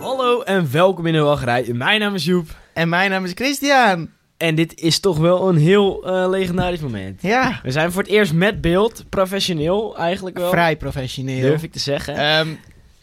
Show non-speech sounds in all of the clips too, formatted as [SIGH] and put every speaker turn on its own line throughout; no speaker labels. Hallo en welkom in de wachtrij. Mijn naam is Joep.
En mijn naam is Christian.
En dit is toch wel een heel eh, legendarisch moment.
Ja,
We zijn voor het eerst met beeld, professioneel eigenlijk wel.
vrij professioneel.
Durf ik te zeggen.
Ehm,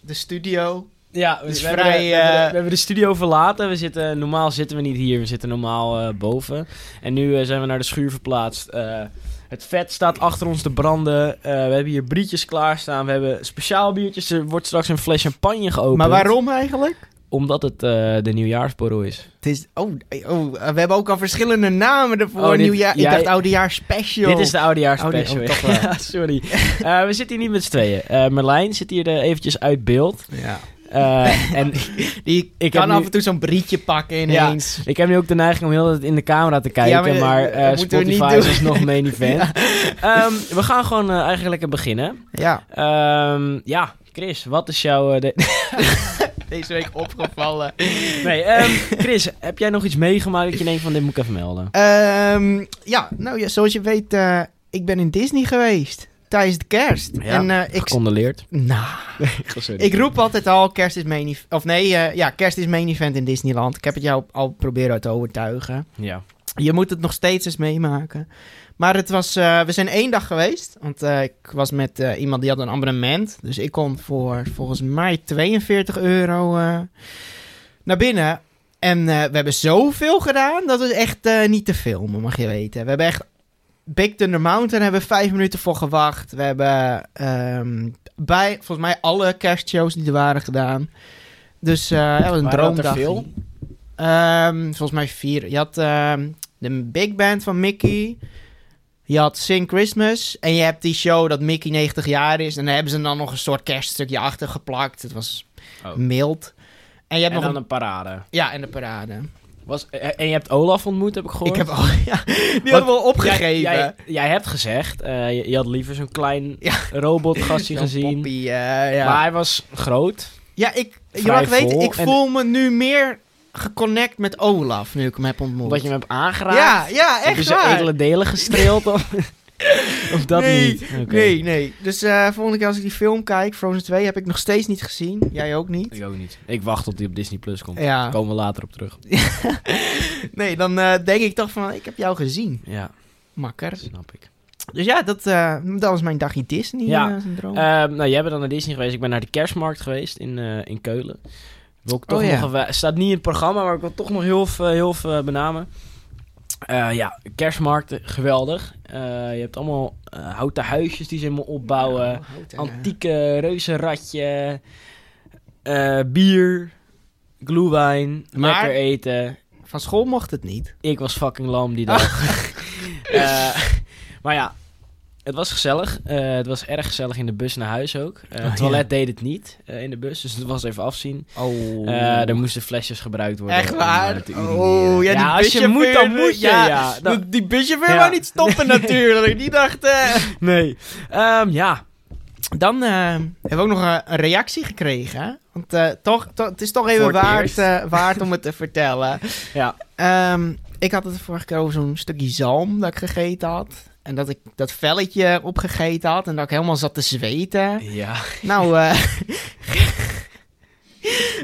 de studio.
ja, we,
is
we hebben,
vrij,
we, hebben,
eh,
we hebben de studio verlaten. We zitten, normaal zitten we niet hier, we zitten normaal eh, boven. En nu eh, zijn we naar de schuur verplaatst. Eh, het vet staat achter ons te branden. Eh, we hebben hier brietjes klaarstaan. We hebben speciaal biertjes. Er wordt straks een fles champagne geopend.
Maar waarom eigenlijk?
Omdat het eh, de nieuwjaarsborrel is.
Het is, oh, oh, we hebben ook al verschillende namen ervoor.
Oh, dit-
Nieuwjaar,
jij-
ik dacht oudejaars special.
Dit is de
Oude-
oudejaarspecial.
oh,
[LAUGHS]
toch wel.
ja, sorry. Eh, we zitten hier niet met z'n tweeën. Eh, Merlijn zit hier eh, eventjes uit beeld.
Ja.
Eh,
[LAUGHS]
en
Die
Ik heb
kan
nu-
af en toe zo'n brietje pakken ineens.
ik heb nu ook de neiging om heel de tijd in de camera te kijken.
Ja, maar,
maar
eh,
eh,
dat moeten we niet
Spotify
doen.
is nog main
[LAUGHS]
event. Ehm, we gaan gewoon eh, eigenlijk lekker beginnen.
Ja.
Ehm, ja, Chris, wat is jouw... eh,
[LAUGHS]
de-
Deze week opgevallen.
Nee, ehm, Chris, heb jij nog iets meegemaakt dat je denkt van dit moet ik even melden?
Ehm, ja, nou ja, zoals je weet, eh, ik ben in Disney geweest. Tijdens de kerst.
Ja,
en eh, ik...
Gecondoleerd. Oh,
Nou, Ik roep altijd al, kerst is main event. Of nee, eh, ja, kerst is main event in Disneyland. Ik heb het jou al proberen te overtuigen.
Ja.
Je moet het nog steeds eens meemaken. Maar het was, eh, we zijn één dag geweest. Want eh, ik was met eh, iemand die had een abonnement. Dus ik kon voor volgens mij 42 euro eh, naar binnen. En eh, we hebben zoveel gedaan, dat is echt eh, niet te filmen, mag je weten. We hebben echt Big Thunder Mountain hebben we vijf minuten voor gewacht. We hebben ehm, bij, volgens mij, alle kerstshows die er waren gedaan. Dus eh dat was
Waren
een
dat er
droomdag.
veel?
Ehm, volgens mij vier. Je had ehm, de big band van Mickey. Je had Sing Christmas. En je hebt die show dat Mickey 90 jaar is. En daar hebben ze dan nog een soort kerststukje achter geplakt. Het was
Oh.
mild. En je hebt
En
nog
dan
een...
een parade.
Ja, en de parade.
Was, eh, en je hebt Olaf ontmoet, heb ik gehoord.
Ik heb al... [LAUGHS] Ja, die hadden we al opgegeven.
Jij, jij, jij hebt gezegd, eh, je, je had liever zo'n klein
Ja.
robotgastje
Zo'n
gezien.
poppy, eh, ja.
Maar hij was groot.
ja, ik... Je
vrij
mag weten,
vol
ik
en-
voel me nu meer geconnect met Olaf. Nu ik hem heb ontmoet.
Omdat je hem hebt aangeraakt.
ja, ja,
Heb je
echt
zijn
waar.
edele delen gestreeld?
[LAUGHS]
of, of dat
nee,
niet? Oké.
Nee, nee. Dus eh, volgende keer als ik die film kijk, Frozen 2, heb ik nog steeds niet gezien. Jij ook niet.
Ik ook niet. Ik wacht tot die op Disney Plus komt. Daar
Ja.
komen we later op terug.
Nee, dan eh, denk ik toch van, ik heb jou gezien,
Ja,
makker.
dat snap ik.
Dus ja, dat, eh, dat was mijn dagje Disney
Ja.
eh, syndroom.
Ehm, nou, jij bent dan naar Disney geweest. Ik ben naar de kerstmarkt geweest in, eh, in Keulen. Wil ik toch
Oh, ja.
nog even- staat niet in het programma, maar ik wil toch nog heel veel, heel veel eh, benamen. Eh, ja, kerstmarkten, geweldig. Eh, je hebt allemaal eh, houten huisjes die ze helemaal opbouwen.
Ja, houten, eh,
Antieke reuzenradje. eh, bier. Glühwein.
Maar-
Lekker eten.
Van school mocht het niet.
Ik was fucking lam die
[LAUGHS]
dag. Eh, maar ja, het was gezellig. Eh, het was erg gezellig in de bus naar huis ook. Eh, het
Oh,
toilet
ja.
deed het niet eh, in de bus, dus het was even afzien.
Oh.
Eh, er moesten flesjes gebruikt worden.
Echt
om, eh,
waar?
te urineren.
Oh, ja, die
als je
buschauffeur,
moet, dan moet je. Ja,
ja,
dan-
dat- die buschauffeur
Ja.
wou niet
[LAUGHS]
stoppen natuurlijk. Die dacht... eh.
nee. Ehm, ja,
Dan eh, hebben we ook nog een, een reactie gekregen. hè? Want eh, toch, toch, het is toch even
Voor het
waard,
eerst.
eh, waard om het te vertellen.
[LAUGHS] Ja.
Ehm, ik had het de vorige keer over zo'n stukje zalm dat ik gegeten had. En dat ik dat velletje opgegeten had. En dat ik helemaal zat te
[LAUGHS]
zweten.
ja.
Nou, eh, [LAUGHS]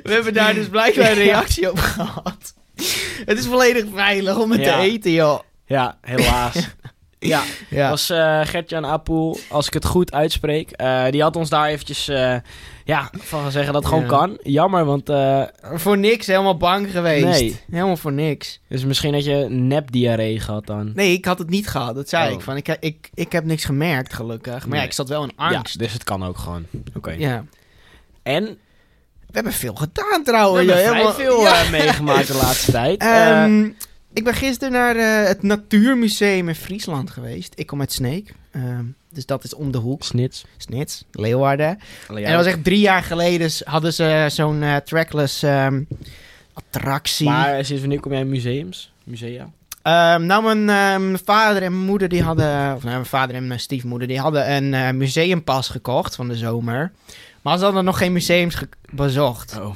we hebben daar dus blijkbaar een
[LAUGHS]
reactie op gehad. Het is volledig veilig om het
Ja.
te eten, joh.
Ja,
[LAUGHS]
helaas. ja,
Ja.
was eh Gert-Jan Apoel, als ik het goed uitspreek. eh, die had ons daar eventjes eh, ja, van gezegd dat het gewoon
Ja.
kan. Jammer, want eh,
Voor niks, helemaal bang geweest.
Nee.
Helemaal voor niks.
dus misschien dat je nep-diarree gehad dan.
Nee, ik had het niet gehad. Dat zei
Oh.
ik. Van, ik, ik. Ik heb niks gemerkt, gelukkig. Maar
Nee.
ja, ik zat wel in angst.
Ja, dus het kan ook gewoon. Oké.
Ja.
En
We hebben veel gedaan
we
trouwens.
hebben
joh.
vrij
Helemaal-
veel
Oh, Ja.
eh, meegemaakt de
[LAUGHS]
laatste tijd. Eh,
Ehm, ik ben gisteren naar eh, het Natuurmuseum in Friesland geweest. Ik kom uit Sneek. Ehm, dus dat is om de hoek.
Snits.
Snits, Leeuwarden.
Allee,
En dat was echt drie jaar geleden. s- Hadden ze zo'n eh, trackless ehm, attractie.
Maar eh, sinds wanneer kom jij in museums? Musea?
Ehm, nou, mijn ehm, vader en mijn moeder die hadden, of nou, mijn vader en mijn stiefmoeder, die hadden een eh, museumpas gekocht van de zomer. Maar ze hadden nog geen museums ge- bezocht.
Oh.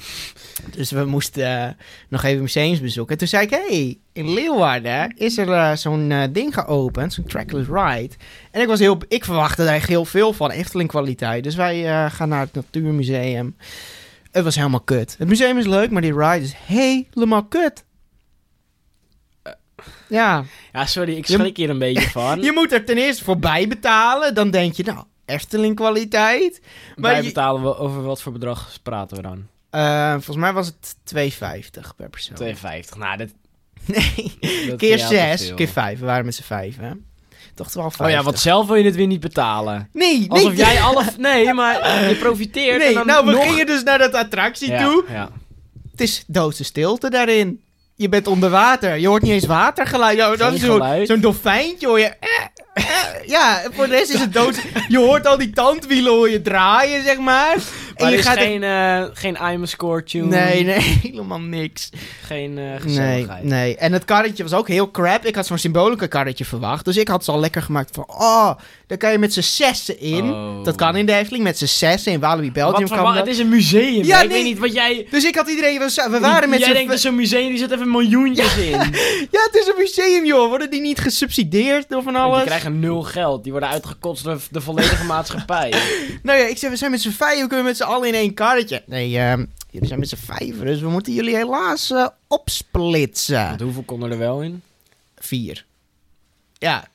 Dus we moesten eh, nog even museums bezoeken. Toen zei ik, hé, hey, in Leeuwarden hè, is er eh, zo'n eh, ding geopend, zo'n trackless ride. En ik, was heel, ik verwachtte daar echt heel veel van, Efteling kwaliteit. Dus wij eh, gaan naar het Natuurmuseum. Het was helemaal kut. Het museum is leuk, maar die ride is helemaal kut. Ja,
Ja, sorry, ik
Je-
schrik hier een
[LAUGHS]
beetje van.
je moet er ten eerste voorbij betalen. Dan denk je, nou, Efteling kwaliteit. maar
Wij
je-
betalen we over wat voor bedrag praten we dan?
Eh, volgens mij was het 2,50 per persoon.
2,50. Nou, dit,
[LAUGHS] Nee,
dat
keer
vind jij al te
6,
veel.
keer 5. We waren met z'n 5, hè? Toch wel 5.
Oh ja, want zelf wil je dit weer niet betalen.
Nee, nee.
Alsof
[LAUGHS]
jij alle... Nee, maar je profiteert en
Nee,
dan
nou, we
nog...
gingen dus naar dat attractie
Ja,
toe.
ja.
Het is doodse stilte daarin. Je bent onder water. Je hoort niet eens watergeluid. Ja, dat
Geen
is zo'n
geluid.
zo'n dolfijntje hoor je. Eh, eh. ja, en voor de rest is
[LAUGHS]
het dood. Je hoort al die tandwielen hoor je draaien, zeg maar.
Maar er is
echt-
geen, eh geen I'm a score tune.
Nee, [LAUGHS] nee, helemaal niks.
Geen eh
Nee,
gezelligheid.
nee. En het karretje was ook heel crap. Ik had zo'n symbolica karretje verwacht. Dus ik had ze al lekker gemaakt van... Oh, daar kan je met z'n zessen in.
Oh.
Dat kan in de Efteling. Met z'n zessen in Walibi Belgium
Wat voor
kan
wa-
dat.
Het is een museum.
Ja,
hè? Ik
nee.
weet niet wat jij...
Dus ik had iedereen... We, we waren met
jij
z'n...
denkt dus- dat zo'n museum die zet even miljoentjes in. [LAUGHS] Want
Ja, het is een museum, joh. Worden die niet gesubsidieerd door van alles?
Die krijgen nul geld. Die worden uitgekotst door de volledige [LAUGHS] maatschappij.
Nou ja, ik zei, we zijn met z'n vijf. Hoe kunnen we met z'n allen in één karretje? Nee, ehm, jullie zijn met z'n vijf. Dus we moeten jullie helaas eh, opsplitsen.
Want hoeveel konden er wel in?
vier. Ja.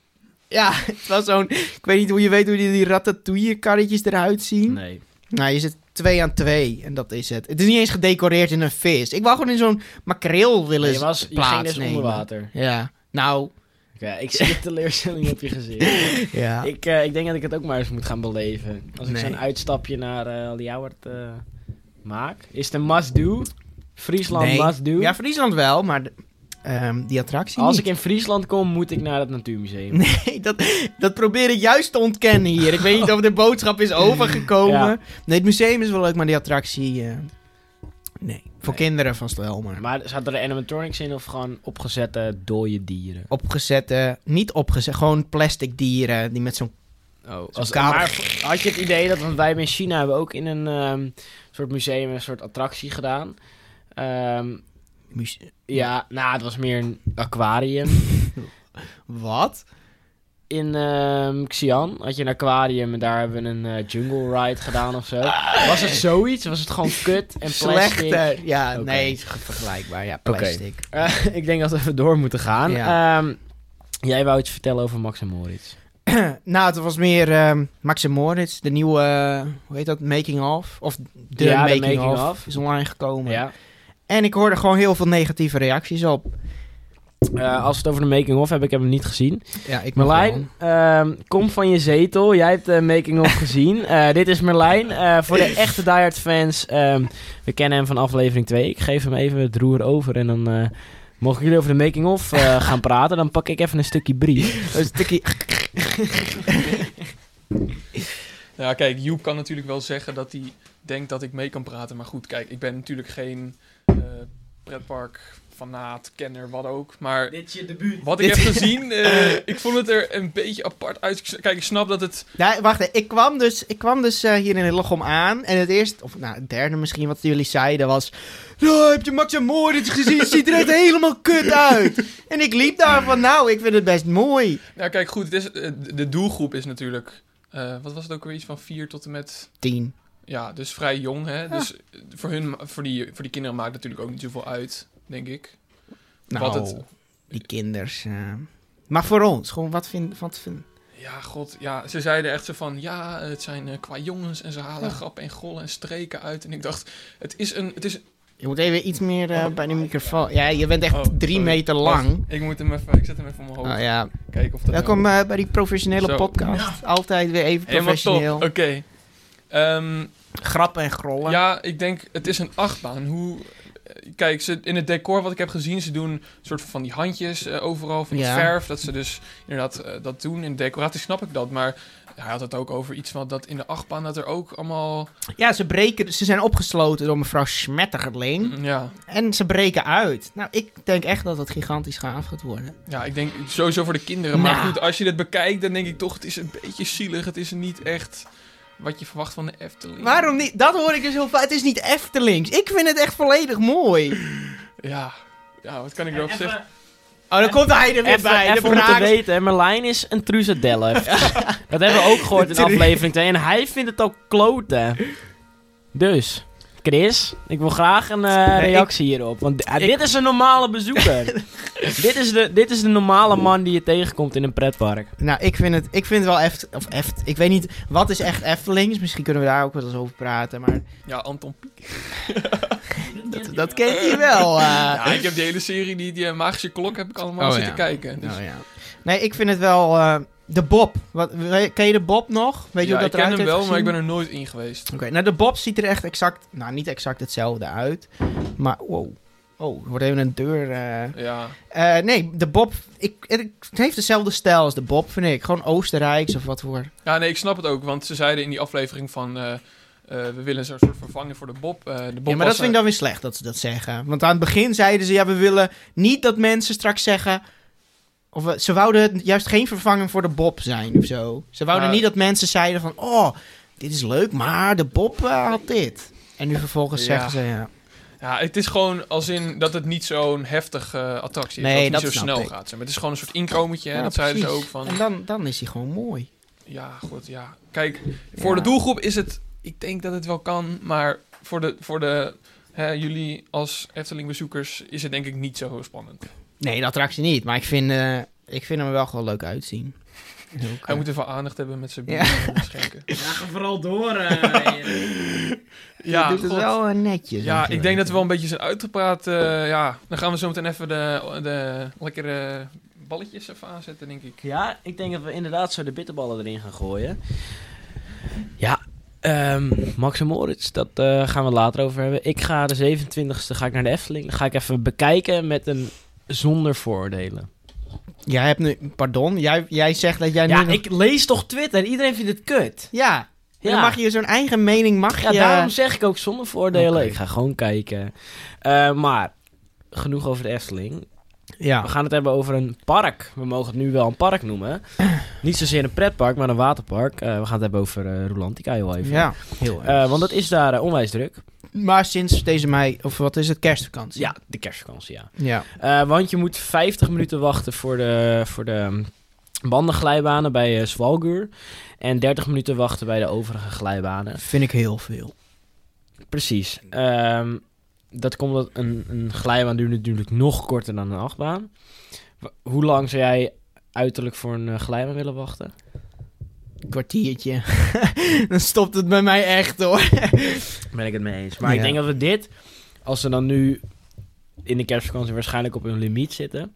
Ja, [LAUGHS] het was zo'n... Ik weet niet hoe je weet hoe die, die ratatouille-karretjes eruit zien.
Nee.
Nou, je zit twee aan twee en dat is het. Het is niet eens gedecoreerd in een vis. Ik wou gewoon in zo'n makreel willen
Je, was, je ging dus
plaatsnemen.
onder water.
Ja, nou,
Oké, ik zie de teleurstelling op je gezicht.
ja.
Ik, eh, ik denk dat ik het ook maar eens moet gaan beleven. Als ik
Nee.
zo'n uitstapje naar eh Ljouwert eh, maak. Is het een must-do? Friesland
Nee.
must-do?
Ja, Friesland wel, maar de- ehm, die attractie
Als
niet.
ik in Friesland kom, moet ik naar het natuurmuseum.
Nee, [LAUGHS] dat, dat probeer ik juist te ontkennen hier. Ik weet niet of de
[LAUGHS]
boodschap is overgekomen.
Ja.
Nee, het museum is wel leuk, maar die attractie... eh, nee, voor
Nee.
kinderen vast wel, maar...
Maar zaten er animatronics in of gewoon opgezette dode dieren?
Opgezette, niet opgezet, gewoon plastic dieren die met zo'n...
Oh,
als-
maar had je het idee dat, want wij hebben in China hebben ook in een ehm, soort museum een soort attractie gedaan. Ehm,
muse-
ja, nou, het was meer een aquarium.
Wat?
In ehm, Xi'an had je een aquarium en daar hebben we een eh, jungle ride gedaan of zo. Was het zoiets? Was het gewoon kut en plastic?
Slechter. Ja,
Oké.
nee, het is vergelijkbaar. Ja, plastic.
Eh, [LAUGHS] ik denk dat we even door moeten gaan.
Ja.
Ehm, jij wou iets vertellen over Max en Moritz.
nou, het was meer ehm Max en Moritz, de nieuwe, eh, hoe heet dat, Making Of? Of de
Ja, de
Making,
Making
of,
Of.
is online gekomen.
Ja.
En ik hoorde gewoon heel veel negatieve reacties op.
Eh, als we het over de making-of hebben, ik heb hem niet gezien.
Ja, ik
Merlijn, ehm, kom van je zetel. Jij hebt de making-of gezien. Eh, dit is Merlijn. Eh, voor de echte Die Hard fans, ehm, we kennen hem van aflevering 2. Ik geef hem even het roer over en dan... eh, Mogen jullie over de making-of [LAUGHS] eh, gaan praten, dan pak ik even een stukje brief.
Een stukje...
Ja, kijk, Joep kan natuurlijk wel zeggen dat hij denkt dat ik mee kan praten. Maar goed, kijk, ik ben natuurlijk geen eh pretpark, fanaat, kenner, wat ook. Maar
Dit is je debuut.
wat ik
dit-
heb gezien, eh, ik vond het er een beetje apart uit. Kijk, ik snap dat het...
Nee, wacht, hè. ik kwam dus, ik kwam dus eh, hier in Lochem aan. En het eerste, of nou, het derde misschien wat jullie zeiden was... "Nou, heb je Max en Moritz gezien? Het ziet er echt helemaal kut uit. En ik liep daar van, nou, ik vind het best mooi.
Nou, kijk, goed, het is, eh, de doelgroep is natuurlijk... eh, wat was het ook weer? Iets van 4 tot en met...
Tien.
Ja, dus vrij jong, hè? Dus eh, voor, hun, voor, die, voor die kinderen maakt het natuurlijk ook niet zoveel uit, denk ik.
Nou,
Wat het-
die kinders. eh. Maar voor ons, gewoon wat vind... Wat vind...
Ja, god, ja, ze zeiden echt zo van, ja, het zijn eh, qua jongens en ze halen grappen en gollen en streken uit. En ik dacht, het is een, het is...
Je moet even iets meer eh, bij de microfoon. Ja, je bent echt
Oh,
drie
sorry.
meter lang.
Wacht, ik moet hem even, ik zet hem even omhoog.
Oh ja.
Kijken of dat...
Welkom
nou-
eh, bij die professionele
Zo.
podcast. Altijd weer even
Helemaal top,
professioneel.
oké. Ehm,
Grappen en grollen.
ja, ik denk, het is een achtbaan. Hoe... eh, Kijk, ze, in het decor wat ik heb gezien, ze doen een soort van die handjes eh, overal, van die
Ja.
verf. Dat ze dus inderdaad eh, dat doen. In de decoratie snap ik dat, maar hij had het ook over iets van dat in de achtbaan dat er ook allemaal...
Ja, ze, breken, ze zijn opgesloten door mevrouw Smetterling.
mm, Ja,
En ze breken uit. Nou, ik denk echt dat het gigantisch gaaf gaat worden.
Ja, ik denk sowieso voor de kinderen. Maar
Nou.
goed, als je dit bekijkt, dan denk ik toch, het is een beetje zielig. Het is niet echt wat je verwacht van de Efteling.
Waarom niet? Dat hoor ik dus heel vaak. Het is niet Eftelings. Ik vind het echt volledig mooi.
Ja, ja wat kan ik erop zeggen?
Oh, dan komt hij er weer
Even,
bij.
even
de
om te
braak.
weten, hè, Merlijn is een
[LAUGHS]
truzadelf. dat hebben we ook gehoord in
Tru-
aflevering 2. En hij vindt het ook kloten. Dus, Chris, ik wil graag een eh,
Nee,
reactie hierop. Want eh, dit is een normale bezoeker.
[LAUGHS]
dit, is de, dit is de normale man die je tegenkomt in een pretpark.
Nou, ik vind het, ik vind het wel Eft... Of Eft... Ik weet niet, wat is echt Eftelings? Misschien kunnen we daar ook wel eens over praten, maar...
Ja, Anton Pieck.
Dat, dat kent hij wel. eh.
Ja, ik heb die hele serie, die, die eh, magische klok, heb ik allemaal
Oh,
zitten
ja.
kijken. Dus,
Nou ja. Nee, ik vind het wel... eh, de Bob. Wat, we- ken je de Bob nog? Weet je
ja,
hoe
ik
dat
ken
eruit
hem
heeft
wel, maar ik
gezien?
ben er nooit in geweest.
Oké, nou de Bob ziet er echt exact... Nou, niet exact hetzelfde uit. Maar, wow. Oh, er wordt even een deur... eh.
Ja,
Eh, nee, de Bob... Ik, het heeft dezelfde stijl als de Bob, vind ik. Gewoon Oostenrijks of wat voor...
ja nee, ik snap het ook, want ze zeiden in die aflevering van... eh, eh, we willen zo'n soort vervanging voor de Bob. Eh, de Bob
ja, maar dat
was,
vind ik dan weer slecht dat ze dat zeggen. Want aan het begin zeiden ze, ja, we willen niet dat mensen straks zeggen... Of we- ze wouden het juist geen vervanging voor de Bob zijn of zo. Ze wouden
Nou,
niet dat mensen zeiden van, oh, dit is leuk, maar de Bob eh, had dit. En nu vervolgens
Ja.
zeggen ze, ja.
eh, Ja, het is gewoon als in dat het niet zo'n heftige eh, attractie is.
Nee,
dat het
dat
niet zo
snap
snel
ik.
gaat. zeg maar. Het is gewoon een soort inkometje. hè,
ja,
dat zeiden ze
precies.
ook van...
En dan, dan is hij gewoon mooi.
Ja, goed, ja. Kijk, voor
Ja.
de doelgroep is het... Ik denk dat het wel kan, maar voor de... Voor de hè, jullie als Efteling-bezoekers is het denk ik niet zo heel spannend.
Nee, de attractie niet, maar ik vind, eh, ik vind hem er wel gewoon leuk uitzien. Ook,
[LAUGHS] Hij
eh,
moet even aandacht hebben met zijn bier
Ja.
en
[LAUGHS]
schenken.
Ja, ga vooral door. eh,
[LAUGHS]
je
Ja,
doet het
god.
wel eh, netjes.
Ja, ik denk dat we
wel.
wel een beetje zijn uitgepraat. eh, ja, dan gaan we zo meteen even de, de lekkere balletjes even aanzetten, denk [LAUGHS] ik.
Ja, ik denk dat we inderdaad zo de bitterballen erin gaan gooien. Ja, ehm Max en Moritz, dat eh, gaan we het later over hebben. Ik ga de 27e ga ik naar de Efteling. Dan ga ik even bekijken met een zonder vooroordelen.
Jij hebt nu, pardon, jij, jij zegt dat jij nu
ja,
nog-
ik lees toch Twitter. Iedereen vindt het kut.
Ja,
Ja,
Dan mag je zo'n eigen mening, mag
ja,
je...
daarom zeg ik ook zonder voordelen.
Oké.
Ik ga gewoon kijken. Eh, maar genoeg over de Efteling.
Ja.
We gaan het hebben over een park. We mogen het nu wel een park noemen. [CLEARS THROAT] Niet zozeer een pretpark, maar een waterpark. Eh, we gaan het hebben over eh Rolantica heel even.
ja, heel erg.
Eh, want het is daar eh, onwijs druk. Dus
Maar sinds deze mei, of wat is het, kerstvakantie?
Ja, de kerstvakantie, ja.
Ja.
Eh, want je moet 50 minuten wachten voor de, voor de mm, bandenglijbanen bij eh, Zwalguur. En 30 minuten wachten bij de overige glijbanen.
Vind ik heel veel.
Precies. Ehm, dat komt omdat een, een glijbaan duurt natuurlijk nog korter dan een achtbaan. W- hoe lang zou jij uiterlijk voor een eh, glijbaan willen wachten?
Een kwartiertje. [LAUGHS] dan stopt het bij mij echt, hoor.
Ben ik het mee eens. Maar ik
Ja.
denk dat we dit, als we dan nu in de kerstvakantie waarschijnlijk op een limiet zitten,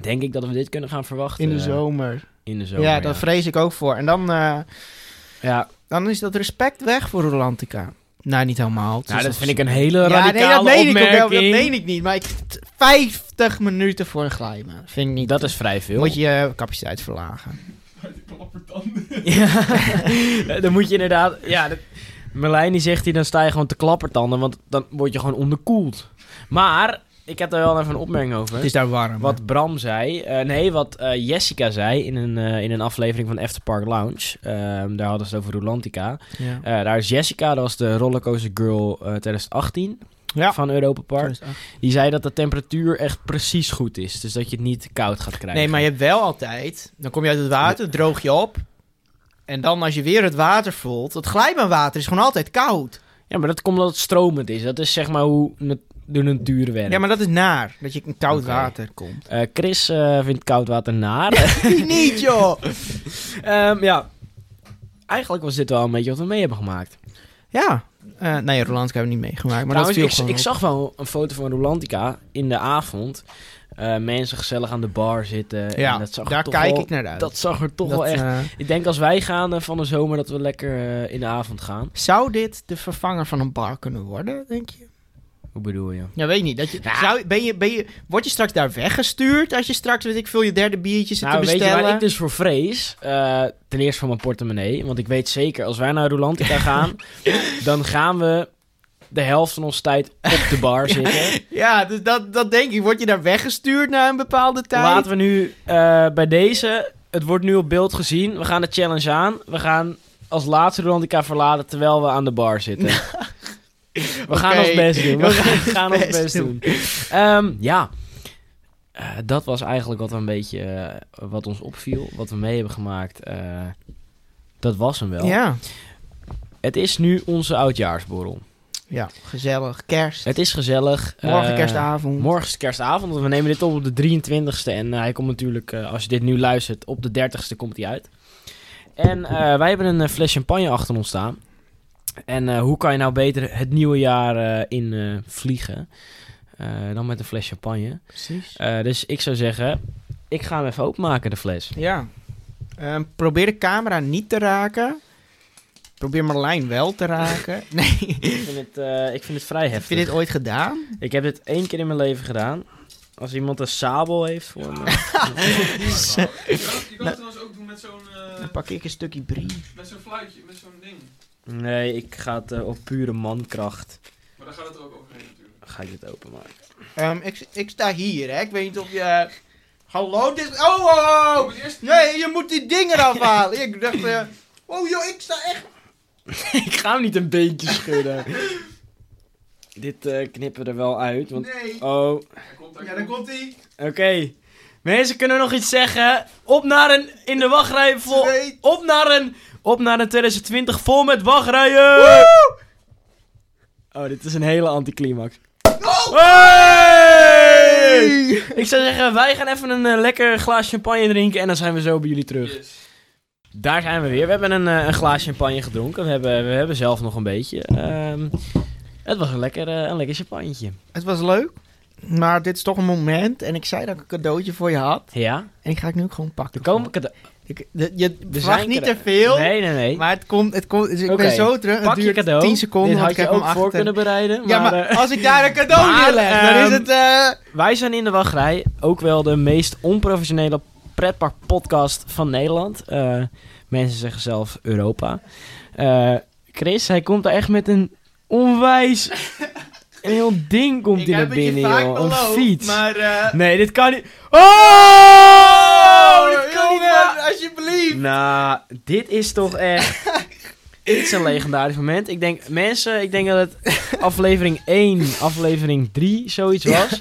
denk ik dat we dit kunnen gaan verwachten.
In de
eh,
zomer.
In de zomer.
ja, daar vrees ik ook voor. En dan, eh,
Ja,
dan is dat respect weg voor Rolantica. Nou, niet helemaal. Het
nou,
is
dat
nog-
vind ik een hele
Ja,
radicale
nee, dat meen ik ook
opmerking.
wel. Dat meen ik niet. Maar ik, 50 minuten voor een glijbaan. Vind ik niet.
Dat is vrij veel.
Moet je je capaciteit verlagen.
Ja, [LAUGHS] dan moet je inderdaad... Ja, dat... Merlijn die zegt hier, dan sta je gewoon te klappertanden, want dan word je gewoon onderkoeld. Maar, ik heb daar wel even een opmerking over.
Het is daar warm. hè?
Wat Bram zei, eh, nee, wat eh, Jessica zei in een, eh, in een aflevering van After Park Lounge. Ehm, daar hadden ze het over Rolantica.
Ja.
Eh, daar is Jessica, dat was de Rollercoaster Girl eh, 2018
Ja.
van Europa Park. Die zei dat de temperatuur echt precies goed is. Dus dat je het niet koud gaat krijgen.
Nee, maar je hebt wel altijd. Dan kom je uit het water, droog je op. En dan als je weer het water voelt. Het glijbaanwater is gewoon altijd koud.
Ja, maar dat komt omdat het stromend is. Dat is zeg maar hoe nat- de natuur werkt.
Ja, maar dat is naar. Dat je in koud
Oké.
water komt.
Eh, Chris eh, vindt koud water naar.
[LAUGHS] niet,
[LAUGHS]
joh.
Ehm, ja, eigenlijk was dit wel een beetje wat we mee hebben gemaakt.
Ja. Eh, nee, Rolantica hebben we niet meegemaakt. Maar
Trouwens,
dat viel
ik,
gewoon
ik
op.
zag wel een foto van Rolantica in de avond. Eh, mensen gezellig aan de bar zitten.
Ja,
en dat zag er
daar
toch
kijk
wel-
ik naar uit.
Dat zag er toch
Dat,
wel echt...
eh,
Ik denk als wij gaan eh, van de zomer dat we lekker eh, in de avond gaan.
zou dit de vervanger van een bar kunnen worden, denk je?
Hoe bedoel je?
Ja, weet niet. Dat je,
Ja.
zou, ben je, ben je, word je straks daar weggestuurd als je straks, weet ik veel, je derde biertje zit
nou,
te
weet je
bestellen?
waar ik dus voor vrees? Eh, ten eerste van mijn portemonnee. Want ik weet zeker, als wij naar
[LAUGHS]
Rolantica gaan, dan gaan we de helft van onze tijd op de
[LAUGHS]
bar zitten.
Ja, dus dat, dat denk ik. Word je daar weggestuurd na een bepaalde tijd?
Laten we nu eh, bij deze, het wordt nu op beeld gezien. We gaan de challenge aan. We gaan als laatste Rolandica verlaten terwijl we aan de bar zitten. we gaan
Oké,
ons best doen. [LAUGHS] We,
we
gaan,
gaan
gaan ons best doen. Ehm, ja, Eh, dat was eigenlijk wat we een beetje eh, wat ons opviel, wat we mee hebben gemaakt. Eh, dat was hem wel.
Ja,
Het is nu onze oudjaarsborrel.
ja, gezellig. Kerst.
Het is gezellig.
Morgen
Eh,
kerstavond.
Morgen is het kerstavond, want we nemen dit op op de 23 e En eh, hij komt natuurlijk, eh, als je dit nu luistert, op de 30 e komt hij uit. En eh, wij hebben een eh, fles champagne achter ons staan. En eh, hoe kan je nou beter het nieuwe jaar eh, in eh, vliegen eh, dan met een fles champagne?
Precies.
Eh, dus ik zou zeggen, ik ga hem even openmaken, de fles.
Ja. Ehm, probeer de camera niet te raken. Probeer Marlijn wel te raken.
[LAUGHS]
nee,
Ik vind het, eh, ik vind het vrij
heb
heftig.
je dit ooit gedaan?
Ik heb dit één keer in mijn leven gedaan. Als iemand een sabel heeft voor [LAUGHS] me.
Je kan, je
Nou.
kan het trouwens ook doen met zo'n eh,
Dan pak ik een stukje brie.
met zo'n fluitje, met zo'n ding.
Nee, ik ga het eh, op pure mankracht.
Maar daar gaat het er ook overheen natuurlijk.
Ga ik dit openmaken.
Ehm, ik, ik sta hier, hè. Ik weet niet of je... Hallo, dit is... Oh, oh,
Je
oh.
moet eerst-
Nee, je moet die dingen [LAUGHS] eraf halen. ik dacht... eh, Oh joh, ik sta echt...
Ik ga hem niet een beetje schudden. Dit eh, knippen we er wel uit. Want...
Nee.
Oh, oké.
Hij komt, hij
Ja, daar komt ie.
Mensen, kunnen we nog iets zeggen? Op naar een... In de wachtrij vol...
Twee.
Op naar een... Op naar een 2020 vol met wachtrijen! Oh, dit is een hele anticlimax.
Oh!
Hey! Ik zou zeggen, wij gaan even een eh, lekker glaas champagne drinken en dan zijn we zo bij jullie terug.
Yes.
Daar zijn we weer. We hebben een, eh, een glaas champagne gedronken. We hebben, we hebben zelf nog een beetje. Ehm, het was een lekker, eh, een lekker champagnetje.
Het was leuk. Maar dit is toch een moment. En ik zei dat ik een cadeautje voor je had.
Ja,
En ik ga ik nu ook gewoon
er
pakken.
komen cade-
Ik, de- je
zijn
verwacht niet
cade-
te veel.
Nee, nee, nee.
Maar het komt, het komt, dus ik
Oké,
ben zo terug. Het
Pak je
duurt
cadeau.
10 seconden.
Dit
want
had
ik
je
heb
ook
hem achter.
voor kunnen bereiden. Maar,
Ja, maar
eh,
als ik daar een cadeau
Maar,
neerleg, dan
ehm,
is het... eh,
wij zijn in de wachtrij. Ook wel de meest onprofessionele pretparkpodcast van Nederland. Eh, mensen zeggen zelf Europa. Eh, Chris, hij komt daar echt met een onwijs... Een heel ding komt
ik
hij naar
heb het je
binnen,
vaak
joh.
beloofd,
een fiets.
Maar... eh,
Nee, dit kan niet. Oh! Dit kan niet
jongen,
waar.
alsjeblieft.
Nou, dit is toch echt. dit is een legendarisch moment. Ik denk, mensen, ik denk dat het aflevering 1, aflevering 3 zoiets was.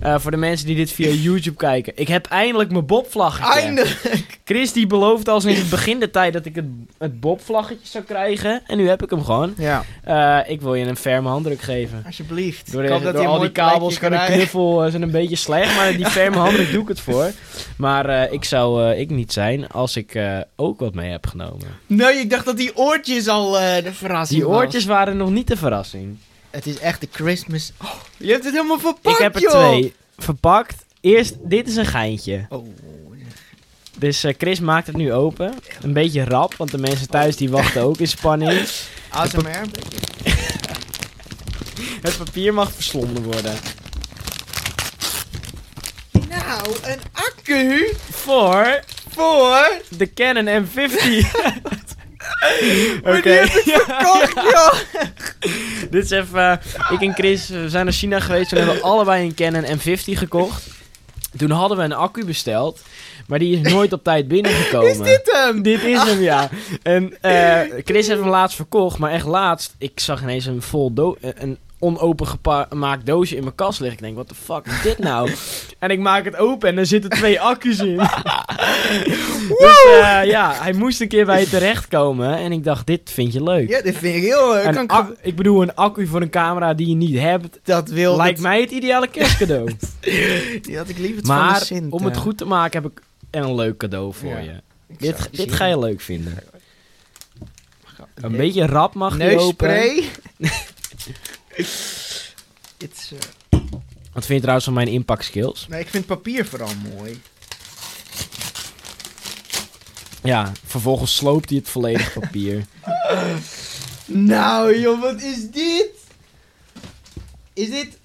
Eh, voor de mensen die dit via YouTube kijken. Ik heb eindelijk mijn Bobvlaggetje.
Eindelijk.
Chris die beloofde al sinds het begin de tijd dat ik het, het Bobvlaggetje zou krijgen. En nu heb ik hem gewoon.
Ja,
Eh, ik wil je een ferme handdruk geven.
alsjeblieft.
Door,
Ik hoop dat
door
hij een
al die
mooi
kabels
plekje
kan een
krijgt.
knuffel eh, zijn een beetje slecht, maar die ferme handen doe ik het voor. Maar eh, ik zou eh, ik niet zijn als ik eh, ook wat mee heb genomen.
[LAUGHS] Nee, ik dacht dat die oortjes al eh, de verrassing
Die
was.
oortjes waren nog niet de verrassing.
Het is echt de Christmas... Oh, je hebt het helemaal verpakt,
ik heb er
joh.
twee verpakt. Eerst, dit is een geintje.
Oh,
Dus eh, Chris maakt het nu open. Een beetje rap, want de mensen thuis die wachten ook in
[LAUGHS]
spanning.
ASMR.
Het papier mag verslonden worden.
Nou, een accu
Voor
voor...
de Canon M50.
[LAUGHS]
Oké.
Maar die heb ik
[LAUGHS]
verkocht, joh.
Dit is even. eh, ik en Chris eh, we zijn naar China geweest. Toen hebben we allebei een Canon M50 gekocht. Toen hadden we een accu besteld. Maar die is nooit op tijd binnengekomen.
Is dit Ah. hem?
Dit is hem, ja. En eh, Chris heeft hem laatst verkocht. Maar echt laatst. Ik zag ineens een vol do eh, een onopengemaakt doosje in mijn kast liggen. Ik denk, wat de fuck is dit nou?
[LAUGHS]
en ik maak het open en er zitten twee accu's in. dus eh, ja, hij moest een keer bij je terechtkomen. En ik dacht, dit vind je leuk.
Ja, dit vind ik heel leuk.
Een
Kan ik-
ac- ik bedoel, een accu voor een camera die je niet hebt,
dat wil
lijkt
dat,
mij het
[LAUGHS]
ideale kerstcadeau.
Die had ik liever het van de
maar
Sint.
om het
eh.
goed te maken heb ik een leuk cadeau voor
Ja,
je.
Ik zou
Dit,
het
dit
zien.
ga je leuk vinden. Een beetje rap mag je open.
Neusspray. [LAUGHS]
[LAUGHS]
Dit is, eh,
Wat vind je trouwens van mijn impact skills?
nee, ik vind papier vooral mooi.
Ja, vervolgens sloopt hij het volledig
[LAUGHS]
papier.
Nou joh, wat is dit? Is dit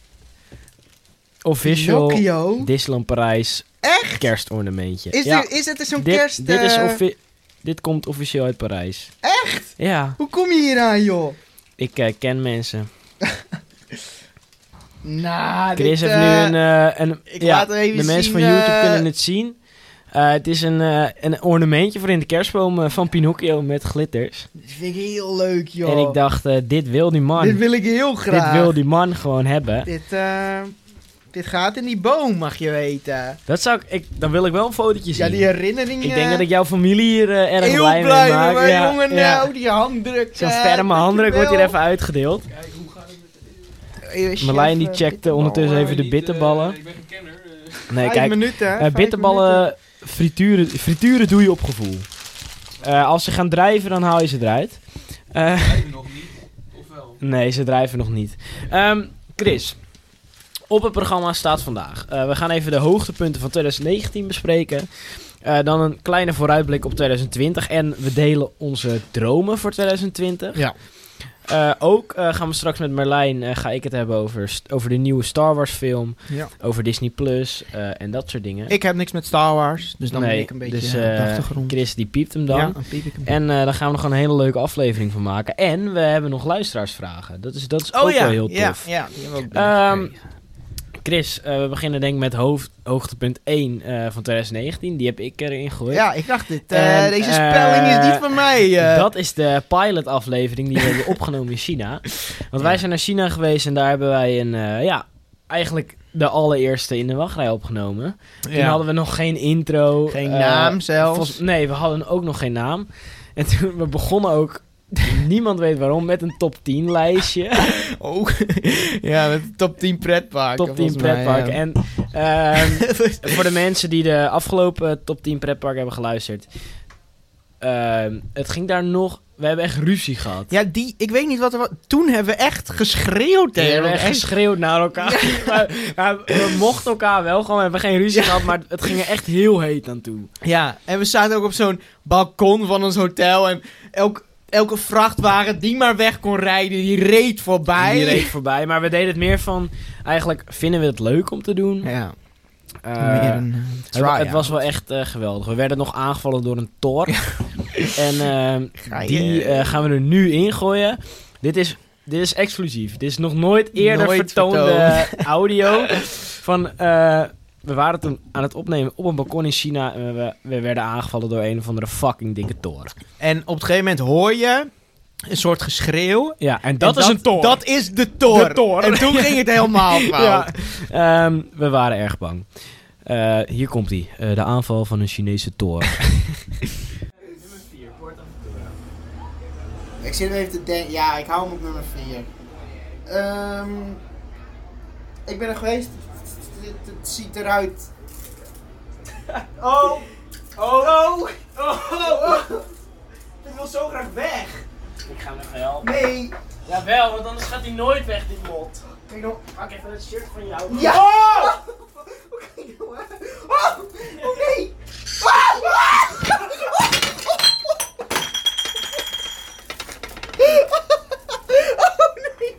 Official
Pinocchio?
Disneyland Parijs
Echt?
kerstornamentje.
Is,
ja,
dit, is het zo'n
dit,
kerst...
dit, is
eh,
offi- dit komt officieel uit Parijs.
Echt?
Ja,
Hoe kom je hier aan joh?
ik eh, ken mensen.
Nou,
Chris
dit,
heeft
eh,
nu een... eh, een
ik
ja,
laat even
de mensen
zien,
van YouTube
eh,
kunnen het zien. Eh, het is een, eh, een ornamentje voor in de kerstboom eh, van Pinocchio met glitters.
Dit vind ik heel leuk, joh.
En ik dacht, eh, dit wil die man.
Dit wil ik heel graag.
Dit wil die man gewoon hebben.
Dit, eh, dit gaat in die boom, mag je weten.
Dat zou ik, ik- dan wil ik wel een fotootje zien.
Ja, die herinnering.
ik
eh,
denk dat ik jouw familie hier eh, erg
heel
blij mee
blij
maak.
ben,
Ja,
jongen.
ja.
Nou, die handdruk. eh,
Zo'n ferme handdruk wordt hier even uitgedeeld.
even...
Marlijn die checkt eh, ondertussen even de bitterballen.
eh, ik ben geen kenner.
Nee, kijk,
oh, minuten,
eh, bitterballen frituren, frituren doe je op gevoel. Eh, als ze gaan drijven, dan haal je ze eruit. Eh, [LAUGHS]
nog niet. Of wel?
nee, ze drijven nog niet. Ehm, Chris, op het programma staat vandaag. eh, we gaan even de hoogtepunten van 2019 bespreken. Eh, dan een kleine vooruitblik op 2020. En we delen onze dromen voor 2020.
Ja.
Eh, ook eh, gaan we straks met Merlijn, eh, ga ik het hebben over, st- over de nieuwe Star Wars film.
Ja.
Over Disney Plus eh, en dat soort dingen.
Ik heb niks met Star Wars, dus dan ben
Nee,
ik een beetje
dus,
eh, op de
eh,
achtergrond.
Chris die piept hem dan.
Ja, dan piep ik hem.
En eh daar gaan we nog een hele leuke aflevering van maken. En we hebben nog luisteraarsvragen. Dat is, dat is
oh
ook
ja,
wel heel tof.
ja, ja, die hebben we ook
Ehm,
binnengekregen.
Chris, eh, we beginnen denk ik met hoofd, hoogtepunt 1 eh, van 2019. Die heb ik erin gegooid.
Ja, ik dacht dit. eh,
en,
deze spelling is niet van mij. eh.
Ehm, Dat is de pilot-aflevering die we
[LAUGHS]
hebben opgenomen in China. Want wij zijn naar China geweest en daar hebben wij een, eh, ja, eigenlijk de allereerste in de wachtrij opgenomen. Toen
Ja.
hadden we nog geen intro.
Geen
eh,
naam zelfs.
volgens- nee, we hadden ook nog geen naam. En toen, we begonnen ook, [LAUGHS] niemand weet waarom, met een top 10 lijstje.
[LAUGHS] Oh, [LAUGHS] ja, met de top 10 pretparken.
top 10
volgens mij,
pretpark.
ja.
En ehm,
[LAUGHS]
voor de mensen die de afgelopen top 10 pretpark hebben geluisterd. ehm, het ging daar nog... We hebben echt ruzie gehad.
Ja, die, ik weet niet wat er was. Toen hebben we echt geschreeuwd
We
tegen
hebben echt
elkaar.
geschreeuwd naar elkaar. [LAUGHS] Maar- maar we mochten elkaar wel gewoon. We hebben geen ruzie gehad, maar het ging er echt heel heet aan toe.
Ja, en we zaten ook op zo'n balkon van ons hotel. En elk, elke vrachtwagen die maar weg kon rijden, die reed voorbij.
Die reed voorbij. Maar we deden het meer van... Eigenlijk vinden we het leuk om te doen.
[LAUGHS] Ja,
Eh,
meer een eh,
het,
try-out.
het was wel echt eh, geweldig. We werden nog aangevallen door een tor. [LAUGHS] en [LAUGHS] ehm,
Ga je-
die eh, gaan we er nu ingooien. Dit is, dit is exclusief. Dit is nog nooit eerder
Nooit
vertoonde [LAUGHS] audio. Van, eh, we waren toen aan het opnemen op een balkon in China. En we, we werden aangevallen door een of andere fucking dikke toren.
En op het gegeven moment hoor je een soort geschreeuw.
Ja, en
En
dat, is een toren.
Dat is de tor.
De tor.
En toen ging het [LAUGHS] helemaal fout.
ja. Ehm, we waren erg bang. Eh, hier komt hij. de aanval van een Chinese [LAUGHS] toren.
Ik zit even te denken. Ja, ik hou hem op nummer 4. ik ben er geweest. Het ziet eruit. [LAUGHS] Oh! Oh! Oh! Ik wil zo graag weg.
Ik ga hem even helpen.
Nee.
Jawel, want anders gaat hij nooit weg, dit lot.
Kijk nou.
Pak even het shirt van jou.
Ja! Oh! Kijk nou. Oh! Oh nee! Ah! Ah! Oh nee!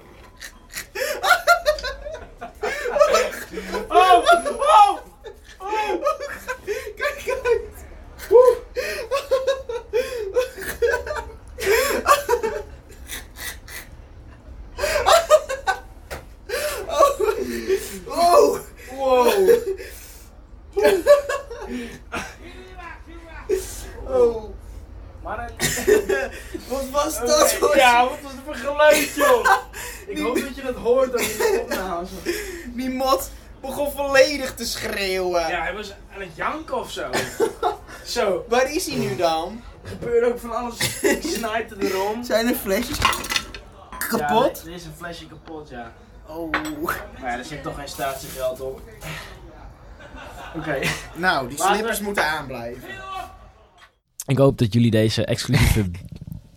Oh! Oh!
Kijk uit! Oh! Wow! Oh!
[LAUGHS] Maar
Wat was dat hoor?
Ja, wat was het voor geluid, joh? [LAUGHS] Ik
Die-
hoop dat je dat hoort als je het opnames.
Die mot begon volledig te schreeuwen.
[LAUGHS] Ja, hij was aan het janken of zo. [LAUGHS] Zo,
Waar is hij nu dan?
er gebeurde ook van alles. Ik snijpte [LAUGHS] erom.
Zijn er flesjes kapot?
er is een flesje kapot, ja.
Oh.
Maar ja, er zit toch geen statiegeld op. Oké.
Nou, die
Laten
slippers
we-
moeten aanblijven.
Ik hoop dat jullie deze exclusieve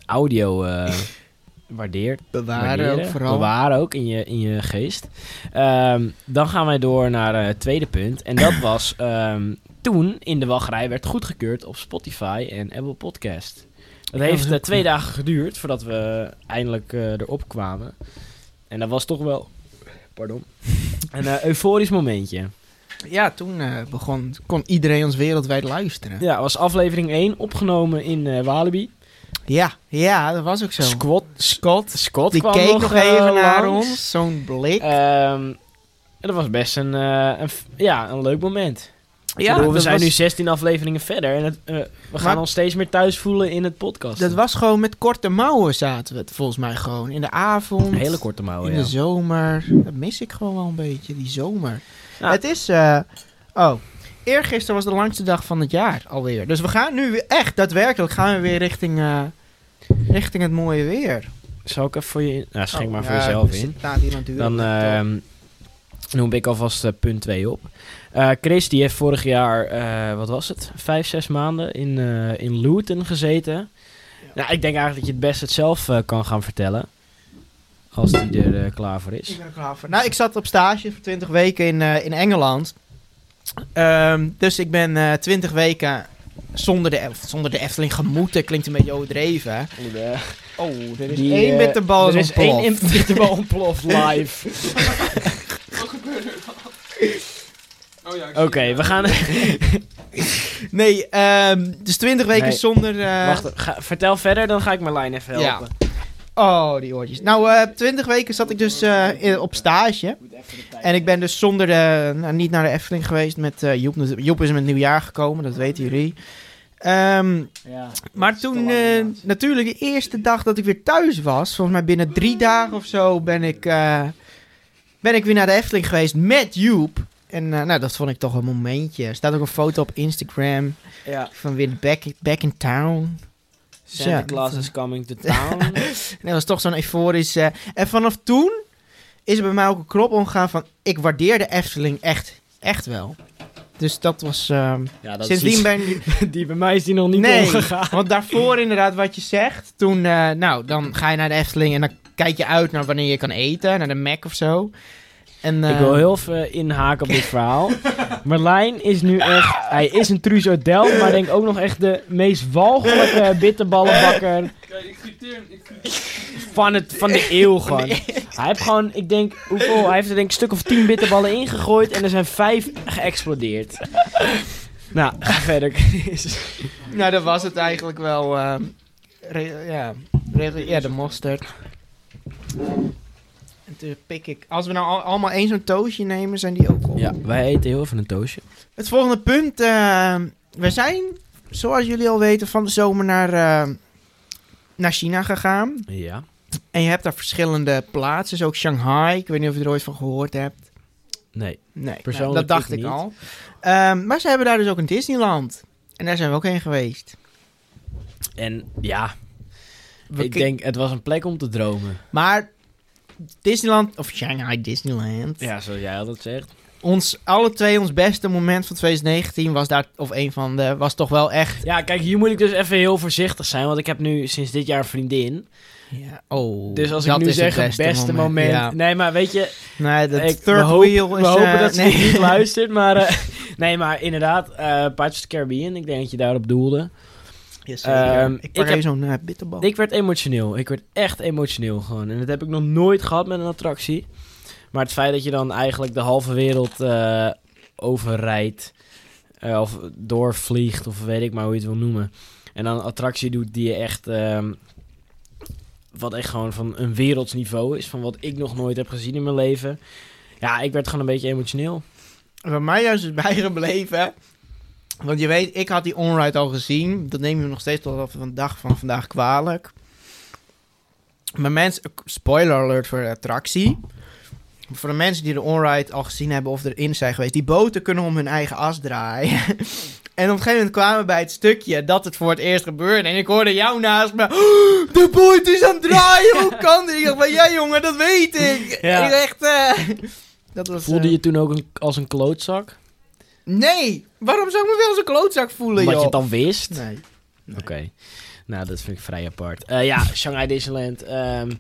audio eh [LAUGHS] waardeert.
Bewaren ook
waarderen.
vooral.
Bewaren ook in je, in je geest. Ehm, dan gaan wij door naar eh, het tweede punt. En
[COUGHS]
dat was ehm, toen in de wachtrij werd goedgekeurd op Spotify en Apple Podcast. Dat heeft eh, twee dagen geduurd voordat we eindelijk eh, erop kwamen. En dat was toch wel...
[LAUGHS]
Pardon. Een eh, euforisch momentje.
Ja, toen eh, begon, kon iedereen ons wereldwijd luisteren.
Ja, was aflevering 1 opgenomen in eh, Walibi.
Ja, ja, dat was ook zo.
Squat.
Scott,
Scott
die
kwam
keek nog,
eh,
even naar
langs.
ons. Zo'n blik.
eh, Ehm, en dat was best een, eh, een f- ja, een leuk moment. Ja, we
dat
zijn
was-
nu 16 afleveringen verder en het, eh, we gaan
Maar-
ons steeds meer thuis voelen in het podcast.
Dat was gewoon met korte mouwen zaten we het volgens mij gewoon. In de avond.
een hele korte mouwen,
in
Oh, ja.
de zomer. Dat mis ik gewoon wel een beetje, die zomer.
Ja.
Het is. eh, oh, eergisteren was de langste dag van het jaar alweer. Dus we gaan nu weer echt daadwerkelijk gaan we weer richting, eh, richting het mooie weer.
Zal ik even voor je in... Nou, schenk
Oh,
maar voor
ja,
jezelf
er
in.
zit- staat hier natuurlijk.
Dan ehm, noem ik alvast eh, punt 2 op. Eh, Chris die heeft vorig jaar, eh, wat was het, vijf, zes maanden in, eh, in Luton gezeten. Nou, ik denk eigenlijk dat je het best het zelf eh, kan gaan vertellen. Als die er eh, klaar voor
Ik
is.
ben er klaar voor. Nou, ik zat op stage voor 20 weken in, eh, in Engeland. Ehm, dus ik ben eh 20 weken zonder de, Ef- zonder de Efteling gemoeten. Klinkt een beetje overdreven. Oh, er is
Die,
één
eh,
met de bal
er is één in [LAUGHS] met de bal ontploft live.
Oh ja, ik
[LAUGHS] Oké,
zie
we gaan...
Nee, ehm, dus 20 weken
Nee.
zonder... eh,
Wacht, ga- vertel verder, dan ga ik Marlijn even
Ja.
helpen.
Oh, die oortjes. Nou, eh 20 weken zat ik dus eh, in- op stage. En ik ben dus zonder de, nou, niet naar de Efteling geweest met eh, Joep. Joep is met nieuwjaar gekomen, dat weten jullie. Ehm,
Ja.
maar toen, eh, natuurlijk, de eerste dag dat ik weer thuis was, volgens mij binnen drie dagen of zo, ben ik, eh, ben ik weer naar de Efteling geweest met Joep. En eh, nou, dat vond ik toch een momentje. Er staat ook een foto op Instagram
ja.
van weer back, back in town.
Santa Claus is coming to town.
En dat was toch zo'n euforisch... eh, en vanaf toen is er bij mij ook een knop omgegaan van... Ik waardeer de Efteling echt, echt wel. Dus dat was... ehm
[LAUGHS] ja, dat is
sindsdien
iets-
ben ik...
die bij mij is die nog niet
Nee.
omgegaan.
Want daarvoor inderdaad wat je zegt. Toen, eh, nou, dan ga je naar de Efteling en dan kijk je uit naar wanneer je kan eten. Naar de Mac of zo. En, eh,
Ik wil heel even inhaken [LAUGHS] op dit verhaal. Marlijn is nu echt... Hij is een Truus Odell, maar denk ook nog echt de meest [LAUGHS] walgelijke bitterballenbakker
het. Kijk, ik friteer hem, ik friteer
van, het, [LAUGHS] van de eeuw gewoon. Hij heeft gewoon, ik denk, hoeveel? Hij heeft er denk ik een stuk of tien bitterballen ingegooid en er zijn vijf geëxplodeerd. [LAUGHS] Nou, ga verder Chris.
Nou, dat was het eigenlijk wel. ehm, re- ja, re- ja, de mosterd. En toen pik ik. Als we nou al- allemaal één zo'n toosje nemen, zijn die ook op.
Ja, wij eten heel even een toosje.
Het volgende punt. ehm, we zijn, zoals jullie al weten, van de zomer naar, ehm, naar China gegaan.
Ja.
En je hebt daar verschillende plaatsen. Dus ook Shanghai. Ik weet niet of je er ooit van gehoord hebt.
Nee.
Nee, nou,
Persoonlijk
dat dacht
ik
ik,
niet.
al. Ehm, maar ze hebben daar dus ook een Disneyland. En daar zijn we ook heen geweest.
En ja,
We
ik
ki-
denk, het was een plek om te dromen.
Maar Disneyland, of Shanghai Disneyland.
Ja, zoals jij altijd zegt.
Ons, alle twee, ons beste moment van 2019 was daar, of een van de, was toch wel echt.
Ja, kijk, hier moet ik dus even heel voorzichtig zijn, want ik heb nu sinds dit jaar een vriendin.
Ja, oh,
Dus als ik
dat
nu
is
zeg het beste, moment...
Ja.
Nee, maar weet je,
Nee, dat
ik, we,
third
hopen-
wheel is.
we hopen
eh,
dat ze
nee.
niet luistert, maar... eh, nee, maar inderdaad, eh Pirates of the Caribbean, ik denk dat je daarop doelde.
[LAUGHS] Ja, zeker.
Ehm,
ik
ik
pak
heb-
even zo'n eh, bitterbal.
Ik werd emotioneel. Ik werd echt emotioneel gewoon. En dat heb ik nog nooit gehad met een attractie. Maar het feit dat je dan eigenlijk de halve wereld eh, overrijdt. eh, of doorvliegt, of weet ik maar hoe je het wil noemen. En dan een attractie doet die je echt. ehm, wat echt gewoon van een wereldsniveau is. Van wat ik nog nooit heb gezien in mijn leven. Ja, ik werd gewoon een beetje emotioneel.
Bij mij juist is [LAUGHS] bijgebleven. Want je weet, ik had die onride al gezien. Dat neem je me nog steeds tot op de dag van vandaag kwalijk. Maar mensen, spoiler alert voor de attractie. Voor de mensen die de onride al gezien hebben of erin zijn geweest, die boten kunnen om hun eigen as draaien. [LAUGHS] en op een gegeven moment kwamen we bij het stukje dat het voor het eerst gebeurde. En ik hoorde jou naast me. "Oh, de boot is aan het draaien,
[LAUGHS]
hoe kan dit? Ik dacht van, ja jongen, dat weet ik.
Ja.
Ik echt, eh, [LAUGHS] dat was,
Voelde
eh,
je toen ook een, als een klootzak?
Nee, waarom zou ik me wel als een klootzak voelen,
Omdat je
joh?
het dan wist?
Nee.
Oké. Nou, dat vind ik vrij apart. Eh, ja, Shanghai Disneyland ehm,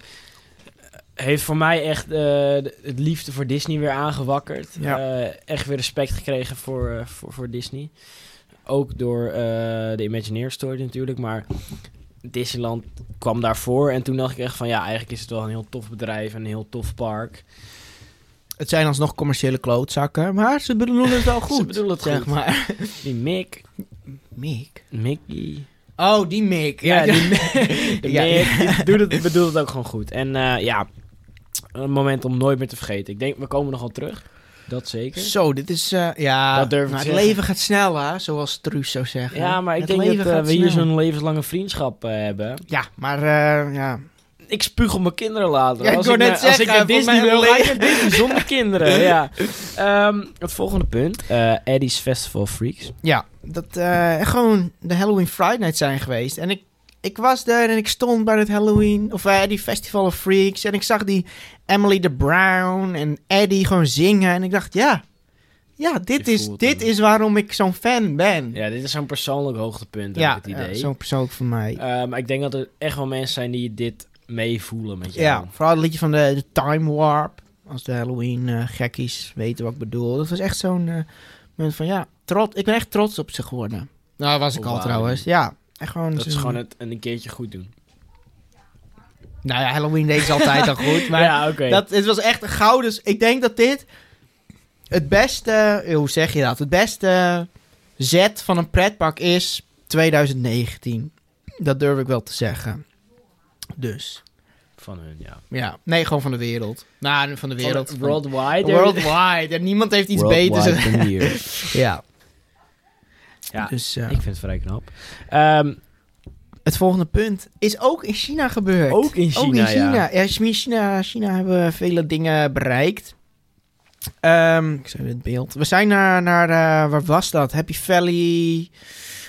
heeft voor mij echt eh, de- het liefde voor Disney weer aangewakkerd.
Ja.
Eh, echt weer respect gekregen voor, eh, voor, voor Disney. Ook door eh, de Imagineer Story natuurlijk, maar Disneyland kwam daarvoor. En toen dacht ik echt van, ja, eigenlijk is het wel een heel tof bedrijf en een heel tof park.
Het zijn alsnog commerciële klootzakken, maar ze bedoelen het wel goed.
[LAUGHS] Ze bedoelen het
zeg
goed.
maar.
Die Mick,
Mick.
Mickey...
Oh, die Mick.
Ja, [LAUGHS] die
[LAUGHS]
Mick,
Ja.
die doet het, bedoelt het ook gewoon goed. En eh, ja, een moment om nooit meer te vergeten. Ik denk, we komen nog wel terug. Dat zeker.
Zo, dit is... eh, ja,
Dat durf ik
nou,
te
het
zeggen.
leven gaat snel, hè, zoals Truus zou zeggen.
Ja, maar ik
Het
denk dat eh,
leven gaat
we hier
snel.
zo'n levenslange vriendschap eh, hebben.
Ja, maar eh, ja.
Ik spuug op mijn kinderen later.
Ja, ik
als,
wou
ik
net
naar, als ik
zeggen,
naar
volgens
Disney
mij
wil,
alleen-
ga ik naar Disney
[LAUGHS]
zonder kinderen. Ja. Ehm, het volgende punt. eh Eddie's Festival of Freaks.
Ja, dat eh, gewoon de Halloween Friday Night zijn geweest. En ik, ik was daar en ik stond bij het Halloween, of eh, die Festival of Freaks. En ik zag die Emily de Brown en Eddie gewoon zingen. En ik dacht, ja, ja dit,
Je
is,
voelt
dit
hem.
is waarom ik zo'n fan ben.
Ja, dit is zo'n persoonlijk hoogtepunt, heb
ja,
ik het idee.
ja, zo'n persoonlijk voor mij.
Eh, maar ik denk dat er echt wel mensen zijn die dit meevoelen met jou.
ja, vooral het liedje van de, de Time Warp. Als de Halloween eh, gekkies weten wat ik bedoel. Dat was echt zo'n eh, moment van, ja, trots. Ik ben echt trots op ze geworden. Nou, was ik
Op
al
Halloween.
trouwens. Ja, echt gewoon...
Oh, Dat is
zo'n-
gewoon het een keertje goed doen.
Nou ja, Halloween deed ze altijd al goed. Maar
[LAUGHS] ja, oké.
dat, het was echt een gouden... Ik denk dat dit het beste... eh, Hoe zeg je dat? Het beste zet van een pretpark is 2019. Dat durf ik wel te zeggen. Dus,
Van hun, ja.
ja. Nee, gewoon van de wereld. Nou, van de wereld. Van-
Worldwide.
Worldwide. En niemand heeft iets
[LAUGHS]
beters. Ja.
Ja,
Dus, eh,
Ik vind het vrij knap. Ehm,
het volgende punt is ook in China gebeurd.
ook in China,
Ook in China.
ja.
Ja, in China, China hebben we vele dingen bereikt. Ehm, ik zei het beeld. We zijn naar, naar eh, waar was dat? Happy Valley,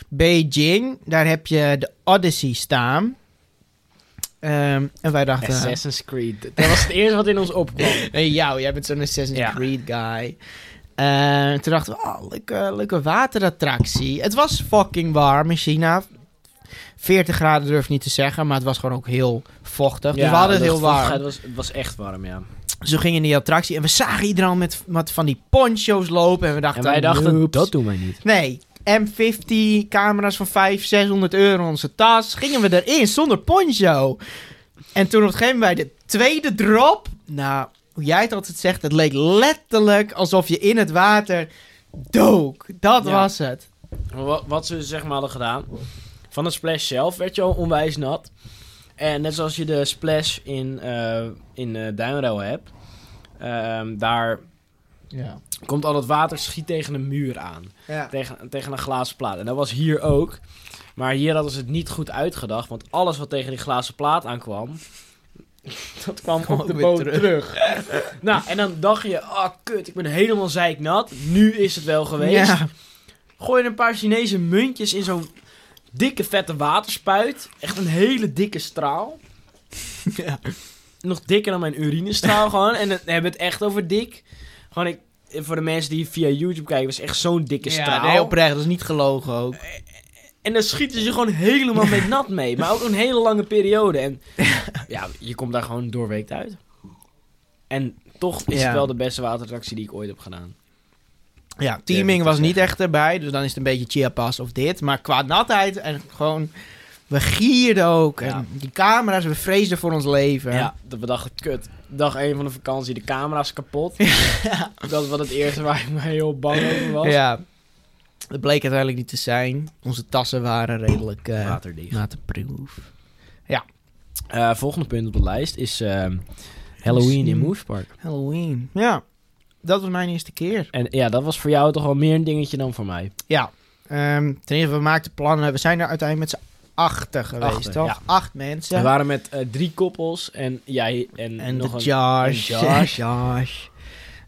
Beijing. Daar heb je de Odyssey staan. Ehm, en wij
eh?
dachten...
Assassin's Creed. Dat was het eerste wat in ons opkwam.
Nee, jou, jij bent zo'n Assassin's
Ja.
Creed guy. Eh, toen dachten we, oh, leuke, leuke waterattractie. Het was fucking warm in China. 40 graden durf ik niet te zeggen, maar het was gewoon ook heel vochtig. dus we hadden het
de
heel warm.
vochtigheid Was, het was echt warm, ja.
Dus we gingen in die attractie en we zagen iedereen al met, met van die poncho's lopen. En we dachten,
En wij dachten,
"Noeps."
dat doen wij niet.
Nee, M50, camera's van 500, 600 euro in onze tas. Gingen we erin zonder poncho. En toen op een gegeven moment bij de tweede drop... Nou, hoe jij het altijd zegt, het leek letterlijk alsof je in het water dook. Dat
Ja.
was het.
Maar Wat, wat ze zeg maar hadden gedaan. Van het splash zelf werd je al onwijs nat. En net zoals je de splash in, eh in eh Duinrail hebt. ehm, daar
Ja.
komt al dat water schiet tegen een muur aan.
Ja.
tegen, tegen een glazen plaat. En dat was hier ook. Maar hier hadden ze het niet goed uitgedacht. Want alles wat tegen die glazen plaat aankwam... Dat kwam
Kwam
op de
weer
boot
terug.
terug. Nou, en dan dacht je... Ah, kut, ik ben helemaal zeiknat. Nu is het wel geweest.
Ja.
Gooi er een paar Chinese muntjes in zo'n dikke vette waterspuit. Echt een hele dikke straal.
[LAUGHS] Ja.
Nog dikker dan mijn
[LAUGHS]
urinestraal gewoon. En dan hebben we het echt over dik. Gewoon, ik, voor de mensen die via YouTube kijken, was echt zo'n dikke straal.
nee, oprecht. Dat is niet gelogen ook.
En dan schieten ze gewoon helemaal [LAUGHS] met nat mee. Maar ook een hele lange periode. En ja, je komt daar gewoon doorweekt uit. En toch is
Ja.
het wel de beste waterattractie die ik ooit heb gedaan.
Ja,
Durf
teaming
ik
was
te
niet echt erbij, dus dan is het een beetje Chiapas of dit. Maar qua natheid en gewoon, we gierden ook.
Ja.
En die camera's, we vreesden voor ons leven.
Ja, dat we dachten, kut. Dag 1 van de vakantie, de camera's kapot. Dat was het eerste waar ik me heel bang over was.
Ja. Dat bleek uiteindelijk niet te zijn. Onze tassen waren redelijk eh,
Waterdicht.
waterproof.
Eh, volgende punt op de lijst is ehm, Halloween in Moose Park.
Halloween. Ja, dat was mijn eerste keer.
En ja, dat was voor jou toch wel meer een dingetje dan voor mij.
Ja. Ehm, ten eerste, we maakten plannen. We zijn er uiteindelijk met z'n achten geweest,
Achten,
toch?
ja.
Acht
We
mensen.
waren met eh, drie koppels en jij en,
En
nog
de
een...
Josh.
en Josh.
Josh.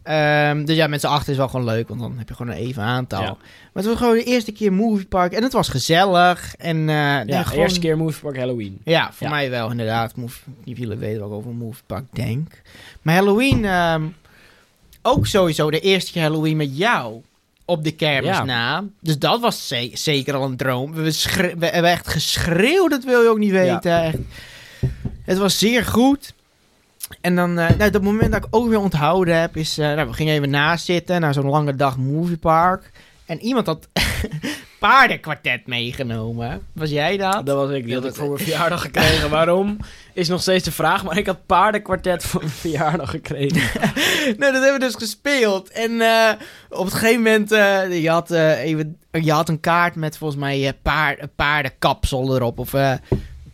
Ehm, dus ja, met z'n acht is wel gewoon leuk, want dan heb je gewoon een even aantal.
Ja.
Maar het was gewoon de eerste keer moviepark en het was gezellig. En, eh,
ja,
gewoon-
eerste keer Moose Park Halloween.
Ja, voor
Ja.
mij wel, inderdaad. Move, jullie weten wat ik over moviepark denk. Maar Halloween, ehm, ook sowieso de eerste keer Halloween met jou op de kermis
Ja.
na. Dus dat was ze- zeker al een droom. We, schre- we hebben echt geschreeuwd, dat wil je ook niet weten. Echt. Het was zeer goed. En dan, eh nou, dat moment dat ik ook weer onthouden heb, is... eh, nou, we gingen even naast zitten, na zo'n lange dag moviepark. En iemand had [LAUGHS] paardenkwartet meegenomen. Was jij dat?
Dat was ik. Die
Ja,
had ik
dat-
voor mijn verjaardag
[LAUGHS]
gekregen. Waarom? Is nog steeds de vraag. Maar ik had paardenkwartet voor mijn verjaardag gekregen.
Nou, dat hebben we dus gespeeld. En eh, op het gegeven moment, eh, je, had, eh, even, je had een kaart met volgens mij eh, paar, een paardenkapsel erop. Of eh,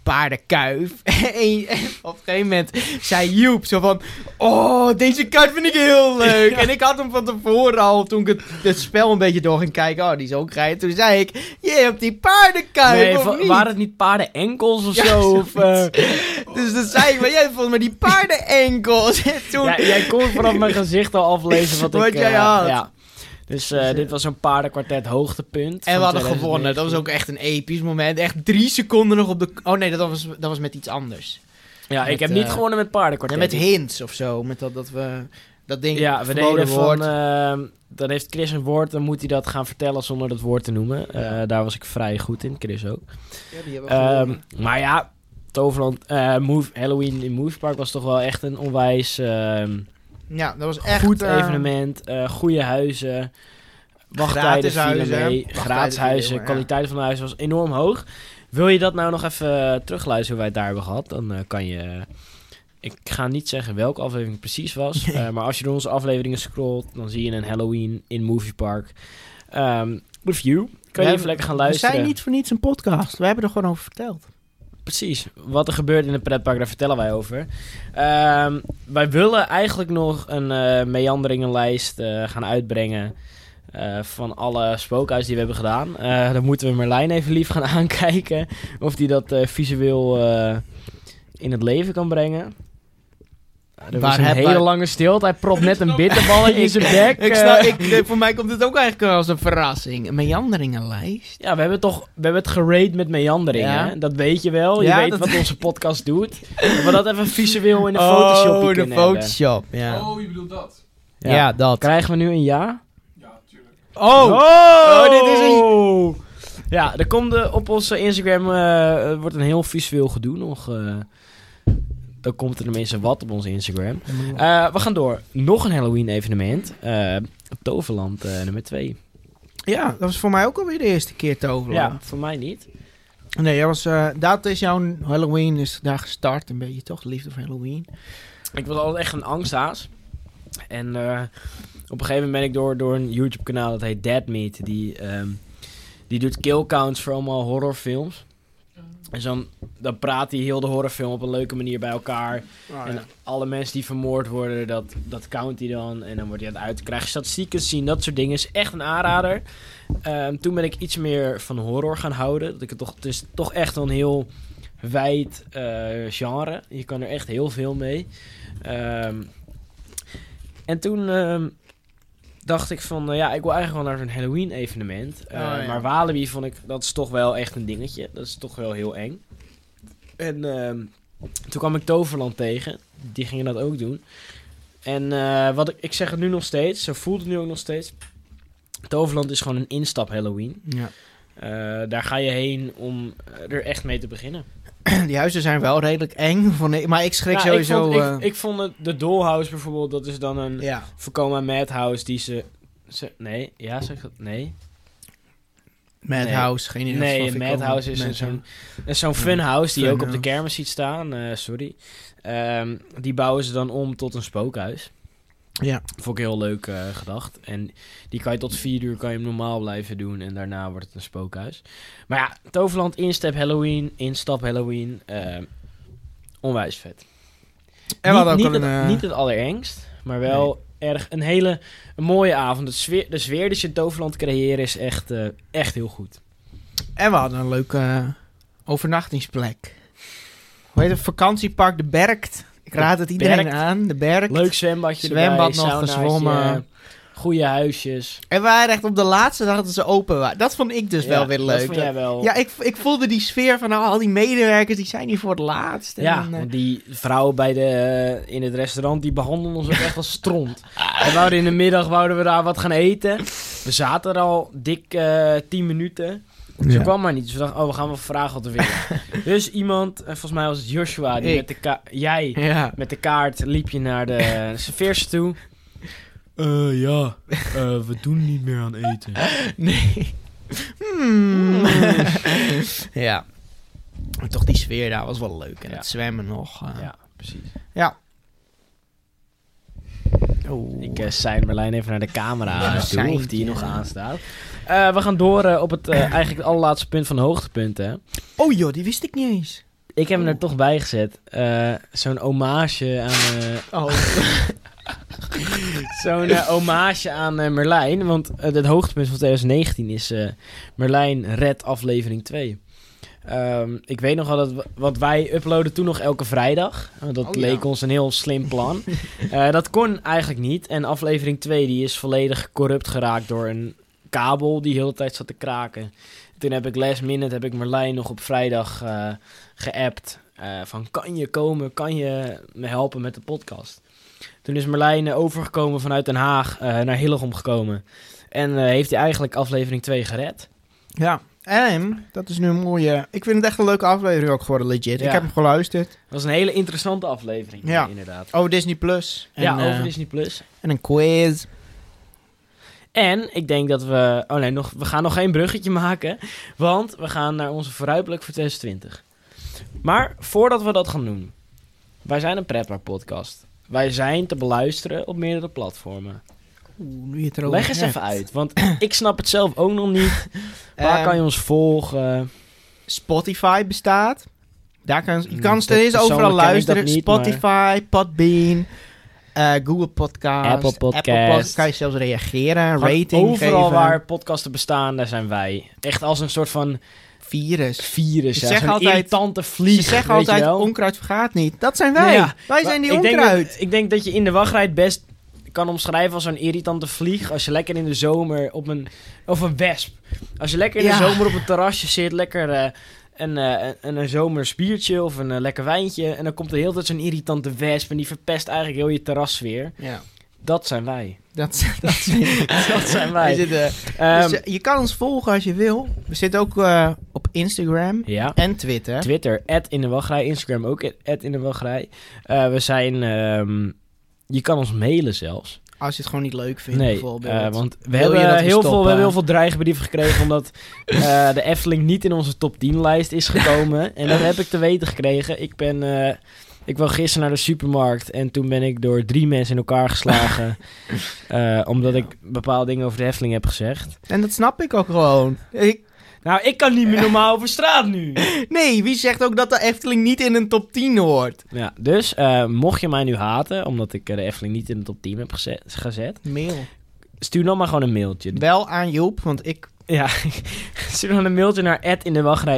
paardenkuif. [LAUGHS] en op een gegeven moment zei Joep zo van... Oh, deze kaart vind ik heel leuk. En ik had hem van tevoren al, toen ik het, het spel een beetje door ging kijken... Oh, die is ook rijden. Toen zei ik, je hebt die paardenkuif,
Nee,
of
va-
niet?
waren het niet paardenenkels of
Ja, [LAUGHS]
zo? Of, eh,
Dus toen zei ik, maar jij hebt volgens mij die paardenenkels. [LAUGHS] En toen...
ja, jij kon vanaf mijn gezicht al aflezen wat,
Wat
ik... eh,
jij had.
Ja. Dus eh, dit was een paardenkwartet hoogtepunt.
En
van
we hadden
2019.
gewonnen. Dat was ook echt een episch moment. Echt drie seconden nog op de... Oh nee, dat was, dat was met iets anders.
Ja, ik
met,
heb niet
eh,
gewonnen met
Ja,
paardenkwartet.
met hints of zo. Met dat, dat we... Dat ding
Ja, we
verboden
deden
wordt.
van... ehm, dan heeft Chris een woord, dan moet hij dat gaan vertellen zonder dat woord te noemen. Eh, daar was ik vrij goed in, Chris ook.
Ja, die hebben we
Ehm,
gewonnen.
maar ja, Toverland, eh, Move, Halloween in Move Park was toch wel echt een onwijs ehm,
ja, dat was echt...
goed
eh,
evenement. eh goede huizen. Wachttijden
Gratis
vielen
huizen, hè?
mee.
Wachttijden
Gratis huizen.
vielen, ja.
kwaliteit van de huizen was enorm hoog. Wil je dat nou nog even eh, terugluisteren hoe wij het daar hebben gehad? Dan eh, kan je... ik ga niet zeggen welke aflevering het precies was.
[LAUGHS]
eh, maar als je door onze afleveringen scrolt, dan zie je een Halloween in Movie Park. ehm, review. Kan je
We-
even lekker gaan
We
luisteren.
zijn niet voor niets een podcast. We hebben er gewoon over verteld.
Precies. Wat er gebeurt in het pretpark, daar vertellen wij over. Ehm, wij willen eigenlijk nog een eh, meanderingenlijst eh, gaan uitbrengen. eh, van alle spookhuizen die we hebben gedaan. Eh, dan moeten we Merlijn even lief gaan [LAUGHS] aankijken. Of die dat eh, visueel eh, in het leven kan brengen. Er was
Waar
een
heb
hele
hij-
lange stilte. Hij propt net
[LAUGHS]
een bitterballetje in zijn bek.
Ik
eh.
snap, ik, nee, voor mij komt dit ook eigenlijk als een verrassing. Een meanderingenlijst.
Ja, we hebben, toch, we hebben het gerate met meanderingen.
Ja.
hè? Dat weet je wel. Je
Ja,
weet
dat-
wat
[LAUGHS]
onze podcast doet. Dat we dat even visueel in de Photoshop
Oh, de
kunnen hebben.
Photoshop, ja.
Oh, je bedoelt dat?
ja. dat.
Krijgen we nu een ja?
Ja, tuurlijk.
Oh!
Oh,
dit is
Ja, er komt eh, op onze Instagram... eh, er wordt een heel visueel gedoe nog. eh. dan komt er tenminste wat op onze Instagram. Eh, we gaan door. Nog een Halloween-evenement. eh, op Toverland eh, nummer 2.
Ja, dat was voor mij ook alweer de eerste keer
Ja,
Toverland.
voor mij niet.
Nee, dat, was, eh, dat is jouw Halloween, is daar gestart een beetje, toch? De liefde voor Halloween.
Ik was altijd echt een angsthaas. En eh, op een gegeven moment ben ik door, door een YouTube-kanaal dat heet Dead Meat. Die, ehm, die doet kill counts voor allemaal horrorfilms. En dan, dan praat hij heel de horrorfilm op een leuke manier bij elkaar.
Ah, Oh,
En alle mensen die vermoord worden, dat, dat count hij dan. En dan wordt hij aan het uit. Krijg je statistieken te zien, dat soort dingen. Is echt een aanrader. Ehm, toen ben ik iets meer van horror gaan houden. Dat ik het, toch, het is toch echt een heel wijd eh, genre. Je kan er echt heel veel mee. Ehm, en toen ehm, dacht ik van... eh, ja, ik wil eigenlijk wel naar zo'n Halloween-evenement. Eh,
Oh, ja.
Maar Walibi vond ik... Dat is toch wel echt een dingetje. Dat is toch wel heel eng. En ehm, toen kwam ik Toverland tegen. Die gingen dat ook doen. En eh, wat ik, ik zeg het nu nog steeds, zo voelt het nu ook nog steeds. Toverland is gewoon een instap Halloween.
Ja.
Eh, daar ga je heen om eh, er echt mee te beginnen.
[CLEARS THROAT] Die huizen zijn wel redelijk eng, vond ik, maar ik schrik
Nou,
sowieso...
ik, vond,
eh,
ik, ik vond het, de Dollhouse bijvoorbeeld, dat is dan een
ja.
Vekoma Madhouse die ze, ze... Nee, ja, zeg ik dat? Nee.
Madhouse, geen idee.
Nee,
of ik
een
ook-
Madhouse is een zo'n een zo'n
Ja.
funhouse die je ook op de
Funhouse.
kermis ziet staan. eh, sorry. Ehm, die bouwen ze dan om tot een spookhuis.
Ja.
Vond ik heel leuk eh, gedacht. En die kan je tot vier uur kan je hem normaal blijven doen. En daarna wordt het een spookhuis. Maar ja, Toverland instap Halloween, instap Halloween. ehm, onwijs vet.
En we
niet,
hadden ook
niet,
een...
het,
eh,
niet het allerengst, maar wel erg een hele een mooie avond. De sfeer, de sfeer die ze in Toverland creëren is echt, eh, echt heel goed.
En we hadden een leuke eh, overnachtingsplek. Hoe heet het? Vakantiepark De Berkt. Ik
De
raad het iedereen
Berkt.
aan. De Berkt.
Leuk zwembadje
Zwembad
erbij,
nog
saunaatje,
gezwommen.
Goede huisjes.
En we waren echt op de laatste dag dat ze open waren. Dat vond ik dus
Ja,
wel weer leuk.
Dat vond jij wel.
Ja, ik, ik voelde die sfeer van nou, al die medewerkers, die zijn hier voor het laatst. En
Ja,
dan, eh,
want die vrouwen bij de, eh, in het restaurant, die behandelen ons ook echt als
[LAUGHS]
stront. We wouden in de middag wouden we daar wat gaan eten. We zaten er al dik eh 10 minuten. Ze
ja.
kwam maar niet. Dus we dachten, oh, we gaan wel vragen wat er weer.
[LAUGHS]
dus iemand, eh, volgens mij was het Joshua, die
Ik.
met de ka- jij
Ja.
met de kaart liep je naar
[LAUGHS]
de serveerster toe. Eh ja, we doen niet meer aan eten.
Nee. Hmm. [LAUGHS] ja. Maar toch die sfeer daar was wel leuk. En
Ja.
het zwemmen nog. eh.
Ja, precies.
Oeh.
Ik eh sein Merlijn even naar de camera
Ja,
toe,
sein,
of die hier
ja.
nog aanstaat.
[COUGHS]
Eh, we gaan door eh, op het, eh, eigenlijk het allerlaatste punt van de hoogtepunten.
Oh joh, die wist ik niet eens.
Ik heb hem er toch bij gezet. Eh, Zo'n hommage aan... eh,
Oh,
Zo'n eh, hommage aan eh, Merlijn. Want eh, het hoogtepunt van 2019 is eh, Merlijn Red aflevering 2. Ehm, ik weet nog wel dat... we- Want wij uploaden toen nog elke vrijdag. Want dat
Oh, ja.
leek ons een heel slim
[LAUGHS]
plan. Eh, dat kon eigenlijk niet. En aflevering 2 die is volledig corrupt geraakt door een kabel die heel de hele tijd zat te kraken. Toen heb ik last minute heb ik Merlijn nog op vrijdag eh, geappt. eh, van kan je komen, kan je me helpen met de podcast? Toen is Merlijn eh, overgekomen vanuit Den Haag eh, naar Hillegom gekomen. En eh, heeft hij eigenlijk aflevering 2 gered.
[LAUGHS] ja. En, dat is nu een mooie... Ik vind het echt een leuke aflevering ook geworden, legit.
Ja.
Ik heb hem geluisterd.
Dat was een hele interessante aflevering,
Ja.
eh, inderdaad.
Over Disney Plus. En,
ja, over
eh,
Disney Plus.
En een quiz.
En ik denk dat we... Oh nee, nog, we gaan nog geen bruggetje maken. Want we gaan naar onze vooruitblik voor 2020. Maar voordat we dat gaan doen. Wij zijn een pretpark podcast. Wij zijn te beluisteren op meerdere platformen.
Oeh, nu je het erover
Leg eens
hebt.
even uit, want [CLEARS THROAT] ik snap het zelf ook nog niet. Waar
Ehm,
kan je ons volgen?
Spotify bestaat. Daar kan, je
Mm,
kan
dat
steeds
persoonlijk
overal
ken ik
luisteren.
dat niet,
Spotify, Podbean, eh, Google Podcast.
Apple Podcast.
Podcast. Kan je zelfs reageren, rating
Gewoon overal
geven.
waar podcasten bestaan, daar zijn wij. Echt als een soort van
Virus.
virus.
Ze
ja,
zeggen
zo'n
altijd-
irritante vlieg.
Ze zeggen
weet je
altijd,
wel.
onkruid vergaat niet. Dat zijn wij.
Nou ja,
wij zijn die
Maar ik
onkruid.
Denk dat, ik denk dat je in de wachtrij best kan omschrijven als zo'n irritante vlieg. Als je lekker in de zomer op een... Of een wesp. Als je lekker in
Ja.
de zomer op een terrasje zit, lekker... eh, een, eh, een, een zomers biertje of een eh, lekker wijntje. En dan komt er heel tijd zo'n irritante wesp. En die verpest eigenlijk heel je terrasfeer.
Ja,
Dat zijn wij. [LAUGHS]
dat, dat zijn
Dat zijn wij.
[LAUGHS] wij. zitten-
Ehm,
dus, eh, je kan ons volgen als je wil. We zitten ook eh, op Instagram
ja.
en Twitter.
Twitter, in de wachtrij. Instagram ook, in de wachtrij. Eh, we zijn... ehm, je kan ons mailen zelfs.
Als je het gewoon niet leuk vindt,
nee,
bijvoorbeeld.
eh, want we
Wil je
hebben,
dat we
heel veel, we
stoppen?
hebben heel veel dreigbrieven gekregen [LAUGHS] omdat eh, de Efteling niet in onze top 10 lijst is gekomen. en dat heb ik te weten gekregen. Ik ben... eh, ik wou gisteren naar de supermarkt en toen ben ik door drie mensen in elkaar [LAUGHS] geslagen. eh, omdat ik bepaalde dingen over de Efteling heb gezegd.
En dat snap ik ook gewoon. Ik,
Nou, ik kan niet meer normaal over straat [LAUGHS] nu.
Nee, wie zegt ook dat de Efteling niet in een top 10 hoort?
Ja, dus eh, mocht je mij nu haten, omdat ik eh, de Efteling niet in de top 10 heb geze- gezet,
Mail.
stuur dan maar gewoon een
[LAUGHS]
mailtje. [LAUGHS]
Wel aan Joep, want ik...
Ja, stuur dan een mailtje naar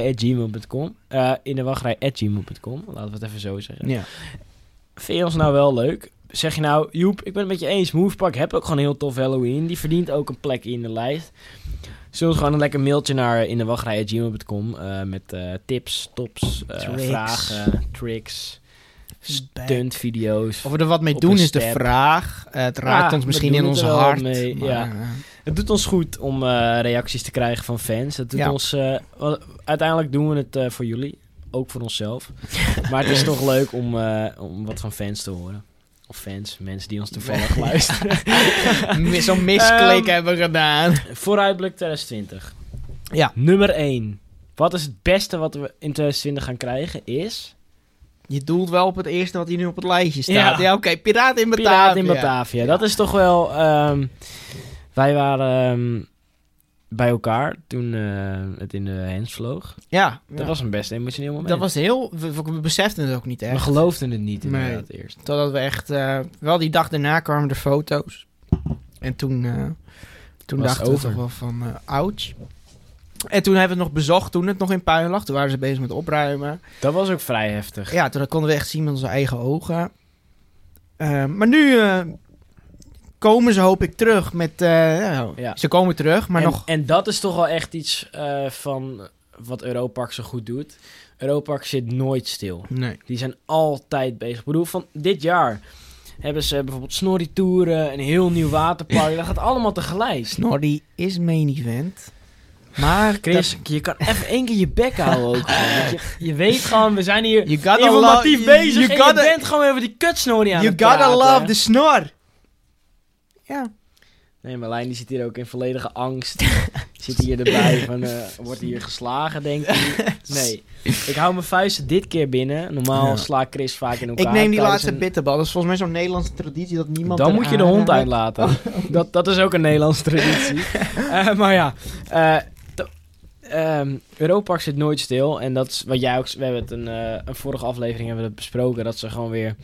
atindewachtrij.gmail.com. Eh indewachtrij.gmail.com, laten we het even zo zeggen.
Ja.
Vind je ons nou wel leuk? Zeg je nou, Joep, ik ben het met je eens. Movepark heb ook gewoon een heel tof Halloween. Die verdient ook een plek in de lijst. Stuur ons gewoon een lekker mailtje naar indewachtrij.gmail.com eh met eh, tips, tops, eh,
Tricks.
vragen, tricks, stunt video's.
Of we er wat mee
Op
doen
een
is de
step.
vraag. Eh, het raakt
Ja,
ons
we
misschien
doen
in
het
ons
er wel
hart.
mee,
maar,
ja.
eh,
Het doet ons goed om eh, reacties te krijgen van fans. Dat doet
Ja.
ons, eh, wel, uiteindelijk doen we het eh, voor jullie, ook voor
[LAUGHS]
onszelf. maar het is toch leuk om, eh, om wat van fans te horen. Of fans, mensen die ons
[LAUGHS]
toevallig luisteren.
mi- Zo'n misklik
Ehm,
hebben we gedaan.
Vooruitblik 2020.
Ja.
Nummer 1. Wat is het beste wat we in 2020 gaan krijgen is...
Je doelt wel op het eerste wat hier nu op het lijstje staat. Ja,
Ja.
oké. Piraat in Batavia.
Piraat in Batavia. Dat is toch wel... ehm, wij waren ehm, bij elkaar toen eh, het in de hens vloog.
Ja, ja.
Dat was een best emotioneel moment.
dat was heel... We, we- we beseften het ook niet
We
echt.
geloofden het niet
Nee.
inderdaad eerst.
Totdat we echt... eh, wel die dag daarna kwamen de foto's. En toen... eh, toen
Was
dachten we
over.
toch wel van... eh ouch. En toen hebben we het nog bezocht. Toen het nog in puin lag. Toen waren ze bezig met opruimen.
Dat was ook vrij heftig.
Ja, toen konden we echt zien met onze eigen ogen. Eh, maar nu... eh, komen ze hoop ik terug met... eh, nou,
Ja.
Ze komen terug, maar
en,
nog...
en dat is toch wel echt iets eh, van wat Europark zo goed doet. Europark zit nooit stil.
Nee.
Die zijn altijd bezig. Ik bedoel, van dit jaar hebben ze bijvoorbeeld snorritouren, een heel nieuw waterpark. dat gaat allemaal tegelijk.
Snorri is main event. Maar...
[LAUGHS] Chris, je kan even één keer je bek houden
[LAUGHS]
ook. gewoon. Want Je, je weet gewoon, we zijn hier
You gotta, love,
informatief
you,
bezig
you
en
gotta,
je bent gewoon even die kutsnorie aan
you
het
gotta
praten.
love the snor. Ja.
Nee, Marlijn die zit hier ook in volledige
[LAUGHS]
angst. zit hier erbij van, eh, wordt hier geslagen, denk
[LAUGHS]
ik. Nee, ik hou mijn vuisten dit keer binnen. Normaal
Ja.
sla ik Chris vaak in elkaar.
Ik neem die
tijdens
laatste
een-
bitterbal. Dat is volgens mij zo'n Nederlandse traditie dat niemand...
Dan
er
moet je de
aan
hond
raakt. [LAUGHS]
uitlaten. dat, dat is ook een Nederlandse traditie. Eh, maar ja, eh, t- eh, ehm Europark zit nooit stil. En dat is wat jij ook... We hebben het een, eh, een vorige aflevering hebben we dat besproken. Dat ze gewoon weer...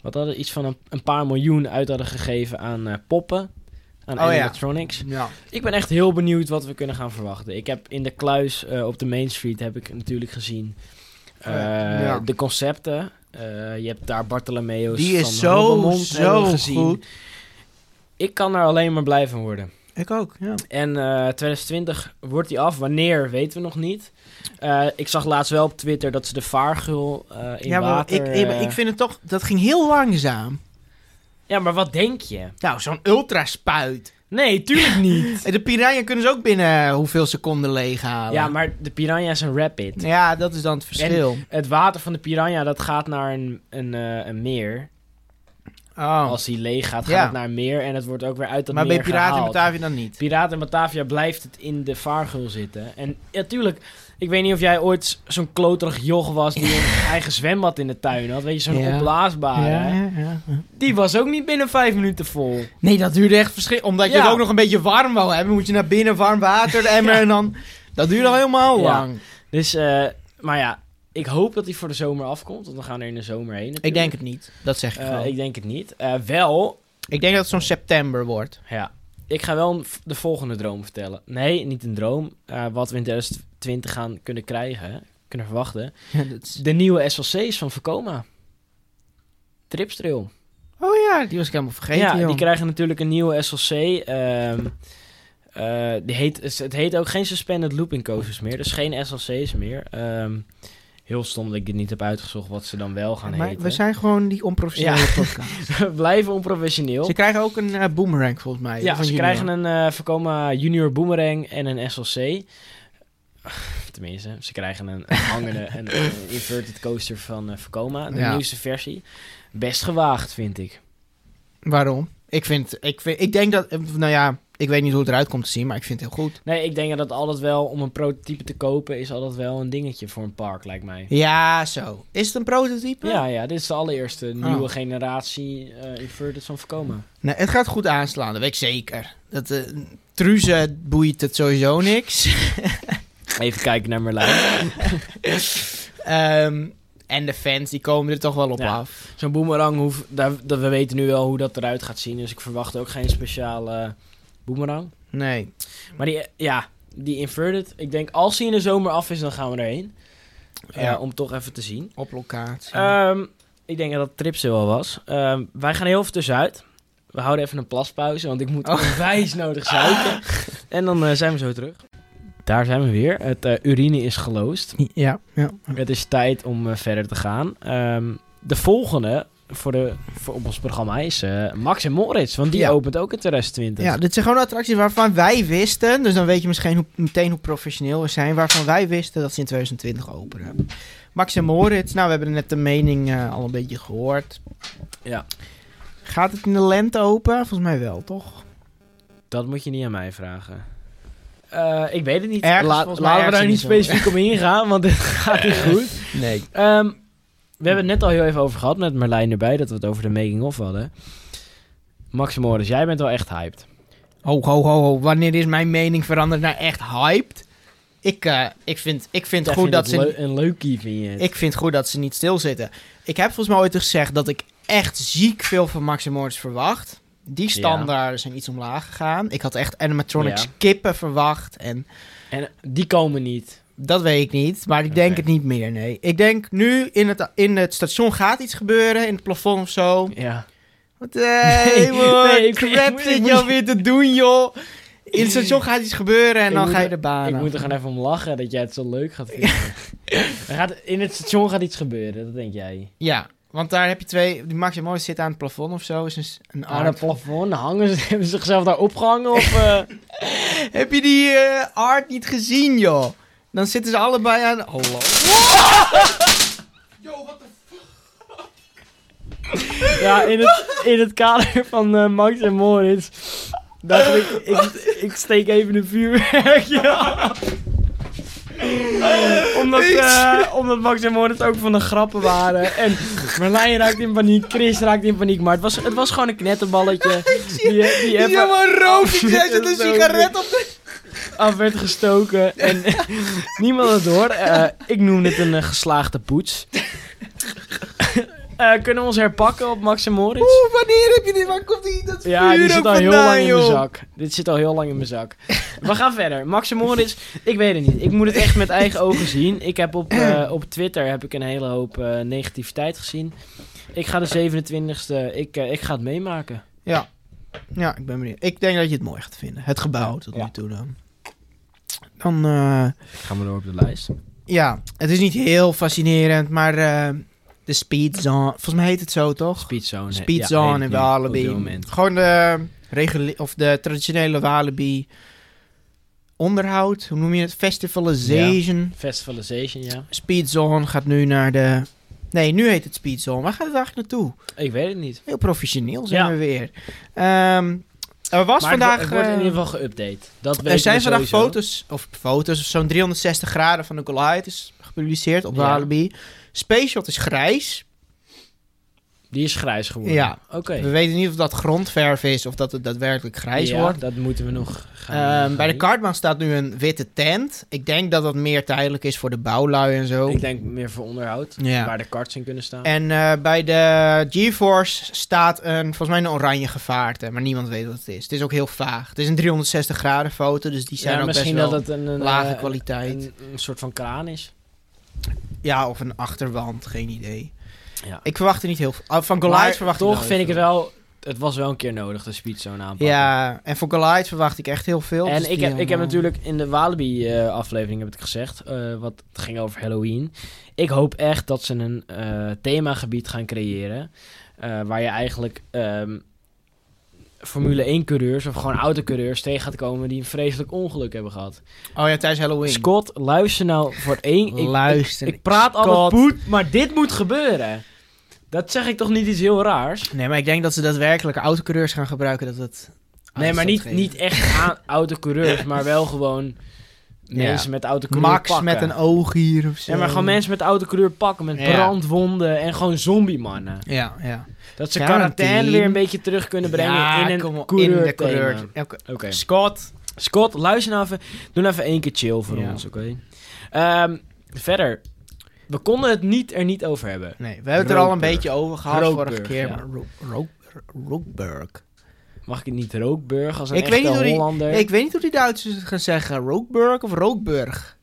Wat hadden iets van een, een paar miljoen uit hadden gegeven aan eh, poppen. Aan
Oh ja.
animatronics.
Ja.
Ik ben echt heel benieuwd wat we kunnen gaan verwachten. Ik heb in de kluis eh, op de Main Street heb ik natuurlijk gezien eh,
Oh Ja.
de concepten. Eh, je hebt daar Bartolomeo's
Die
van
is zo,
Hobbemond hebben
zo
we gezien.
goed.
Ik kan er alleen maar blij van worden.
Ik ook, ja.
En eh, 2020 wordt die af. Wanneer, weten we nog niet. Eh, ik zag laatst wel op Twitter dat ze de vaargul eh, in
ja, maar
water...
ik, ik,
eh,
ik vind het toch... Dat ging heel langzaam.
Ja, maar wat denk je?
Nou, zo'n ultraspuit.
Nee, tuurlijk
[LAUGHS]
niet.
En De piranha kunnen ze ook binnen eh, hoeveel seconden leeghalen.
ja, maar de piranha is een rapid.
Ja, dat is dan het verschil.
Het water van de piranha dat gaat naar een, een, eh, een meer.
oh.
Als hij leeg gaat, gaat
Ja.
het naar een meer en het wordt ook weer uit dat
maar
meer
bij Piraten in
gehaald.
Batavia dan niet.
Piraten in Batavia blijft het in de vaargul zitten. En natuurlijk, ik weet niet of jij ooit zo'n kloterig joch was die
[LAUGHS]
een eigen zwembad in de tuin had. Weet je, zo'n
Ja.
opblaasbare. Die was ook niet binnen vijf minuten vol.
Nee, dat duurde echt verschil. Omdat je
Ja.
het ook nog een beetje warm wou hebben, moet je naar binnen, warm
[LAUGHS]
water, de emmer en dan... Dat duurde al helemaal
Ja.
lang.
Dus, eh, maar ja, ik hoop dat hij voor de zomer afkomt, want we gaan er in de zomer heen.
Ik
natuurlijk.
denk het niet. Dat zeg ik
Eh,
gewoon.
ik denk het niet. Eh, wel,
Ik denk dat het zo'n september
[LAUGHS]
wordt.
Ja. Ik ga wel een v- de volgende droom vertellen. Nee, niet een droom. eh, wat we in 2020 gaan kunnen krijgen, kunnen verwachten. De nieuwe SLC's van Vekoma. Tripstrail.
Oh ja, die was ik helemaal vergeten.
ja,
joh.
die krijgen natuurlijk een nieuwe SLC. ehm, eh, die heet, het heet ook geen Suspended Looping Coasters meer. Dus geen SLC's meer. Ehm, heel stom dat ik dit niet heb uitgezocht wat ze dan wel gaan
maar
heten.
we zijn gewoon die onprofessionele
Ja. [LAUGHS]
podcast.
We [LAUGHS] blijven onprofessioneel.
Ze krijgen ook een eh, boomerang volgens mij.
Ja,
van
ze
jullie
krijgen
dan.
een eh Vekoma Junior Boomerang en een SLC. [SIGHS] Tenminste, ze krijgen een, een [LAUGHS] hangende een, eh, inverted coaster van eh Vekoma, de
Ja.
nieuwste versie. Best gewaagd, vind ik.
Waarom? Ik vind, ik vind, ik denk dat, eh, nou ja, ik weet niet hoe het eruit komt te zien, maar ik vind het heel goed.
Nee, ik denk dat altijd wel, om een prototype te kopen, is altijd wel een dingetje voor een park, lijkt mij.
Ja, zo. Is het een prototype?
Ja, ja, dit is de allereerste
Oh.
nieuwe generatie eh, inverted van Vekoma.
Nee, het gaat goed aanslaan, dat weet ik zeker. Dat eh truzen boeit het sowieso niks. [LAUGHS]
Even kijken naar Merlijn.
Ehm, en de fans die komen er toch wel op
Ja.
af.
Zo'n boomerang, hoeft, daar, dat, we weten nu wel hoe dat eruit gaat zien, dus ik verwacht ook geen speciale eh, boomerang.
Nee.
Maar die, eh, ja, die inverted. Ik denk als hij in de zomer af is, dan gaan we erheen. Eh,
Ja.
om toch even te zien.
Op locatie.
Ehm, ik denk dat dat tripstil wel was. Ehm, wij gaan heel even tussenuit. We houden even een plaspauze, want ik moet
Oh.
onwijs nodig
[LAUGHS]
zuipen. En dan eh, zijn we zo terug. Daar zijn we weer. Het eh, urine is geloosd.
ja, ja.
Het is tijd om eh, verder te gaan. Ehm, de volgende voor de, voor op ons programma is eh, Max en Moritz. Want die
Ja.
opent ook in 2020.
Ja, dit zijn gewoon attracties waarvan wij wisten. Dus dan weet je misschien hoe, meteen hoe professioneel we zijn. Waarvan wij wisten dat ze in 2020 openen. Max en Moritz, nou we hebben net de mening eh, al een beetje gehoord.
Ja.
Gaat het in de lente open? Volgens mij wel, toch?
Dat moet je niet aan mij vragen. Eh, ik weet het niet.
Ergens,
Laat-
volgens mij
laten we
ergens
daar
in
niet
de zomer.
specifiek op ingaan, want
[LAUGHS]
dit gaat niet goed.
Nee.
Ehm, we hebben het net al heel even over gehad met Merlijn erbij, dat we het over de making-of hadden. Max Morris, jij bent wel echt hyped.
Ho, ho, ho, ho. Wanneer is mijn mening veranderd naar echt hyped? Ik, eh, ik vind, ik vind
Jij
goed
vindt
dat
het
ze...
leu- een leukie, vind je het?
Ik vind goed dat ze niet stilzitten. Ik heb volgens mij ooit gezegd dat ik echt ziek veel van Max en Moritz verwacht. Die standaarden zijn iets omlaag gegaan. Ik had echt animatronics
Ja.
kippen verwacht. En
En die komen niet.
dat weet ik niet. Maar ik denk
Oké.
het niet meer, nee. Ik denk nu in het, in het station gaat iets gebeuren. In het plafond of zo.
Ja. [LAUGHS]
Wat hey, man,
nee, ik- ik
crap
moet-
zit
ik
jou
moet-
weer te doen, joh. In het station gaat iets gebeuren en
Ik
dan
moet
ga je
er-
de baan
ik
af.
moet er gewoon even om lachen dat jij het zo leuk gaat
[LAUGHS]
vinden. Er gaat, in het station gaat iets gebeuren, dat denk jij.
Ja, want daar heb je twee... Die Max en Moritz zit aan het plafond of zo. Is een, s- een
Aan
art
het plafond hangen ze, hebben ze zichzelf daar opgehangen of... eh,
Heb je die eh, art niet gezien, joh? Dan zitten ze allebei aan... Oh, Hallo.
Ja, in het, in het kader van eh, Max en Moritz. Dacht ik, ik, ik steek even een vuurwerkje [LAUGHS] af. Omdat, eh, omdat Max en Moritz ook van de grappen waren. En Merlijn raakt in paniek, Chris raakt in paniek. Maar het was, het was gewoon een knetterballetje. Die, die
Die
even-
Oh, jongen rookt. Die
Shit,
zet
dat
een
is zo
sigaret op de...
af werd gestoken. En niemand had het door. Eh, ik noem dit een eh, geslaagde poets. Eh, kunnen we ons herpakken op Max en Moritz?
Oeh, wanneer heb je dit? Waar komt die? Dat
Ja,
vuur
die
ook
zit al heel
vandaan,
lang in mijn
joh?
zak. Dit zit al heel lang in mijn zak. We gaan verder. Max en Moritz, ik weet het niet. Ik moet het echt met
[LAUGHS]
eigen ogen zien. Ik heb op, eh, op Twitter heb ik een hele hoop eh, negativiteit gezien. Ik ga de 27e, ik, eh, ik ga het meemaken.
Ja. ja, ik ben benieuwd. Ik denk dat je het mooi gaat vinden. Het gebouw tot
Ja.
nu toe dan. Dan, eh,
Gaan we door op de lijst.
ja, het is niet heel fascinerend, maar eh, de speed zone, volgens mij heet het zo toch?
Speedzone. Ja,
Speed
heet
zone
het
in
nu Op dit
Walibi.
moment.
Gewoon de, reguli- of de traditionele Walibi onderhoud, hoe noem je het? Festivalization.
Festivalization, ja.
Speedzone gaat nu naar de. Nee, nu heet het Speedzone. Waar gaat het eigenlijk naartoe?
Ik weet het niet.
Heel professioneel zijn
Ja.
we weer. Ehm, er was
maar
vandaag.
vandaag, het wordt in
eh,
ieder geval geüpdate. Dat weten
er zijn
we
vandaag
sowieso.
foto's, of foto's, of zo'n 360 graden van de Goliath is gepubliceerd op
Ja.
Walibi. Space Shot is grijs.
Die is grijs geworden.
Ja.
Oké.
We weten niet of dat grondverf is of dat het daadwerkelijk grijs
Ja,
wordt.
dat moeten we nog gaan.
Ehm,
gaan
bij de
doen.
kartbaan staat nu een witte tent. Ik denk dat dat meer tijdelijk is voor de bouwlui en zo.
Ik denk meer voor onderhoud.
Ja.
Waar de karts in kunnen staan.
En eh, bij de GeForce staat een, volgens mij een oranje gevaarte, maar niemand weet wat het is. Het is ook heel vaag. Het is een 360 graden foto, dus die zijn
ja,
ook
misschien
best wel
dat het een, een
lage
eh,
kwaliteit.
Een, een soort van kraan is.
Ja, of een achterwand, geen idee.
Ja.
Ik verwacht er niet heel veel. ah, Van Goliath
Maar
verwacht ik
toch
wel
vind ik
heel
het wel. Het was wel een keer nodig, de speedzone
veel.
aanpakken.
Ja, en van Goliath verwacht ik echt heel veel. dus
En ik
die
heb, ik heb
allemaal-
natuurlijk in de Walibi-aflevering heb ik het gezegd, eh, wat het ging over Halloween. Ik hoop echt dat ze een eh, themagebied gaan creëren, eh, waar je eigenlijk ehm, Formule 1-coureurs of gewoon autocoureurs tegen gaat komen die een vreselijk ongeluk hebben gehad.
Oh ja, tijdens Halloween.
Scott, luister nou voor één... ik-
Luister,
Ik, ik praat altijd
Scott.
poet, maar dit moet gebeuren. Dat zeg ik toch niet iets heel raars?
Nee, maar ik denk dat ze daadwerkelijk autocoureurs gaan gebruiken. Ah, Dat het
Nee, maar
aanstoot
niet,
geeft.
niet echt
[LAUGHS]
aan autocoureurs, maar wel gewoon
Ja.
mensen met autocoureur
Max
pakken.
met een oog hier of zo.
Ja, maar gewoon mensen met autocoureur pakken, met
Ja.
brandwonden en gewoon zombiemannen.
Ja, ja.
Dat ze
Quarantine.
quarantaine weer een beetje terug kunnen brengen
Ja,
in
kom
een
op, in de
coureur
coureur. Elke-
Oké.
Scott.
Scott, luister nou even. Doe nou even één keer chill voor
Ja.
ons, oké? Ehm, verder. We konden het niet, er niet over hebben.
Nee, we hebben het er al een
Rookburg.
beetje over gehad
Rookburg,
vorige keer.
ja.
Maar Ro- Ro- Ro- Rookburg.
Mag ik het niet Rookburg als een
Ik
echte
weet niet hoe die-
Hollander?
Ik weet niet hoe die Duitsers het gaan zeggen. Rookburg of Rookburg?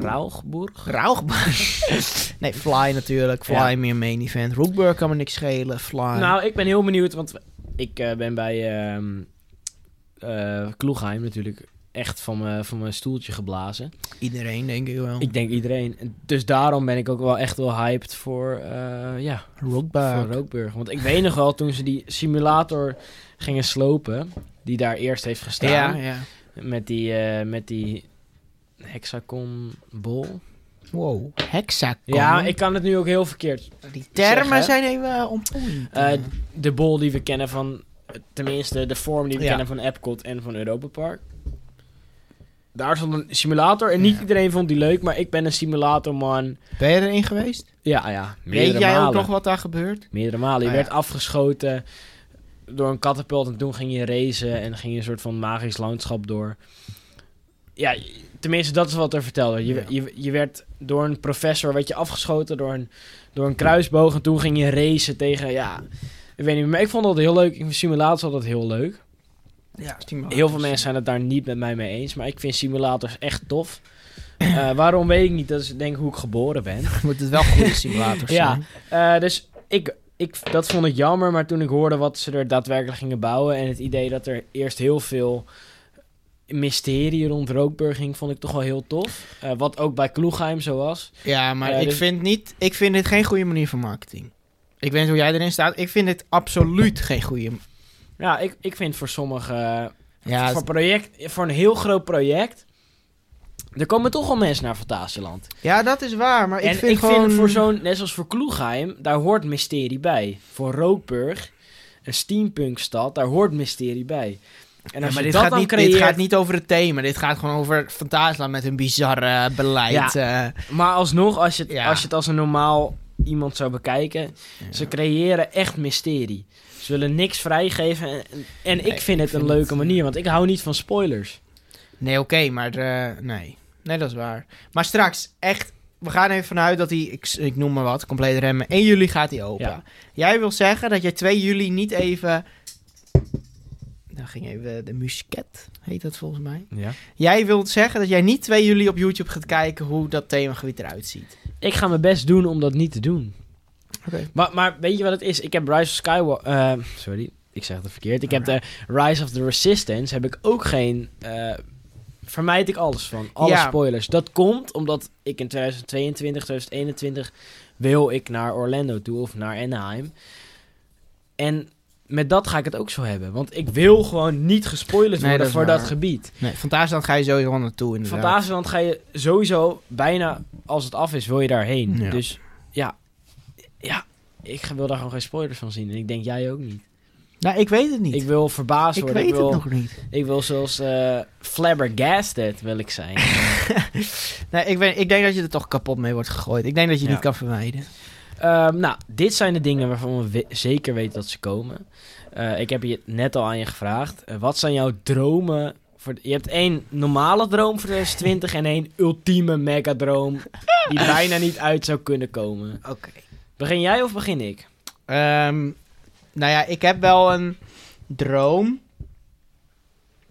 Rauchburg?
Rauchburg.
[LAUGHS]
nee, Fly natuurlijk. Fly
Ja.
meer main event. Rookburg kan me niks schelen. Fly.
Nou, ik ben heel benieuwd, want ik eh, ben bij ehm eh, Kloegheim natuurlijk echt van mijn van mijn stoeltje geblazen.
Iedereen denk ik wel.
Ik denk iedereen. En Dus daarom ben ik ook wel echt wel hyped voor, eh, ja, voor
Rookburg.
Rookburg. Want ik weet nog wel, toen ze die simulator gingen slopen, die daar eerst heeft
Ja,
gestaan,
ja.
met die, eh, met die hexagon bol.
Wow. Hexagon.
Ja, ik kan het nu ook heel verkeerd.
die termen
zeg, hè.
zijn even on point.
Eh, de bol die we kennen van, tenminste de vorm die we
Ja.
kennen van Epcot en van Europa Park. Daar stond een simulator en niet iedereen vond die leuk, maar ik ben een simulatorman.
ben je erin geweest?
Ja, ja. meerdere
Weet jij ook
malen.
nog wat daar gebeurt?
Meerdere malen. Je
Ah, ja.
werd afgeschoten door een katapult en toen ging je racen en ging je een soort van magisch landschap door. Ja, je- tenminste, dat is wat er verteld werd. Je,
Ja.
je, je werd door een professor werd je afgeschoten door een, door een kruisboog en toen ging je racen tegen, ja, ik weet niet meer. Maar ik vond dat heel leuk. Ik vind simulaties altijd heel leuk.
Ja,
Heel
dus-
veel mensen zijn het daar niet met mij mee eens, maar ik vind simulators echt tof. Eh, waarom weet ik niet. Dat is denk ik hoe ik geboren ben.
[LAUGHS] Moet het wel goede
[LAUGHS]
simulators
Ja.
zijn.
Eh, dus ik, ik, dat vond ik jammer, maar toen ik hoorde wat ze er daadwerkelijk gingen bouwen en het idee dat er eerst heel veel mysterie rond Rookburg ging, vond ik toch wel heel tof. Eh, wat ook bij Kloegheim zo was.
Ja, maar
Ja,
ik,
dus-
vind niet, ik vind dit geen goede manier van marketing. Ik weet niet hoe jij erin staat. Ik vind dit absoluut geen goede...
Ja, ik, ik vind voor sommige,
Ja,
voor, project, voor een heel groot project, er komen toch al mensen naar Fantasieland.
ja, dat is waar. Maar ik
en
vind
ik
gewoon...
vind voor zo'n, net zoals voor Kloegheim, daar hoort mysterie bij. Voor Rookburg, een steampunkstad, daar hoort mysterie bij. En
Ja,
als
maar
je
dit
dat
gaat,
dan
niet,
creëert-
dit gaat niet over het thema. Dit gaat gewoon over Fantasieland met hun bizarre eh, beleid. Ja.
Maar alsnog, als je het,
Ja.
als, je het als een normaal iemand zou bekijken, ze creëren echt mysterie. Ze willen niks vrijgeven en, en ik
Nee,
vind het
ik
een
vind
leuke
het-
manier, want ik hou niet van spoilers.
Nee, oké, maar eh, nee. Nee, dat is waar. Maar straks, echt, we gaan even vanuit dat hij, ik, ik noem maar wat, compleet remmen. 1 juli gaat hij open.
Ja.
Jij wil zeggen dat jij 2 juli niet even... Dan ging even de musket, heet dat volgens mij.
Ja.
Jij wilt zeggen dat jij niet 2 juli op YouTube gaat kijken hoe dat themagebied eruit ziet.
Ik ga mijn best doen om dat niet te doen.
Oké.
Maar, maar weet je wat het is? Ik heb Rise of Skywalker... sorry, ik zeg het verkeerd. Ik heb de Rise of the Resistance heb ik ook geen... eh, vermijd ik alles van. Alle
Ja.
spoilers. Dat komt omdat ik in 2022, 2021... wil ik naar Orlando toe of naar Anaheim. En met dat ga ik het ook zo hebben. Want ik wil gewoon niet gespoilerd
Nee,
worden
dat is
voor
waar.
dat gebied.
Nee, Fantasieland ga je sowieso naartoe
Van
inderdaad.
Fantasieland ga je sowieso bijna, als het af is, wil je daarheen.
Ja.
Dus ja, ja, ik wil daar gewoon geen spoilers van zien. En ik denk jij ook niet.
Nou, ik weet het niet.
Ik wil verbaasd
ik
worden.
weet
ik, wil,
het nog niet.
ik wil zoals eh, flabbergasted wil ik zijn.
Nee, ik, ben, ik denk dat je er toch kapot mee wordt gegooid. Ik denk dat je
Ja.
niet kan vermijden.
Ehm, nou, dit zijn de dingen waarvan we we- zeker weten dat ze komen. Eh, ik heb je net al aan je gevraagd. Eh, wat zijn jouw dromen? Voor je hebt één normale droom voor 2020 en één ultieme megadroom. Die bijna niet uit zou kunnen komen.
Oké.
Begin jij of begin ik?
Ehm, nou ja, ik heb wel een droom.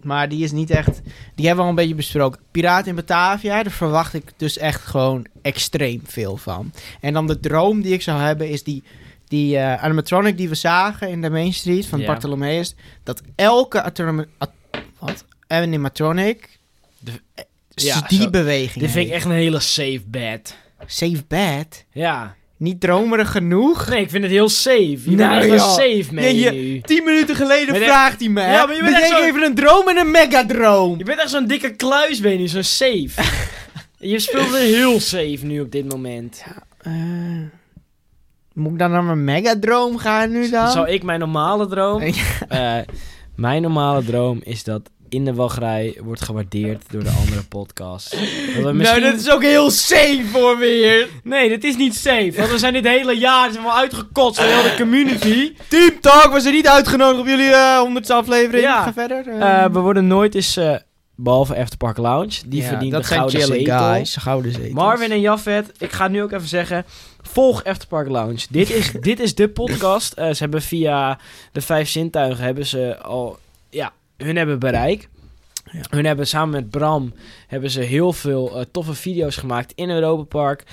Maar die is niet echt. Die hebben we al een beetje besproken. Piraat in Batavia, daar verwacht ik dus echt gewoon extreem veel van. En dan de droom die ik zou hebben is die, die eh, animatronic die we zagen in de Main Street van
Ja.
Bartholomeus. Dat elke atroma- at- wat? animatronic.
De-
eh,
ja,
die
zo-
beweging.
Dit vind ik
heeft.
echt een hele safe bed.
Safe bed.
Ja.
Niet dromerig genoeg.
Nee, ik vind het heel safe. Je bent
Nou,
echt
joh.
een safe mee
Nee, je-
nu.
Tien minuten geleden
Maar de-
vraagt hij me.
Ja, maar je bent echt
Bedenk
zo-
even een droom en een megadroom.
Je bent echt zo'n dikke kluis, ben je nu, zo'n [LAUGHS] safe. je speelt er heel safe nu op dit moment.
Eh, moet ik dan naar mijn megadroom gaan nu dan?
Zal ik mijn normale droom...
[LAUGHS] Ja.
Eh, mijn normale droom is dat In de Wachtrij wordt gewaardeerd door de andere
[LAUGHS]
podcast. Dat we misschien...
Nou, dat is ook heel safe voor weer.
Nee, dit is niet safe. Want we zijn dit hele jaar zijn we uitgekotst door heel de
[LAUGHS]
community.
Team Talk was er niet uitgenodigd op jullie eh, honderdste aflevering.
Ja.
Ga verder. eh.
Eh, we worden nooit eens... eh, behalve Afterpark Lounge. Die
Ja,
verdient
dat
een
zijn
gouden
chillen
zetel.
guys. Gouden zetels.
Marvin en Jafet, ik ga nu ook even zeggen. Volg Afterpark Lounge. Dit is, dit is de podcast. Eh, ze hebben via de vijf zintuigen hebben ze al. Ja, hun hebben bereik.
Ja.
Hun hebben samen met Bram hebben ze heel veel eh, toffe video's gemaakt in Europa Park.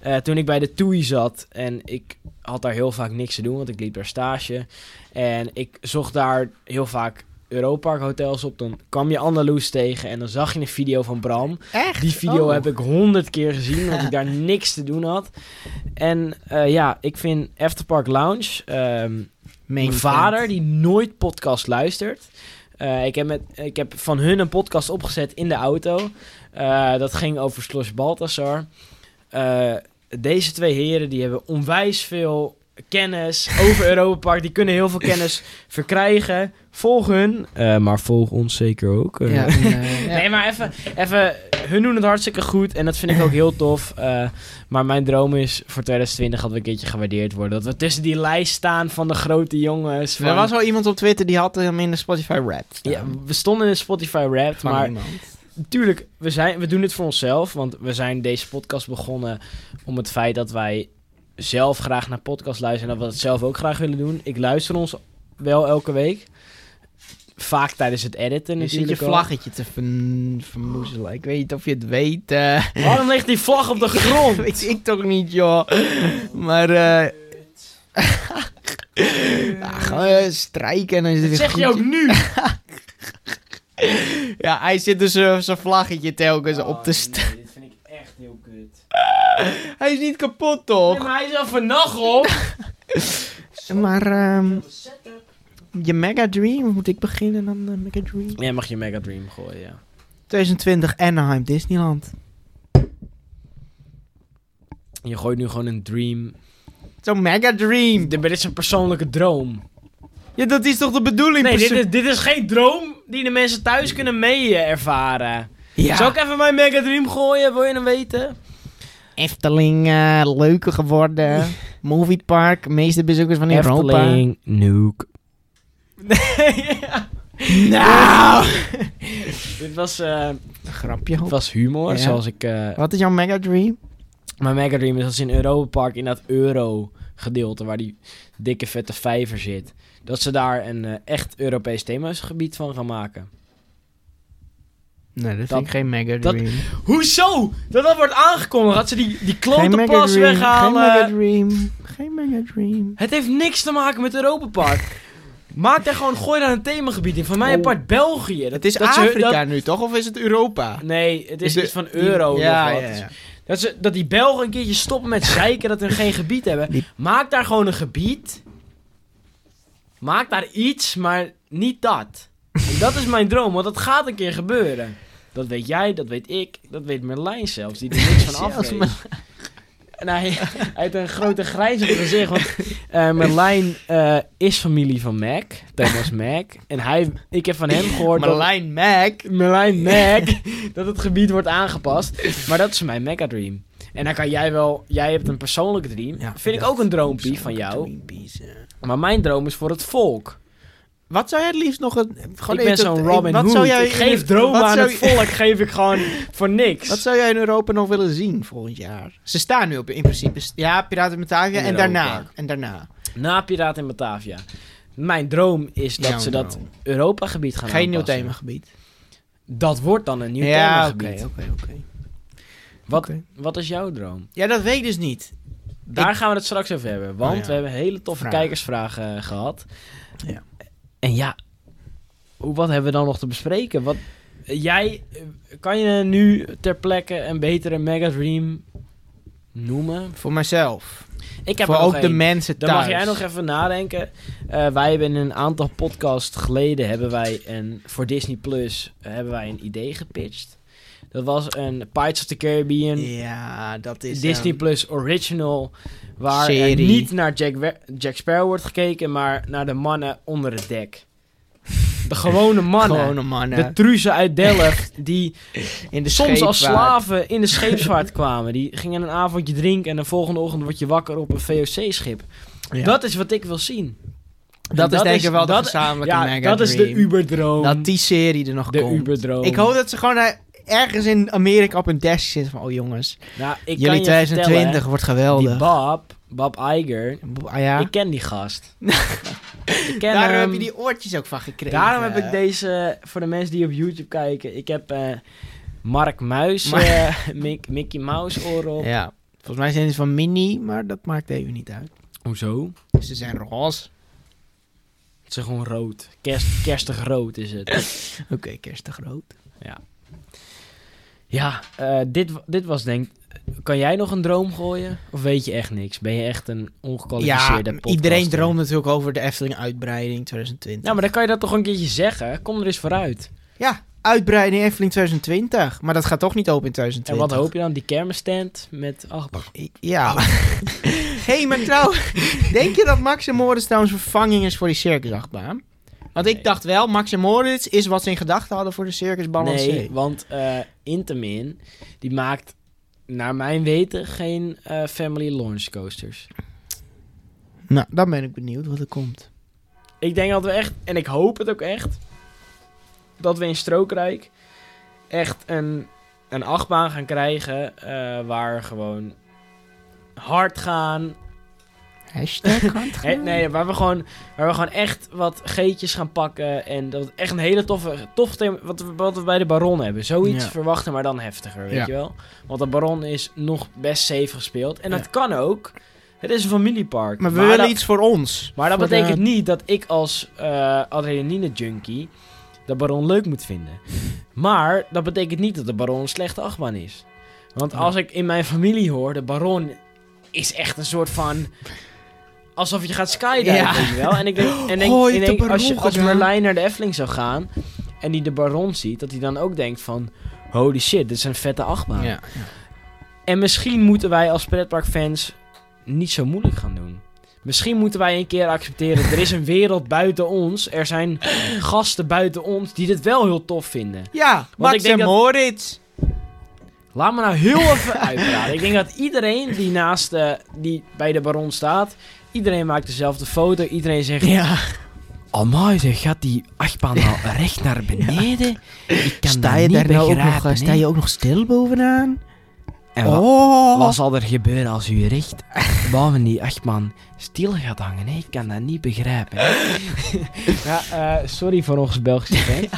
Eh, toen ik bij de TUI zat en ik had daar heel vaak niks te doen, want ik liep daar stage. En ik zocht daar heel vaak Europark hotels op. Dan kwam je Andaloes tegen en dan zag je een video van Bram.
Echt?
Die video
Oh.
heb ik honderd keer gezien, want ik
[LAUGHS]
daar niks te doen had. En eh, ja, ik vind Afterpark Lounge... ehm,
Main
mijn vader, die nooit podcast luistert... Eh, ik, heb met, ik heb van hun een podcast opgezet in de auto. Eh, dat ging over Slosh Baltasar. Eh, deze twee heren die hebben onwijs veel kennis over Europa Park. Die kunnen heel veel kennis verkrijgen. Volg hun. Eh, maar volg ons zeker ook.
fan.
Eh, [LAUGHS]
Ja, eh, ja.
Nee, maar even, even, hun doen het hartstikke goed en dat vind ik ook heel tof. Eh, maar mijn droom is voor 2020 dat we een keertje gewaardeerd worden. Dat we tussen die lijst staan van de grote jongens. Van,
Er was al iemand op Twitter die had hem in de Spotify rap.
ja, we stonden in de Spotify Wrapped, maar
maar...
natuurlijk, we, zijn, we doen het voor onszelf. Want we zijn deze podcast begonnen om het feit dat wij zelf graag naar podcasts luisteren. En dat we het zelf ook graag willen doen. Ik luister ons wel elke week. Vaak tijdens het editen
Je zit je
natuurlijk al.
vlaggetje te ver- vermoezelen. Ik weet niet of je het weet. eh. [LAUGHS]
Waarom ligt die vlag op de grond? [LAUGHS]
Weet ik toch niet, joh. [LAUGHS] Maar, eh... ja, gewoon eh, strijken en dan is het
Dat
weer
zeg je
goed.
ook nu.
Ja, hij zit dus eh, zijn vlaggetje telkens
Oh,
op te staan.
nee, dit vind ik echt heel kut.
[LAUGHS] Hij is niet kapot, toch?
Nee, maar hij is al [LAUGHS] vernacheld.
maar, ehm je Mega Dream, moet ik beginnen dan? eh, Mega Dream?
Jij mag je Mega Dream gooien, ja.
2020 Anaheim Disneyland.
Je gooit nu gewoon een dream.
Zo'n Mega Dream.
Dit dit is een persoonlijke droom.
Ja, dat is toch de bedoeling?
Nee, dit
perso-
is, dit is geen droom die de mensen thuis kunnen mee eh, ervaren.
Ja.
Zal ik even mijn Mega Dream gooien? Wil je hem weten?
Efteling eh, leuker geworden. [LAUGHS] Moviepark, meeste bezoekers van Europa.
[LAUGHS] Nuke.
Nou!
Dit was, eh,
Een grapje. hoop.
was humor,
Ja.
zoals ik... eh,
Wat is jouw mega dream?
Mijn Mega Dream is dat ze in Europa Park in dat euro-gedeelte waar die dikke vette vijver zit. Dat ze daar een eh, echt Europees themagebied van gaan maken.
Nee, dat,
Dat-
vind ik geen mega
dat-
dream.
Hoezo? Dat dat wordt aangekondigd. Dat ze die, die
geen
klote
mega
pas
dream. Geen mega
weghalen.
dream. Geen mega dream.
Het heeft niks te maken met Europa Park. Maak daar gewoon, gooi daar een themagebied in. Van mij
Oh.
apart België. Dat,
Het is
dat ze-
Afrika
dat-
nu toch? Of is het Europa?
nee, het is,
Is de-
iets van euro.
ja,
nog wat.
ja, ja.
Dat, ze, dat die Belgen een keertje stoppen met zeiken dat ze geen gebied hebben.
Die-
Maak daar gewoon een gebied. Maak daar iets, maar niet dat. En dat is mijn droom, want dat gaat een keer gebeuren. Dat weet jij, dat weet ik, dat weet Merlijn zelfs, die er niks van af
Zelfs
weet. En hij, hij heeft een grote grijs op zijn gezicht, want eh, Merlijn eh, is familie van Mac, Thomas Mac. En hij, ik heb van hem gehoord dat-
Marlijn Mac.
Merlijn Mac, [LAUGHS] dat het gebied wordt aangepast. Maar dat is mijn mega dream. En dan kan jij wel, jij hebt een persoonlijke dream. Vind ik ook een droompie van jou. Maar mijn droom is voor het volk.
Wat zou jij het liefst nog... Een, gewoon
ik ben
even-
zo'n Robin
wat
Hood.
Zou jij
ik geef
in-
dromen
wat
aan
zou
het
je-
volk, geef ik gewoon voor niks.
Wat zou jij in Europa nog willen zien volgend jaar? Ze staan nu op in principe... st- Ja, Piraten met Batavia
In
en
Europa.
daarna. En daarna.
Na Piraten in Batavia. Mijn droom is dat
Jouw
ze dat
droom.
Europa-gebied gaan
Geen nieuw
aanpassen.
themagebied.
Dat wordt dan een nieuw
ja, oké,
themagebied.
oké, oké.
Wat,
Oké.
wat is jouw droom?
Ja, dat weet ik dus niet.
Daar gaan we het straks over hebben. Want
Oh ja.
we hebben hele toffe
Vragen.
kijkersvragen eh, gehad.
Ja.
En ja, hoe- wat hebben we dan nog te bespreken? Wat, jij, eh, kan je nu ter plekke een betere Mega Dream noemen?
Voor mijzelf.
Ik heb
Voor
er nog
ook de
één.
mensen
Dan
thuis.
mag jij nog even nadenken. Eh, wij hebben in een aantal podcasts geleden hebben wij een, voor Disney Plus eh, hebben wij een idee gepitcht. Dat was een Pirates of the Caribbean
Ja, dat is...
Disney
ehm,
Plus Original. Waar er
Serie.
niet naar Jack, We- Jack Sparrow wordt gekeken, maar naar de mannen onder het dek. De
[LAUGHS]
gewone mannen.
Gewone
de
mannen.
truzen uit
[LAUGHS]
Delft, die
in de
soms als
eh, scheepvaart.
slaven in de scheepsvaart kwamen. Die gingen een avondje drinken en de volgende ochtend word je wakker op een VOC-schip.
Ja.
Dat is wat ik wil zien.
Dat,
En
is denk ik wel de
dat-
gezamenlijke
Ja,
mega
dat is de
dream.
Uberdroom.
Dat die serie er nog
de
komt.
Uberdroom.
Ik hoop dat ze gewoon eh, ergens in Amerika op een desk zitten van... Oh jongens,
Nou, ik kan
jullie
je
2020
vertellen,
wordt
die
geweldig.
Bob, Bob Iger,
Ah ja,
ik ken die
[LAUGHS]
gast. ik ken
daarom
hem.
heb je die oortjes ook van gekregen.
Daarom heb ik deze, voor de mensen die op YouTube kijken, ik heb eh, Mark Muis,
Maar-
eh, [LAUGHS] Mick- Mickey Mouse oren op.
Ja, volgens mij zijn ze van mini, maar dat maakt even niet uit. Dus
Hoezo?
Ze zijn roze.
Het is gewoon rood. Kerst, kerstig rood is het.
Oké, kerstig rood.
Ja, eh, dit, wa- dit was denk Kan jij nog een droom gooien? Of weet je echt niks? Ben je echt een
Ja,
ongekwalificeerde podcaster?
iedereen droomt natuurlijk over de Efteling-uitbreiding 2020.
Ja, Nou, maar dan kan je dat toch een keertje zeggen? Kom er eens vooruit.
Ja, uitbreiding Efteling 2020. Maar dat gaat toch niet open in
En
2020.
wat hoop je dan? Die kermisstand met... Ach,
Ja. [LAUGHS] Hé, hey, maar trouw, denk je dat Max en Moritz trouwens vervanging is voor die circusachtbaan? Want ik
Nee.
dacht wel, Max en Moritz is wat ze in gedachten hadden voor de Circus Balancé.
Nee, want eh, Intamin, die maakt naar mijn weten geen eh, family launch coasters.
Nou, dan ben ik benieuwd wat er komt.
Ik denk dat we echt, en ik hoop het ook echt, dat we in Strookrijk echt een, een achtbaan gaan krijgen eh, waar gewoon hard gaan. [LAUGHS]
Hashtag
Hè, nee, waar we, gewoon, waar we gewoon echt wat geetjes gaan pakken. En dat het echt een hele toffe, tof thema, wat we, wat we bij de Baron hebben. Zoiets
Ja.
verwachten, maar dan heftiger, weet
Ja.
je wel. Want de Baron is nog best safe gespeeld. En dat kan ook. Het is een familiepark.
Maar we willen
dat-
iets voor ons.
Maar dat
Voor de-
betekent niet dat ik als eh adrenaline-junkie de baron leuk moet vinden. Maar dat betekent niet dat de baron een slechte achtbaan is. Want
Ja.
als ik in mijn familie hoor, de baron is echt een soort van... Alsof je gaat skydiven,
Ja.
weet je wel. En ik denk,
[LAUGHS]
en denk,
Oh, je
en
hebt de
denk als, je,
Baron
als
gedaan.
Merlijn naar de Efteling zou gaan en die de baron ziet, dat hij dan ook denkt van... Holy shit, dit is een vette achtbaan.
Ja.
En misschien moeten wij als pretparkfans niet zo moeilijk gaan doen. Misschien moeten wij een keer accepteren, er is een wereld buiten ons. Er zijn gasten buiten ons die dit wel heel tof vinden.
Ja, Max
ik denk
en
dat-
Moritz.
Laat me nou heel
[LAUGHS]
even uitpraten. Ik denk dat iedereen die naast eh, die bij de baron staat, iedereen maakt dezelfde foto. Iedereen zegt,
Ja.
Amai, zeg, gaat die achtbaan
[LAUGHS]
nou recht naar beneden? Ik kan
Sta
dat
je
niet
daar nou ook
begrijpen,
nog, eh, sta
hè.
je ook nog stil bovenaan?
En wa-
Oh,
wat zal er gebeuren als u [LAUGHS] recht boven die achtbaan stil gaat hangen? hè? Ik kan dat niet begrijpen. hè. [LAUGHS] ja, eh, sorry voor ons [LAUGHS] Belgische fans.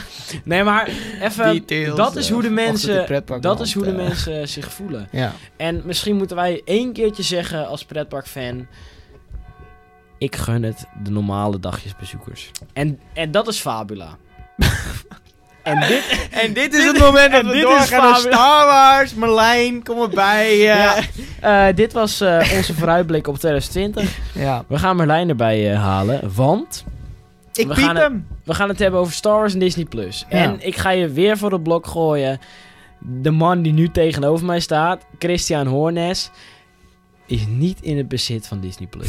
Nee, maar even,
Details,
dat is
eh,
hoe de
vanochtend in
mensen,
pretpark,
dat
man.
is hoe de
Eh,
mensen zich voelen.
Ja.
En misschien moeten wij één keertje zeggen als pretparkfan... Ik gun het de normale dagjesbezoekers. En, en dat is [LAUGHS] Fabula. en dit...
En dit is het moment dat
en
we
dit is
doorgaan naar
Fabian.
Star Wars. Merlijn, kom erbij. eh.
Ja. eh, dit was eh, onze vooruitblik op 2020.
Ja.
We gaan Merlijn erbij eh, halen, want...
Ik
We
piep
gaan het-
hem.
We gaan het hebben over Star Wars en Disney+. Plus.
Ja.
En ik ga je weer voor het blok gooien. De man die nu tegenover mij staat, Christian Hoornes, is niet in het bezit van Disney+.
[LAUGHS]
Plus.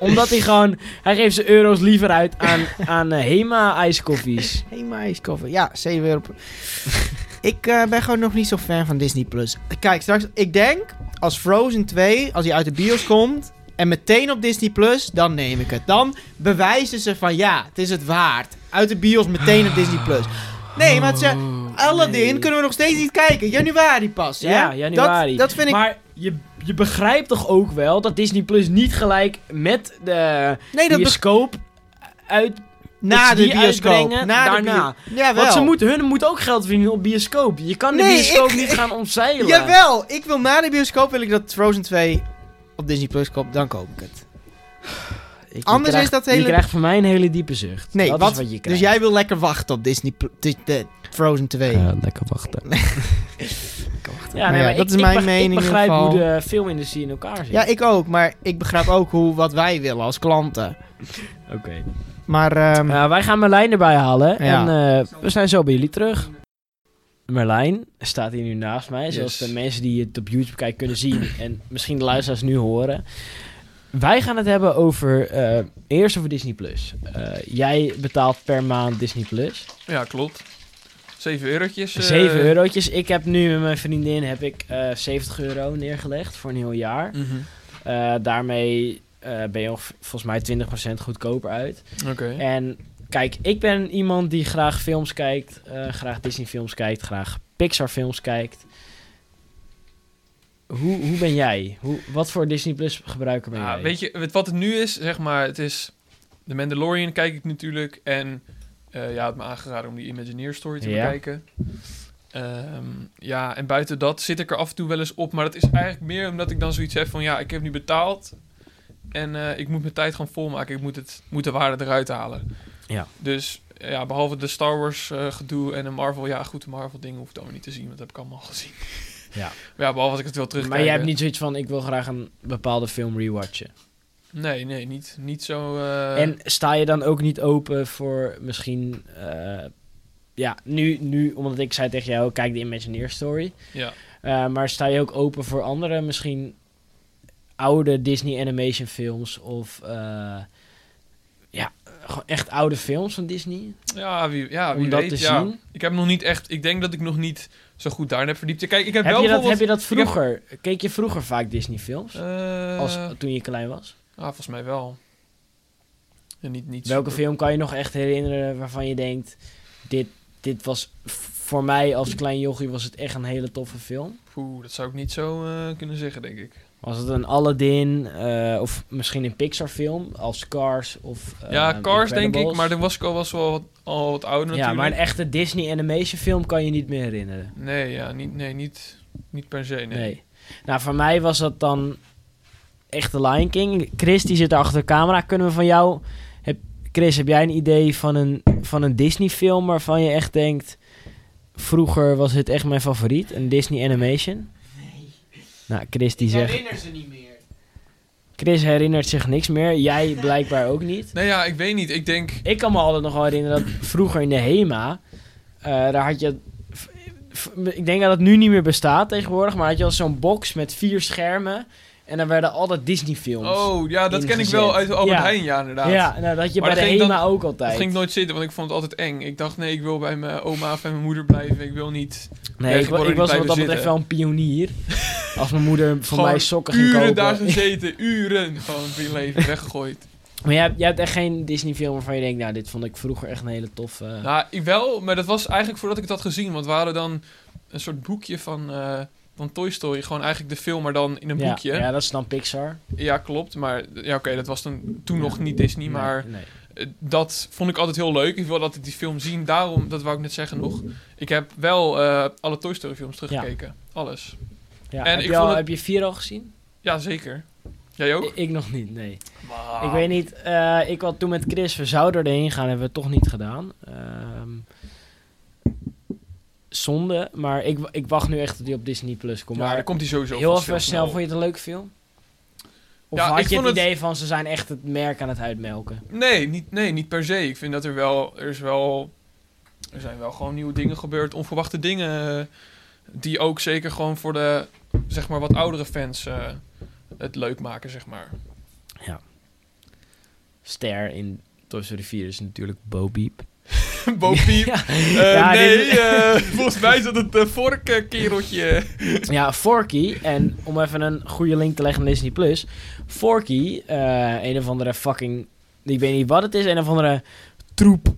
Omdat hij gewoon... Hij geeft zijn euro's liever uit
[LAUGHS]
aan, aan eh, Hema ijskoffies.
Hey, maiskoffie. Ja,
[LAUGHS]
7 euro. per- ik eh, ben gewoon nog niet zo fan van Disney+. Plus. Kijk, straks... Ik denk, als Frozen 2, als hij uit de bios komt... En meteen op Disney+, Plus, dan neem ik het. Dan bewijzen ze van ja, het is het waard. Uit de bios meteen op Disney+. Plus. Nee, maar het ze, Aladdin
Oh, nee.
kunnen we nog steeds niet kijken. Januari pas, hè?
Ja, januari.
Dat, dat vind ik...
Maar je, je begrijpt toch ook wel dat Disney Plus niet gelijk met de
nee, dat beg-
bioscoop uit...
na
ze
de
die
bioscoop.
uitbrengen,
Na de
daarna.
bio- Jawel.
Want ze moet, hun moet ook geld verdienen op bioscoop. Je kan de
Nee,
bioscoop
ik-
niet gaan omzeilen.
Jawel, ik wil na de bioscoop wil ik dat Frozen 2 op Disney Plus komt, dan koop ik het.
Ik- je
Anders
krijgt-
is dat hele-
Je krijgt van mij een hele diepe zucht.
Nee,
dat
wat,
is wat je
dus
krijgt.
jij wil lekker wachten op Disney Pl- Di- de Frozen 2. Ja.
[LAUGHS] lekker wachten.
Maar ja, dat is mijn mening in
Ik begrijp
ieder
hoe
geval.
de filmindustrie in elkaar zit.
ik ook, maar ik begrijp ook hoe, wat wij willen als klanten.
Oké.
Maar
Hm.
ehm,
Nou, wij gaan Merlijn erbij halen. En eh, we zijn zo bij jullie terug. Merlijn staat hier nu naast mij. Zoals
Yes.
de mensen die het op YouTube kijken kunnen zien.
[CLEARS THROAT]
En misschien de luisteraars nu horen. Wij gaan het hebben over... eh, eerst over Disney+. Plus. Eh, jij betaalt per maand Disney+. Plus.
Ja, klopt. 7 eurotjes. eh,
7 eurotjes. Ik heb nu met mijn vriendin heb ik, eh, 70 euro neergelegd voor een heel jaar.
mhm.
Eh, daarmee eh, ben je ongeveer- volgens mij 20% goedkoper uit.
Oké.
En kijk, ik ben iemand die graag films kijkt, eh, graag Disney films kijkt, graag Pixar films kijkt. Hoe, hoe ben jij? Hoe, wat voor Disney Plus gebruiker ben
Ja,
jij?
Nou, Ah, weet je, weet wat het nu is, zeg maar, het is... The Mandalorian kijk ik natuurlijk. En eh, ja, het me aangeraden om die Imagineer story te
Ja.
bekijken. Ehm, ja, en buiten dat zit ik er af en toe wel eens op. Maar dat is eigenlijk meer omdat ik dan zoiets heb van... Ja, ik heb nu betaald. En eh, ik moet mijn tijd gewoon volmaken. Ik moet, het, moet de waarde eruit halen.
Ja.
Dus eh, ja, behalve de Star Wars eh, gedoe en de Marvel... Ja, goed, de Marvel dingen hoef ik allemaal niet te zien. Want dat heb ik allemaal gezien.
Ja.
ja, behalve als ik het wil terugkijken.
maar jij hebt niet zoiets van, ik wil graag een bepaalde film rewatchen.
Nee, nee, niet, niet zo... eh,
En sta je dan ook niet open voor misschien... eh, ja, nu, nu, omdat ik zei tegen jou, kijk de Imagineer Story.
Ja.
Eh, maar sta je ook open voor andere, misschien oude Disney animation films of eh, ja, gewoon echt oude films van Disney?
Ja, wie, ja,
Om
wie
dat
weet.
te
ja.
zien?
Ik heb nog niet echt. Ik denk dat ik nog niet zo goed daarin heb verdiept. Ja, Kijk, ik heb,
Heb
wel
je, dat, heb
bijvoorbeeld.
je dat
ik heb-
vroeger? Keek je vroeger vaak Disney films?
Eh,
als, toen je klein was?
ah, volgens mij wel. Ja, niet, niet
Welke
super-
film kan je nog echt herinneren waarvan je denkt... Dit, dit was v- voor mij als klein jochie was het echt een hele toffe film?
Poeh, dat zou ik niet zo eh, kunnen zeggen, denk ik.
Was het een Aladdin eh, of misschien een Pixar film als Cars of... eh,
ja, Cars denk ik,
Incredibles?
maar dan was ik al was wel wat, al wat ouder
Ja, maar
natuurlijk.
een echte Disney animation film kan je niet meer herinneren.
Nee, ja, niet, nee niet, niet per se. Nee.
Nee. Nou, voor mij was dat dan echt de Lion King. Chris, die zit daar achter de camera. Kunnen we van jou... Heb, Chris, heb jij een idee van een, van een Disney film waarvan je echt denkt... Vroeger was het echt mijn favoriet, een Disney animation? Nee. Nou, Chris die zegt...
ze niet meer.
Chris herinnert zich niks meer. Jij blijkbaar ook niet.
Nee, ja, ik weet niet. Ik denk.
Ik kan me altijd nog wel herinneren dat vroeger in de HEMA, eh, daar had je. f- f- Ik denk dat het nu niet meer bestaat tegenwoordig, maar had je al zo'n box met vier schermen. En dan werden altijd Disney-films.
Oh, ja, dat ken ik wel
ingezet.
uit Albert
Ja.
Heijn, ja, inderdaad.
ja, nou, dat had je
Maar
bij
dat
de
ging
HEMA
dan-
ook
Dat
altijd.
ging ik nooit zitten, want ik vond het altijd eng. Ik dacht, nee, ik wil bij mijn oma of bij mijn moeder blijven. Ik wil niet
nee,
Ja,
ik,
ik
wa-
word er
ik was
niet
wat
bij
dat betreft
zitten.
wel een
[LAUGHS]
pionier. Als mijn moeder voor
Gewoon
mij sokken ging
uren
kopen.
[LAUGHS] daar gezeten. Uren gewoon van je leven weggegooid.
Maar jij, hebt- jij hebt echt geen Disney-film waarvan je denkt, nou, dit vond ik vroeger echt een hele toffe.
Nou, ik wel, maar dat was eigenlijk voordat ik het had gezien. Want we hadden dan een soort boekje van, eh, van Toy Story. Gewoon eigenlijk de film, maar dan in een
ja,
boekje. Ja.
ja, dat is dan Pixar.
klopt. Maar ja, oké, dat was dan toen
Ja.
nog niet Disney. Maar
Nee, nee.
eh, dat vond ik altijd heel leuk. Ik wilde altijd die film zien. Daarom, dat wou ik net zeggen nog. Ik heb wel eh, alle Toy Story films teruggekeken. Alles.
Ja,
En
heb,
ik
je al,
vond het-
heb je vier al gezien?
Ja, zeker. Jij ook?
Ik, ik nog niet, nee.
Maar-
Ik weet niet, eh, ik had toen met Chris, we zouden erheen gaan, hebben we het toch niet gedaan. Ehm, zonde, maar ik, w- ik wacht nu echt dat die op Disney Plus komt.
Ja,
maar
daar komt hij sowieso
heel
vast
even
snel.
snel, vond je het een leuke film? Of
Nou. Ja, ik
had je het,
vond het-
idee van ze zijn echt het merk aan het uitmelken?
Nee niet, nee, niet per se. Ik vind dat er wel... Er, is wel, er zijn wel gewoon nieuwe dingen gebeurd. Onverwachte dingen. eh, Die ook zeker gewoon voor de zeg maar, wat oudere fans eh, het leuk maken, zeg maar. [LAUGHS]
Ster in Toy Story 4 is natuurlijk Bo Peep.
Bo Peep.
Ja.
eh,
Ja, dit
nee,
is-
eh, [LAUGHS] volgens mij is dat het eh, de vorige kereltje.
Ja, Forky. En om even een goede link te leggen naar Disney Plus. Forky, eh, een of andere fucking. Ik weet niet wat het is. Een of andere troep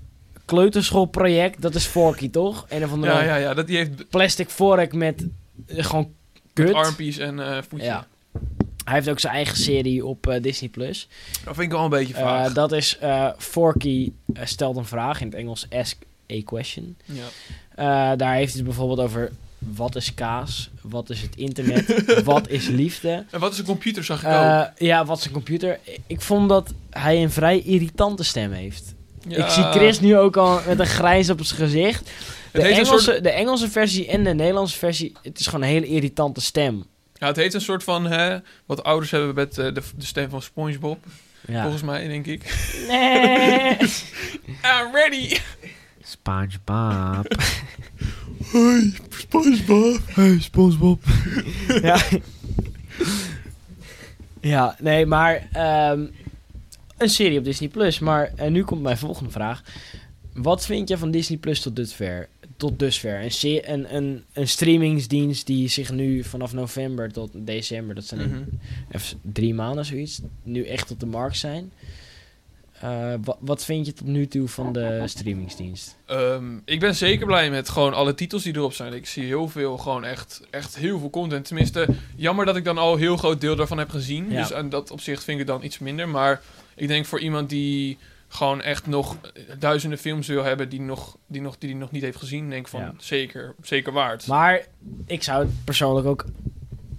kleuterschoolproject. Dat is Forky toch? Een of andere
Ja, ja, ja. Dat, die heeft
plastic vork met eh, gewoon kut.
armpies en eh voetje.
Ja. Hij heeft ook zijn eigen serie op eh, Disney Plus.
Dat vind ik wel een beetje
Eh,
vaag.
dat is eh, Forky eh, stelt een vraag. In het Engels ask a question.
ja.
Eh, daar heeft hij het bijvoorbeeld over wat is kaas? Wat is het internet?
[LAUGHS]
wat is liefde?
En wat is een computer, zag ik ook.
Eh, ja, wat is een computer? Ik vond dat hij een vrij irritante stem heeft.
Ja.
Ik zie Chris nu ook al met een grijs op zijn gezicht. De
Het heeft een
Engelse,
soort-
de Engelse versie en de Nederlandse versie, het is gewoon een hele irritante stem.
Ja, het heet een soort van, hè, wat ouders hebben met eh, de, de stem van SpongeBob,
Ja.
volgens mij, denk ik.
Nee.
I'm ready!
[LAUGHS]
SpongeBob.
SpongeBob! Hey, SpongeBob!
ja. ja, nee, maar ehm, een serie op Disney Plus. Maar en nu komt mijn volgende vraag. Wat vind je van Disney Plus tot dusver? Tot dusver? Een, se- een, een, een streamingsdienst die zich nu vanaf november tot december, dat
Mhm.
zijn even drie maanden zoiets, nu echt op de markt zijn. Eh, wa- wat vind je tot nu toe van de streamingsdienst?
Ehm, ik ben zeker blij met gewoon alle titels die erop zijn. Ik zie heel veel, gewoon echt, echt heel veel content. Tenminste, jammer dat ik dan al een heel groot deel daarvan heb gezien.
Ja.
Dus aan dat opzicht vind ik het dan iets minder. Maar ik denk voor iemand die gewoon echt nog eh, duizenden films wil hebben die nog, die nog, die die nog niet heeft gezien, denk ik van
Ja.
zeker, zeker waard.
Maar ik zou het persoonlijk ook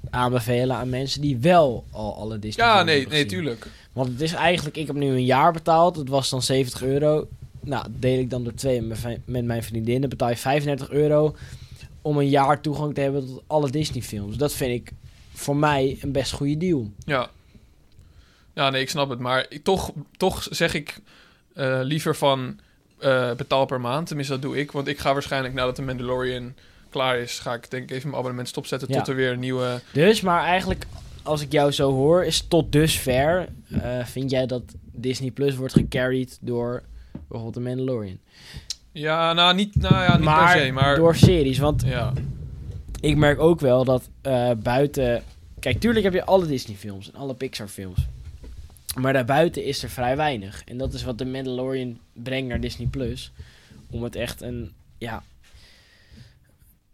aanbevelen aan mensen die wel al alle Disney
ja,
films
nee,
hebben
nee,
gezien.
tuurlijk.
Want het is eigenlijk, ik heb nu een jaar betaald. Het was dan 70 euro. Nou, dat deel ik dan door twee met mijn- met mijn vriendin. Dan betaal je 35 euro om een jaar toegang te hebben tot alle Disney films. Dat vind ik voor mij een best goede deal.
Ja. Ja, nee, ik snap het. Maar ik- toch, toch zeg ik eh, liever van eh, betaal per maand. Tenminste, dat doe ik. Want ik ga waarschijnlijk nadat de Mandalorian klaar is, ga ik denk ik even mijn abonnement stopzetten
Ja.
tot er weer een nieuwe...
Dus, maar eigenlijk, als ik jou zo hoor, is tot dusver... eh, vind jij dat Disney Plus wordt gecarried door bijvoorbeeld The Mandalorian?
Ja, nou, niet, nou ja, niet
maar,
per se, maar...
door series, want
Ja,
ik merk ook wel dat eh, buiten... Kijk, tuurlijk heb je alle Disney-films en alle Pixar-films. Maar daarbuiten is er vrij weinig. En dat is wat de Mandalorian brengt naar Disney+. Plus Om het echt een, ja...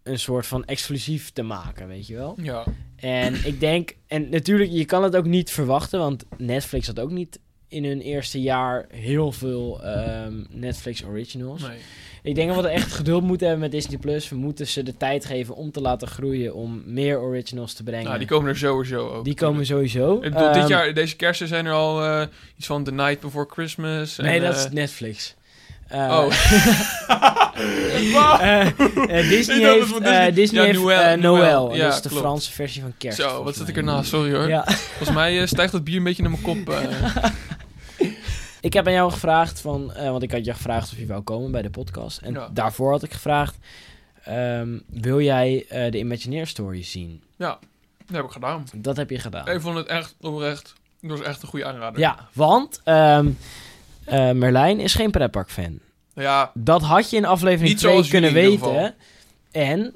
Een soort van exclusief te maken, weet je wel?
ja.
En ik denk... En natuurlijk, je kan het ook niet verwachten. Want Netflix had ook niet in hun eerste jaar heel veel ehm, Netflix originals.
Nee.
Ik denk dat we er echt geduld moeten hebben met Disney Plus. We moeten ze de tijd geven om te laten groeien, om meer originals te brengen.
Nou, die komen er sowieso ook.
Die komen sowieso.
Ik bedoel, dit
Ehm,
jaar, deze kersten zijn er al eh, iets van The Night Before Christmas. En,
Nee, dat
eh,
is Netflix. Eh, [LAUGHS]
Oh.
eh, eh, Disney
Ik dacht
heeft,
dat het
eh,
Disney-
Disney
Ja,
heeft
Noël,
eh,
Noël.
Noël. En
Ja,
dat is de
klopt.
Franse versie van kerst.
Zo, wat
volgens
zit ik
mij.
ernaast? Sorry hoor.
Ja.
Volgens mij eh, stijgt dat bier een beetje naar mijn kop.
[LAUGHS]
eh.
Ik heb aan jou gevraagd van, eh, want ik had je gevraagd of je wou komen bij de podcast. En
Ja.
daarvoor had ik gevraagd, ehm, wil jij eh, de Imagineer Story zien?
dat heb ik gedaan.
Dat heb je gedaan.
Ik vond het echt oprecht. Dat was echt een goede aanrader.
Ja, want ehm, eh, Merlijn is geen pretpark fan.
Ja,
Dat had je in aflevering
Niet
2
zoals
kunnen
jullie in
weten.
ieder
En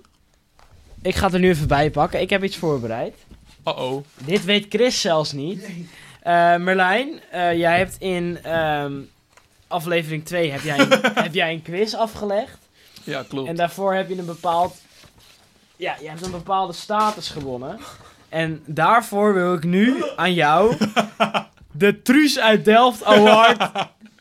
ik ga het er nu even bij pakken. Ik heb iets voorbereid.
uh-oh.
Dit weet Chris zelfs niet. Eh, Merlijn, eh, jij hebt in ehm, aflevering 2 heb jij,
[LAUGHS]
een, heb jij een quiz afgelegd.
Ja, klopt.
En daarvoor heb je een bepaald. Ja, je hebt een bepaalde status gewonnen. En daarvoor wil ik nu aan jou de Truus uit Delft Award.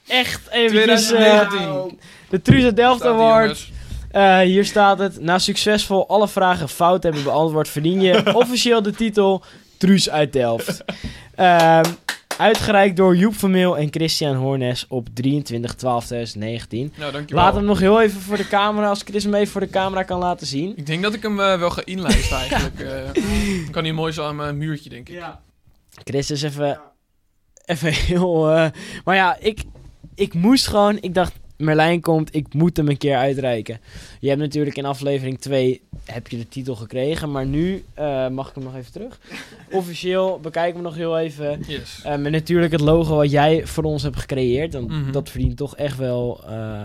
Echt eventjes. eh,
2019.
de Truus uit Delft
Staat hier,
Award.
jongens.
Eh, hier staat het. Na succesvol alle vragen fout hebben beantwoord, verdien
[LAUGHS]
je officieel de titel Truus uit Delft. Ehm, uitgereikt door Joep Vermeel en Christian Hoornes op 23-12-2019.
Nou, dankjewel.
Laat hem nog heel even voor de camera, als Chris hem even voor de camera kan laten zien.
Ik denk dat ik hem eh, wel ga
[LAUGHS]
inlijsten eigenlijk. eh. Dan kan hij mooi zo aan mijn muurtje, denk ik.
Chris is even, even heel... eh, maar ja, ik, ik moest gewoon... Ik dacht, Merlijn komt, ik moet hem een keer uitreiken. Je hebt natuurlijk in aflevering 2 heb je de titel gekregen. Maar nu eh, mag ik hem nog even terug. Officieel, bekijk hem nog heel even.
Yes.
Ehm, en natuurlijk het logo wat jij voor ons hebt gecreëerd. Want
Mhm.
Dat verdient toch echt wel eh,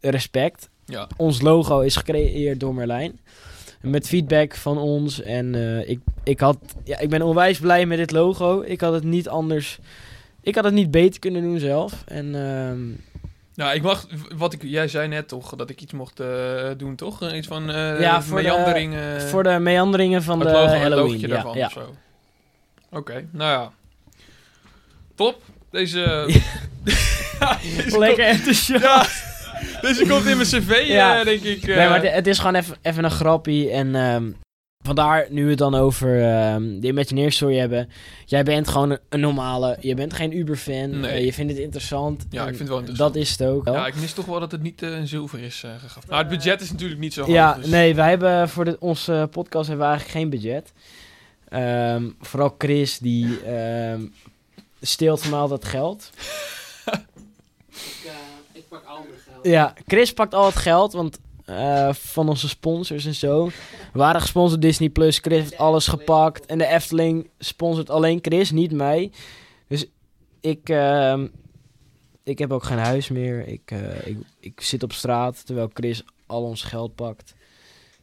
respect.
Ja.
Ons logo is gecreëerd door Merlijn. Met feedback van ons. En eh, ik, ik, had, ja, ik ben onwijs blij met dit logo. Ik had het niet anders. Ik had het niet beter kunnen doen zelf. En ehm,
Nou, ik mag, wat ik, jij zei net toch, dat ik iets mocht eh, doen, toch? Eh, Iets van eh
Ja, voor de-
meandering. eh,
voor de meanderingen van
het
de
logo, het
Halloween.
logotje
Ja,
daarvan [LAUGHS]
ja.
of zo. Oké, nou ja. Top.
[LAUGHS]
Deze... [LAUGHS] deze
Lekker enthousiast.
komt- deze komt in mijn cv, eh,
Ja.
denk ik. eh.
Nee, maar het- het is gewoon even, even een grappie. En ehm, vandaar, nu we het dan over ehm, de Imagineer Story hebben. Jij bent gewoon een, een normale. Je bent geen Uber-fan.
Nee.
Eh, je vindt het interessant.
Ja,
En
ik vind het wel interessant.
Dat is het ook.
Ja, ik mis toch wel dat het niet eh, in zilver is eh gegaft. Maar het budget is natuurlijk niet zo hoog.
Ja,
dus-
nee, wij hebben voor de, onze podcast hebben we eigenlijk geen budget. Ehm, vooral Chris, die ehm steelt van al dat geld.
ik pak ander geld.
Ja, Chris pakt al het geld, want eh, van onze sponsors en zo. We waren gesponsord Disney+, Plus. Chris heeft alles gepakt. En de Efteling sponsort alleen Chris, niet mij. Dus ik, ehm, ik heb ook geen huis meer. Ik, eh, ik, ik zit op straat, terwijl Chris al ons geld pakt.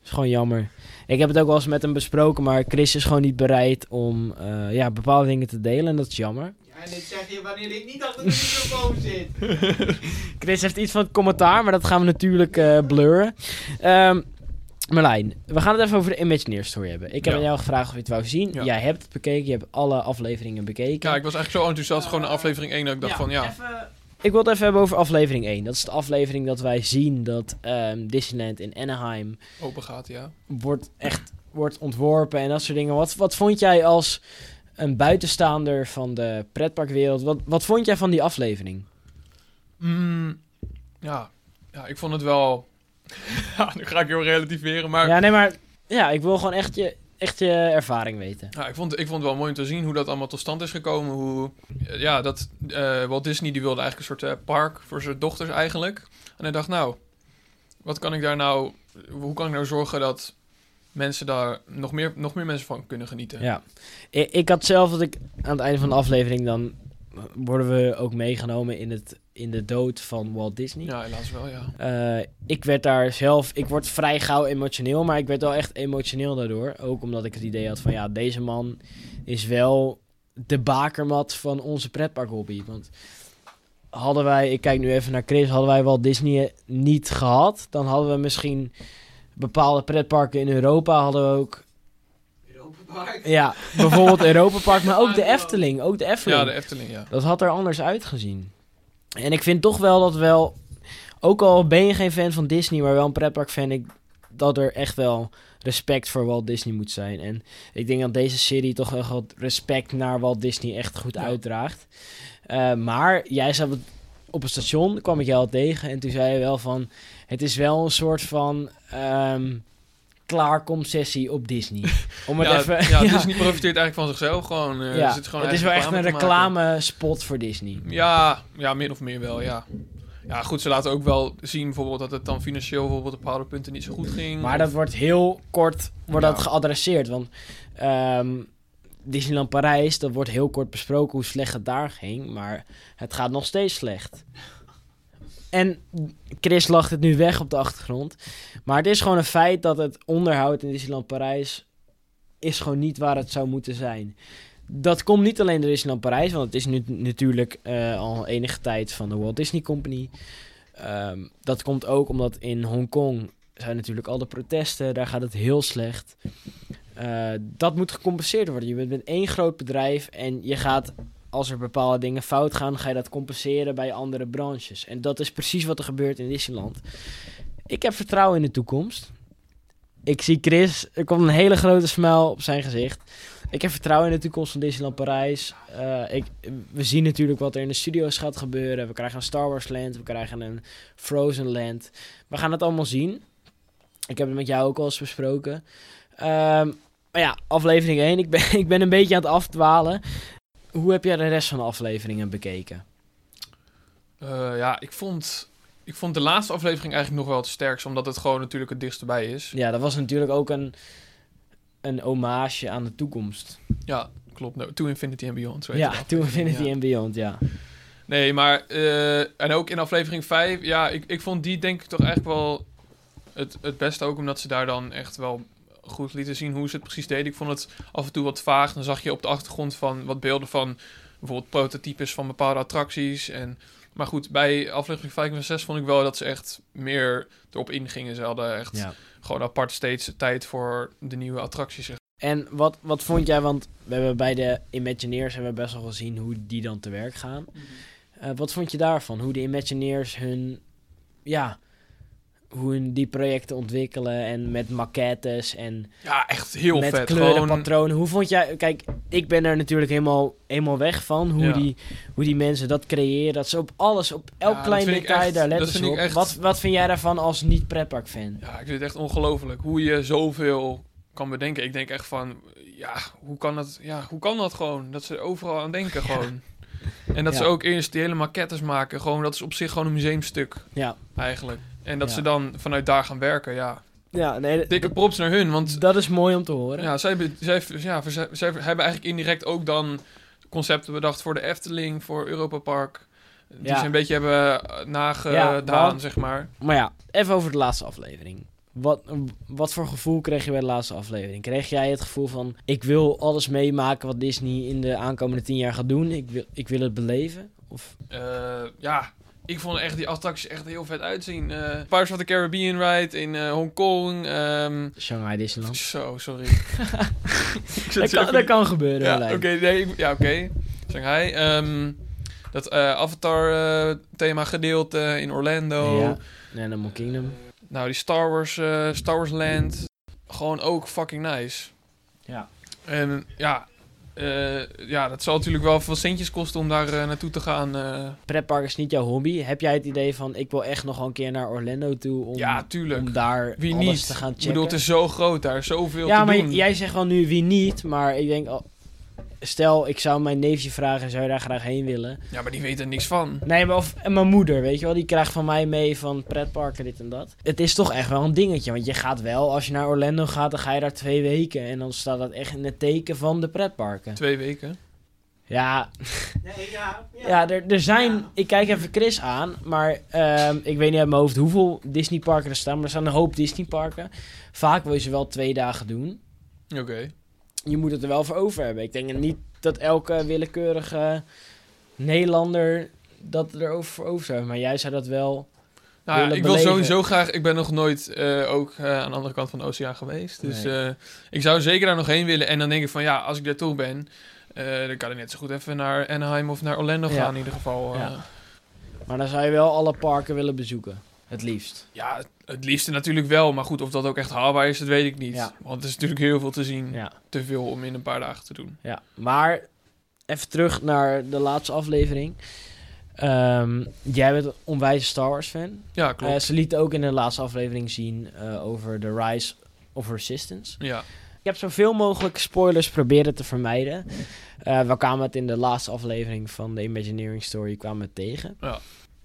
is gewoon jammer. Ik heb het ook wel eens met hem besproken, maar Chris is gewoon niet bereid om eh, ja, bepaalde dingen te delen. En dat is jammer.
en dit zeg je wanneer ik niet achter de microfoon zit.
Chris heeft iets van het commentaar, maar dat gaan we natuurlijk eh blurren. Ehm, Merlijn, we gaan het even over de Imagineer Story hebben. Ik heb
Ja.
aan jou gevraagd of je het wou zien.
Ja.
Jij hebt het bekeken, je hebt alle afleveringen bekeken.
Ja, ik was eigenlijk zo enthousiast gewoon in aflevering 1 dat ik dacht van ja.
Ik wil het even hebben over aflevering 1. Dat is de aflevering dat wij zien dat ehm, Disneyland in Anaheim
Open gaat, ja.
wordt echt wordt ontworpen en dat soort dingen. Wat, wat vond jij als een buitenstaander van de pretparkwereld, wat, wat vond jij van die aflevering?
Mm, ja. ja, ik vond het wel... [LAUGHS] ja, nu ga ik heel relativeren, maar...
Ja, nee, maar ja, ik wil gewoon echt je, echt je ervaring weten.
Ja, ik, vond, ik vond het wel mooi om te zien hoe dat allemaal tot stand is gekomen. Hoe, eh, ja, dat eh, Walt Disney die wilde eigenlijk een soort eh, park voor zijn dochters eigenlijk. En hij dacht, nou, wat kan ik daar nou... Hoe kan ik nou zorgen dat mensen daar nog meer, nog meer mensen van kunnen genieten?
Ja. Ik, ik had zelf dat ik aan het einde van de aflevering dan worden we ook meegenomen in, het, in de dood van Walt Disney.
Ja, helaas wel, ja.
Eh, ik werd daar zelf, ik word vrij gauw emotioneel, maar ik werd wel echt emotioneel daardoor. Ook omdat ik het idee had van ja, deze man is wel de bakermat van onze pretparkhobby. Want hadden wij, ik kijk nu even naar Chris, hadden wij Walt Disney niet gehad, dan hadden we misschien bepaalde pretparken in Europa hadden we ook Ja, bijvoorbeeld Europa Park, maar ook de Efteling. Ook de Efteling.
Ja, de Efteling, ja.
Dat had er anders uitgezien. En ik vind toch wel dat wel, ook al ben je geen fan van Disney, maar wel een pretpark fan, ik, dat er echt wel respect voor Walt Disney moet zijn. En ik denk dat deze serie toch wel wat respect naar Walt Disney echt goed
Ja.
uitdraagt. Eh, maar jij zat op- op het station, kwam ik jou al tegen en toen zei je wel van, het is wel een soort van ehm klaarkom-sessie op
[LAUGHS]
Disney. Om het
ja,
even... [LAUGHS]
ja,
ja.
Disney profiteert eigenlijk van zichzelf gewoon. eh,
Ja,
er zit gewoon
het is wel echt een
te maken.
reclame-spot voor Disney.
Ja, ja, min of meer wel, ja. Ja, goed, ze laten ook wel zien bijvoorbeeld dat het dan financieel bijvoorbeeld op bepaalde punten niet zo goed ging.
Maar dat wordt heel kort wordt
Ja.
dat geadresseerd. Want ehm, Disneyland Parijs, dat wordt heel kort besproken hoe slecht het daar ging. Maar het gaat nog steeds slecht. En Chris lacht het nu weg op de achtergrond. Maar het is gewoon een feit dat het onderhoud in Disneyland Parijs is gewoon niet waar het zou moeten zijn. dat komt niet alleen door Disneyland Parijs, want het is nu natuurlijk eh, al enige tijd van de Walt Disney Company. Ehm, dat komt ook omdat in Hongkong zijn natuurlijk al de protesten, daar gaat het heel slecht. Eh, dat moet gecompenseerd worden. Je bent met één groot bedrijf en je gaat, als er bepaalde dingen fout gaan, ga je dat compenseren bij andere branches. En dat is precies wat er gebeurt in Disneyland. Ik heb vertrouwen in de toekomst. Ik zie Chris, er komt een hele grote smile op zijn gezicht. Ik heb vertrouwen in de toekomst van Disneyland Parijs. Eh, ik, we zien natuurlijk wat er in de studio's gaat gebeuren. We krijgen een Star Wars Land, we krijgen een Frozen Land. We gaan het allemaal zien. Ik heb het met jou ook al eens besproken. Ehm, maar ja, aflevering 1. Ik ben, [LAUGHS] ik ben een beetje aan het afdwalen. Hoe heb jij de rest van de afleveringen bekeken?
Eh, ja, ik vond, ik vond de laatste aflevering eigenlijk nog wel het sterkst, omdat het gewoon natuurlijk het dichtst bij is.
Ja, dat was natuurlijk ook een, een hommage aan de toekomst.
Ja, klopt. No, to Infinity and Beyond. zo heet
Ja,
het.
toen Infinity
Ja.
and Beyond, ja.
Nee, maar... eh, en ook in aflevering 5, ja, ik, ik vond die denk ik toch eigenlijk wel het, het beste ook, omdat ze daar dan echt wel goed lieten zien hoe ze het precies deden. Ik vond het af en toe wat vaag. Dan zag je op de achtergrond van wat beelden van bijvoorbeeld prototypes van bepaalde attracties en... Maar goed, bij aflevering 5 en 6 vond ik wel dat ze echt meer erop ingingen. Ze hadden echt
ja.
gewoon apart steeds tijd voor de nieuwe attracties. zeg.
En wat, wat vond jij, want we hebben bij de Imagineers hebben we best wel gezien hoe die dan te werk gaan. Eh, wat vond je daarvan? Hoe de Imagineers hun, ja, hoe hun die projecten ontwikkelen en met maquettes en
Ja, echt heel
met
vet.
kleuren,
Gewoon,
patronen. Hoe vond jij, kijk, ik ben er natuurlijk helemaal, helemaal weg van, hoe,
Ja.
die, hoe die mensen dat creëren, dat ze op alles, op elk
Ja, dat
klein
vind ik
detail
echt-
daar
dat
letten
vind
ze
ik
op.
echt-
Wat, wat vind jij daarvan als niet-pretpark fan?
ja, ik vind het echt ongelooflijk hoe je zoveel kan bedenken. Ik denk echt van, ja, hoe kan dat, ja, hoe kan dat gewoon? Dat ze er overal aan
[LAUGHS]
denken gewoon. En dat
Ja.
ze ook eerst die hele maquettes maken. Gewoon, dat is op zich gewoon een museumstuk
Ja,
eigenlijk. En dat
Ja.
ze dan vanuit daar gaan werken, ja.
ja nee,
Dikke props naar hun, want
dat is mooi om te horen.
ja, zij, be- zij, ja, zij, zij hebben eigenlijk indirect ook dan concepten bedacht voor de Efteling, voor Europa Park. Die
Ja.
ze een beetje hebben eh, nagedaan,
Ja, want-
zeg maar.
Maar ja, even over de laatste aflevering. Wat, wat voor gevoel kreeg je bij de laatste aflevering? Kreeg jij het gevoel van: ik wil alles meemaken wat Disney in de aankomende tien jaar gaat doen? Ik wil, ik wil het beleven? Of,
Eh, ja, ik vond echt die attracties echt heel vet uitzien. Eh Pirates of the Caribbean ride in eh, Hongkong. ehm,
Shanghai
[LAUGHS]
Disneyland? [LAUGHS]
zo, sorry. Ik zit
Dat
zo
kan,
even-
dat kan gebeuren.
Ja,
Merlijn.
oké. nee, ik- ja, oké. Shanghai. ehm, dat eh, Avatar eh, thema gedeelte in Orlando.
Ja, en Animal Kingdom.
Nou, die Star Wars, eh, Star Wars Land. Gewoon ook fucking nice.
Ja.
En ja, eh, ja, dat zal natuurlijk wel veel centjes kosten om daar eh, naartoe te gaan. eh.
Pretpark is niet jouw hobby. Heb jij het idee van: ik wil echt nog wel een keer naar Orlando toe om,
ja, tuurlijk.
om daar
Wie
alles
niet?
te gaan
Ik
checken?
bedoel, het is zo groot daar, zoveel
ja,
te
maar
doen.
jij zegt wel nu wie niet, maar ik denk. al- Stel, ik zou mijn neefje vragen, zou je daar graag heen willen?
Ja, maar die weet er niks van.
Nee, maar of, en mijn moeder, weet je wel, die krijgt van mij mee van pretparken, dit en dat. Het is toch echt wel een dingetje, want je gaat wel, als je naar Orlando gaat, dan ga je daar twee weken. En dan staat dat echt in het teken van de pretparken.
Twee weken.
Ja,
Nee, ja,
ja er, er zijn, ik kijk even Chris aan, maar ehm, ik weet niet uit mijn hoofd hoeveel Disneyparken er staan, maar er staan een hoop Disneyparken. Vaak wil je ze wel twee dagen doen.
Oké.
Je moet het er wel voor over hebben. Ik denk niet dat elke willekeurige Nederlander dat er over voor over zou hebben, maar jij zou dat wel...
Nou, ja,
Willen
ik wil
beleven.
sowieso graag... Ik ben nog nooit eh, ook eh, aan de andere kant van de oceaan geweest. Dus eh, ik zou zeker daar nog heen willen. En dan denk ik van, ja, als ik daar toch ben... eh, dan kan ik net zo goed even naar Anaheim of naar Orlando
Ja.
gaan in ieder geval. eh.
Ja. Maar dan zou je wel alle parken willen bezoeken. Het liefst.
Ja, het liefste natuurlijk wel. Maar goed, of dat ook echt haalbaar is, dat weet ik niet.
Ja.
Want er is natuurlijk heel veel te zien.
Ja.
Te veel om in een paar dagen te doen.
ja. Maar even terug naar de laatste aflevering. Ehm, jij bent een onwijs Star Wars fan.
Ja, klopt.
Eh, ze liet ook in de laatste aflevering zien eh, over de Rise of Resistance.
ja.
Ik heb zoveel mogelijk spoilers proberen te vermijden. Eh, we kwamen het in de laatste aflevering van de Imagineering Story kwamen we het tegen.
Ja.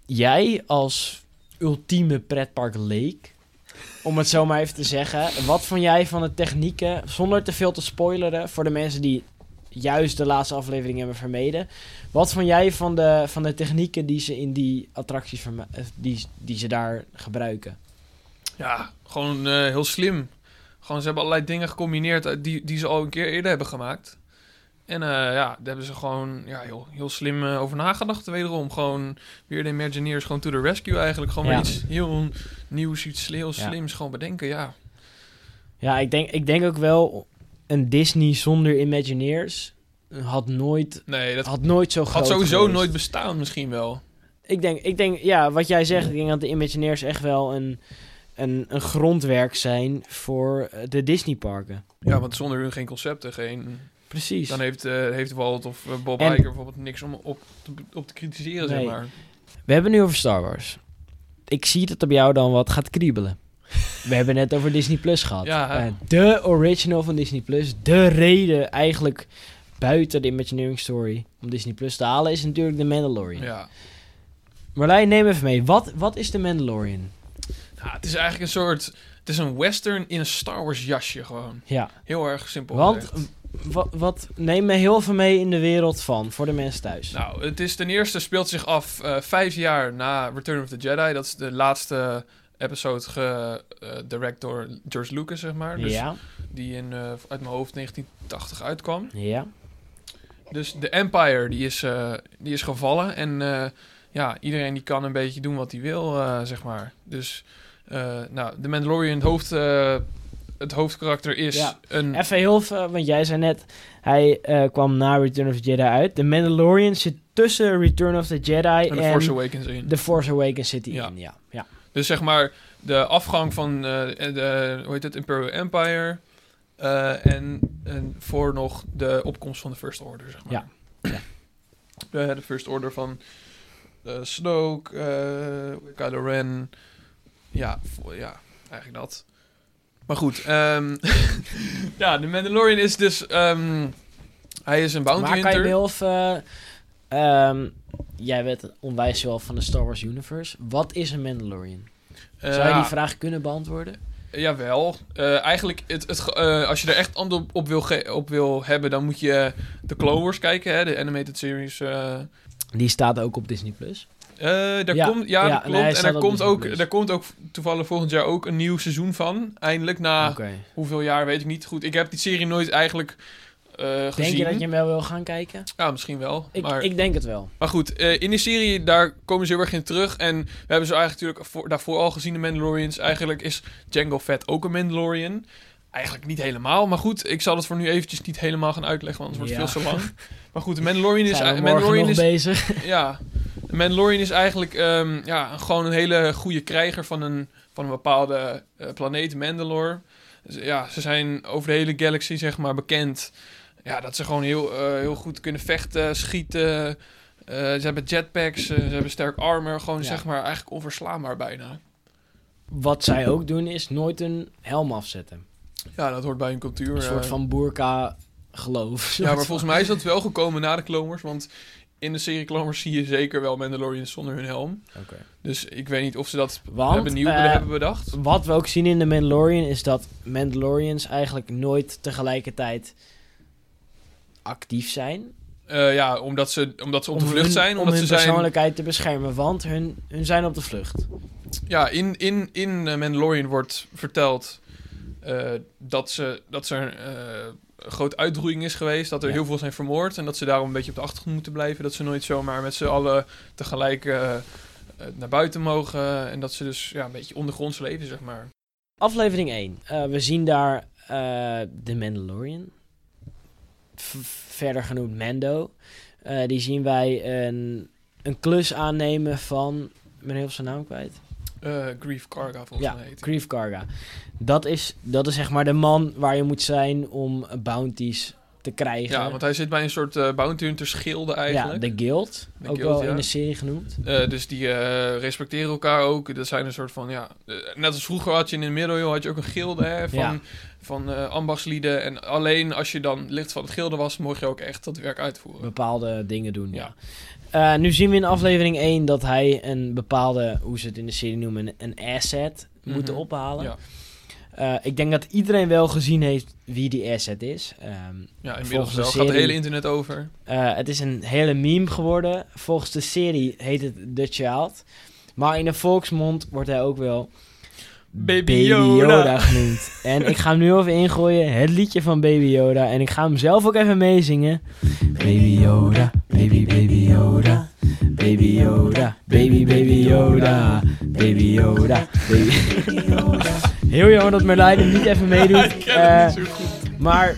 Jij als ultieme pretpark leek, om het zo maar even te zeggen, wat vond jij van de technieken, zonder te veel te spoileren voor de mensen die juist de laatste aflevering hebben vermeden. Wat vond jij van de, van de technieken die ze in die attracties verma- eh, die, die ze daar gebruiken?
Ja, gewoon eh, heel slim. Gewoon, ze hebben allerlei dingen gecombineerd uit die, die ze al een keer eerder hebben gemaakt. En eh, ja, daar hebben ze gewoon ja, heel, heel slim eh, over nagedacht. Wederom gewoon weer de Imagineers gewoon to the rescue eigenlijk. Gewoon weer
Ja.
iets heel nieuws, iets heel
Ja.
slims gewoon bedenken. Ja,
Ja, ik denk, ik denk ook wel een Disney zonder Imagineers had nooit,
nee, dat
had nooit zo groot
had sowieso
geweest.
nooit bestaan misschien wel.
Ik denk, ik denk, ja, wat jij zegt, ik denk dat de Imagineers echt wel een, een, een grondwerk zijn voor eh, de Disney-parken.
Ja, want zonder hun geen concepten, geen...
Precies.
Dan heeft, eh heeft Walt of eh, Bob
En-
Iger bijvoorbeeld niks om op te, op te kritiseren,
Nee.
zeg maar.
We hebben nu over Star Wars. Ik zie dat het op jou dan wat gaat kriebelen. We hebben net over Disney Plus gehad.
Ja.
Eh, de original van Disney Plus. De reden eigenlijk buiten de Imagineering Story om Disney Plus te halen is natuurlijk de Mandalorian.
Ja.
Marlijn, neem even mee. Wat, wat is de Mandalorian?
Ja, het is eigenlijk een soort... Het is een western in een Star Wars jasje gewoon.
Ja,
Heel erg simpel
want
gezegd.
w- wat, wat neem me heel veel mee in de wereld van voor de mensen thuis.
Nou, het is ten eerste speelt zich af eh, vijf jaar na Return of the Jedi. Dat is de laatste episode gedirect door George Lucas, zeg maar. Dus
ja,
Die in, eh, uit mijn hoofd 1980 uitkwam.
ja,
Dus de Empire die is, eh, die is gevallen. En eh, ja, iedereen die kan een beetje doen wat hij wil, eh, zeg maar. Dus eh, nou, de Mandalorian, het, hoofd, eh, het hoofdkarakter is
Ja.
een...
even heel veel, want jij zei net, hij eh, kwam na Return of the Jedi uit. De Mandalorian zit tussen Return of the Jedi
en
en,
de Force Awakens in.
The Force Awakens zit hij
Ja.
in, ja. ja.
Dus zeg maar de afgang van eh, de, hoe heet het, Imperial Empire. eh, en, en voor nog de opkomst van de First Order, zeg maar.
Ja. Ja.
[CLEARS THROAT] De, de First Order van eh, Snoke, eh Kylo Ren. Ja, vo- ja, eigenlijk dat. Maar goed, ehm, [LAUGHS] ja, de Mandalorian is dus... ehm, hij is een bounty
maar kan
hunter.
je heel veel... eh, ehm, jij weet onwijs wel van de Star Wars universe. Wat is een Mandalorian?
Eh,
Zou je die
ja.
vraag kunnen beantwoorden?
Jawel. Eh, eigenlijk, het, het, ge- eh, als je er echt antwoord op wil, ge- op wil hebben, dan moet je eh, de Clone Wars kijken, hè, de animated series. eh. Eh,
Die staat ook op Disney+. Plus.
daar
Ja,
komt, ja,
ja, nee,
dat klopt.
hij
en
staat
daar
op
komt,
Disney+.
ook, daar komt ook toevallig volgend jaar ook een nieuw seizoen van. Eindelijk, na
Oké.
hoeveel jaar weet ik niet goed. Ik heb die serie nooit eigenlijk eh, gezien.
Denk je dat je hem wel wil gaan kijken?
Ja, misschien wel.
Ik,
maar...
ik denk het wel.
Maar goed, eh, in die serie, daar komen ze heel erg in terug. En we hebben ze eigenlijk natuurlijk voor- daarvoor al gezien, de Mandalorians. Eigenlijk is Jango Fett ook een Mandalorian. Eigenlijk niet helemaal, maar goed. Ik zal het voor nu eventjes niet helemaal gaan uitleggen, want anders wordt het
Ja.
veel te lang. Maar goed, de
[LAUGHS]
Mandalorian is...
Zijn we
de
morgen
Mandalorian
nog
is
bezig?
ja, de Mandalorian is eigenlijk ehm, ja, gewoon een hele goede krijger van een, van een bepaalde eh, planeet, Mandalore. Dus, ja, ze zijn over de hele galaxy zeg maar bekend. Ja, dat ze gewoon heel, eh, heel goed kunnen vechten, schieten. Eh, ze hebben jetpacks, eh, ze hebben sterk armor. Gewoon
Ja.
zeg maar eigenlijk onverslaanbaar bijna.
Wat zij ook doen is nooit een helm afzetten.
Ja, dat hoort bij hun cultuur.
Een soort
eh.
van boerka geloof.
Ja, maar volgens mij is dat wel gekomen na de Clone Wars, Want in de serie Clone Wars zie je zeker wel Mandalorians zonder hun helm.
Oké.
Dus ik weet niet of ze
[LAUGHS]
dat
Want,
hebben nieuw
eh,
hebben bedacht.
Wat we ook zien in de Mandalorian is dat Mandalorians eigenlijk nooit tegelijkertijd actief zijn.
Eh, ja, omdat ze, omdat ze op de
Om
vlucht
hun-
zijn.
Om
Omdat
hun
ze zijn.
persoonlijkheid te beschermen, want hun, hun zijn op de vlucht.
Ja, in, in, in eh, Mandalorian wordt verteld eh, dat, ze, dat ze er eh, een groot uitroeiing is geweest. Dat er
Ja.
heel veel zijn vermoord. En dat ze daarom een beetje op de achtergrond moeten blijven. Dat ze nooit zomaar met z'n allen tegelijk eh, eh, naar buiten mogen. En dat ze dus ja, een beetje ondergronds leven, zeg maar.
Aflevering 1. Eh, we zien daar eh de Mandalorian. V- verder genoemd Mando. Eh, die zien wij een, een klus aannemen van... Ik ben heel zijn naam kwijt.
Eh, Grief Karga volgens
Ja,
mij heet hij.
Grief Karga. Dat is, dat is zeg maar de man waar je moet zijn om eh, bounties te krijgen.
Ja, want hij zit bij een soort eh bounty hunters gilde
Ja,
eigenlijk.
de Guild.
De
ook
Guild,
wel
ja.
in de serie genoemd.
Eh, dus die eh, respecteren elkaar ook. Dat zijn een soort van, ja... eh, net als vroeger had je in de middeleeuwen had je ook een gilde hè, van,
Ja.
van eh, ambachtslieden. En alleen als je dan lid van het gilde was, mocht je ook echt dat werk uitvoeren.
Bepaalde dingen doen, ja.
Ja.
Eh, nu zien we in aflevering 1 dat hij een bepaalde, hoe ze het in de serie noemen, een- een asset
Mhm.
moeten ophalen.
Ja.
Eh, ik denk dat iedereen wel gezien heeft wie die asset is. Ehm,
Ja,
Volgens
inmiddels
de
wel. Gaat het
serie-
hele internet over.
eh, het is een hele meme geworden. Volgens de serie heet het The Child. Maar in de volksmond wordt hij ook wel
Baby Yoda.
genoemd. en ik ga hem nu even ingooien, het liedje van Baby Yoda. En ik ga hem zelf ook even meezingen. Baby Yoda, baby baby Yoda. Baby Yoda, baby baby Yoda. Baby Yoda, baby [LAUGHS] Heel jammer dat Merlijn hem niet even meedoet.
ik ken
Eh,
het niet zo goed.
maar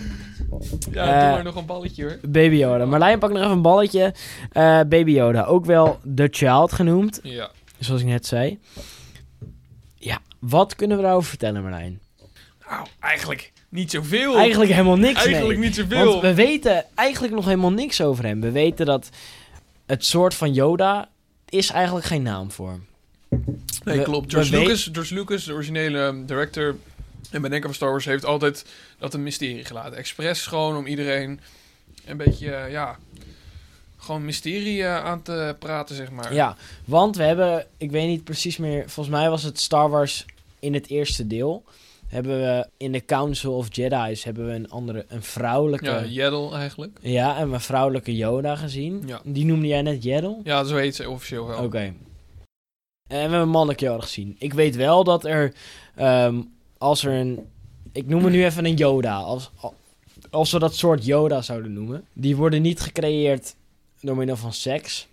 Ja,
eh,
doe maar nog een balletje hoor.
Baby Yoda. Marlijn pakt nog even een balletje. Eh, Baby Yoda, ook wel The Child genoemd,
Ja.
zoals ik net zei. Ja, wat kunnen we daarover vertellen, Marlijn?
Nou, eigenlijk niet zoveel.
Eigenlijk helemaal niks, nee.
Eigenlijk niet zoveel.
Want we weten eigenlijk nog helemaal niks over hem. We weten dat het soort van Yoda is eigenlijk geen naam voor hem.
Nee,
we-
klopt. George
we weet-
Lucas, George Lucas, de originele ehm, director en bedenker van Star Wars, heeft altijd dat een mysterie gelaten. Expres gewoon om iedereen een beetje, eh, ja, gewoon mysterie eh, aan te praten, zeg maar.
Ja, want we hebben, ik weet niet precies meer, volgens mij was het Star Wars in het eerste deel. Hebben we in de Council of Jedi's hebben we een andere, een vrouwelijke,
Ja,
ja,
Yaddle eigenlijk.
en een vrouwelijke Yoda gezien.
Ja.
Die noemde jij net Jeddel?
Ja, zo heet ze officieel wel.
Oké.
[LAUGHS]
En we hebben een mannelijke Yoda gezien. Ik weet wel dat er, ehm, als er een, ik noem het nu even een Yoda, als, al- als we dat soort Yoda zouden noemen, die worden niet gecreëerd door middel van
[LAUGHS]
seks.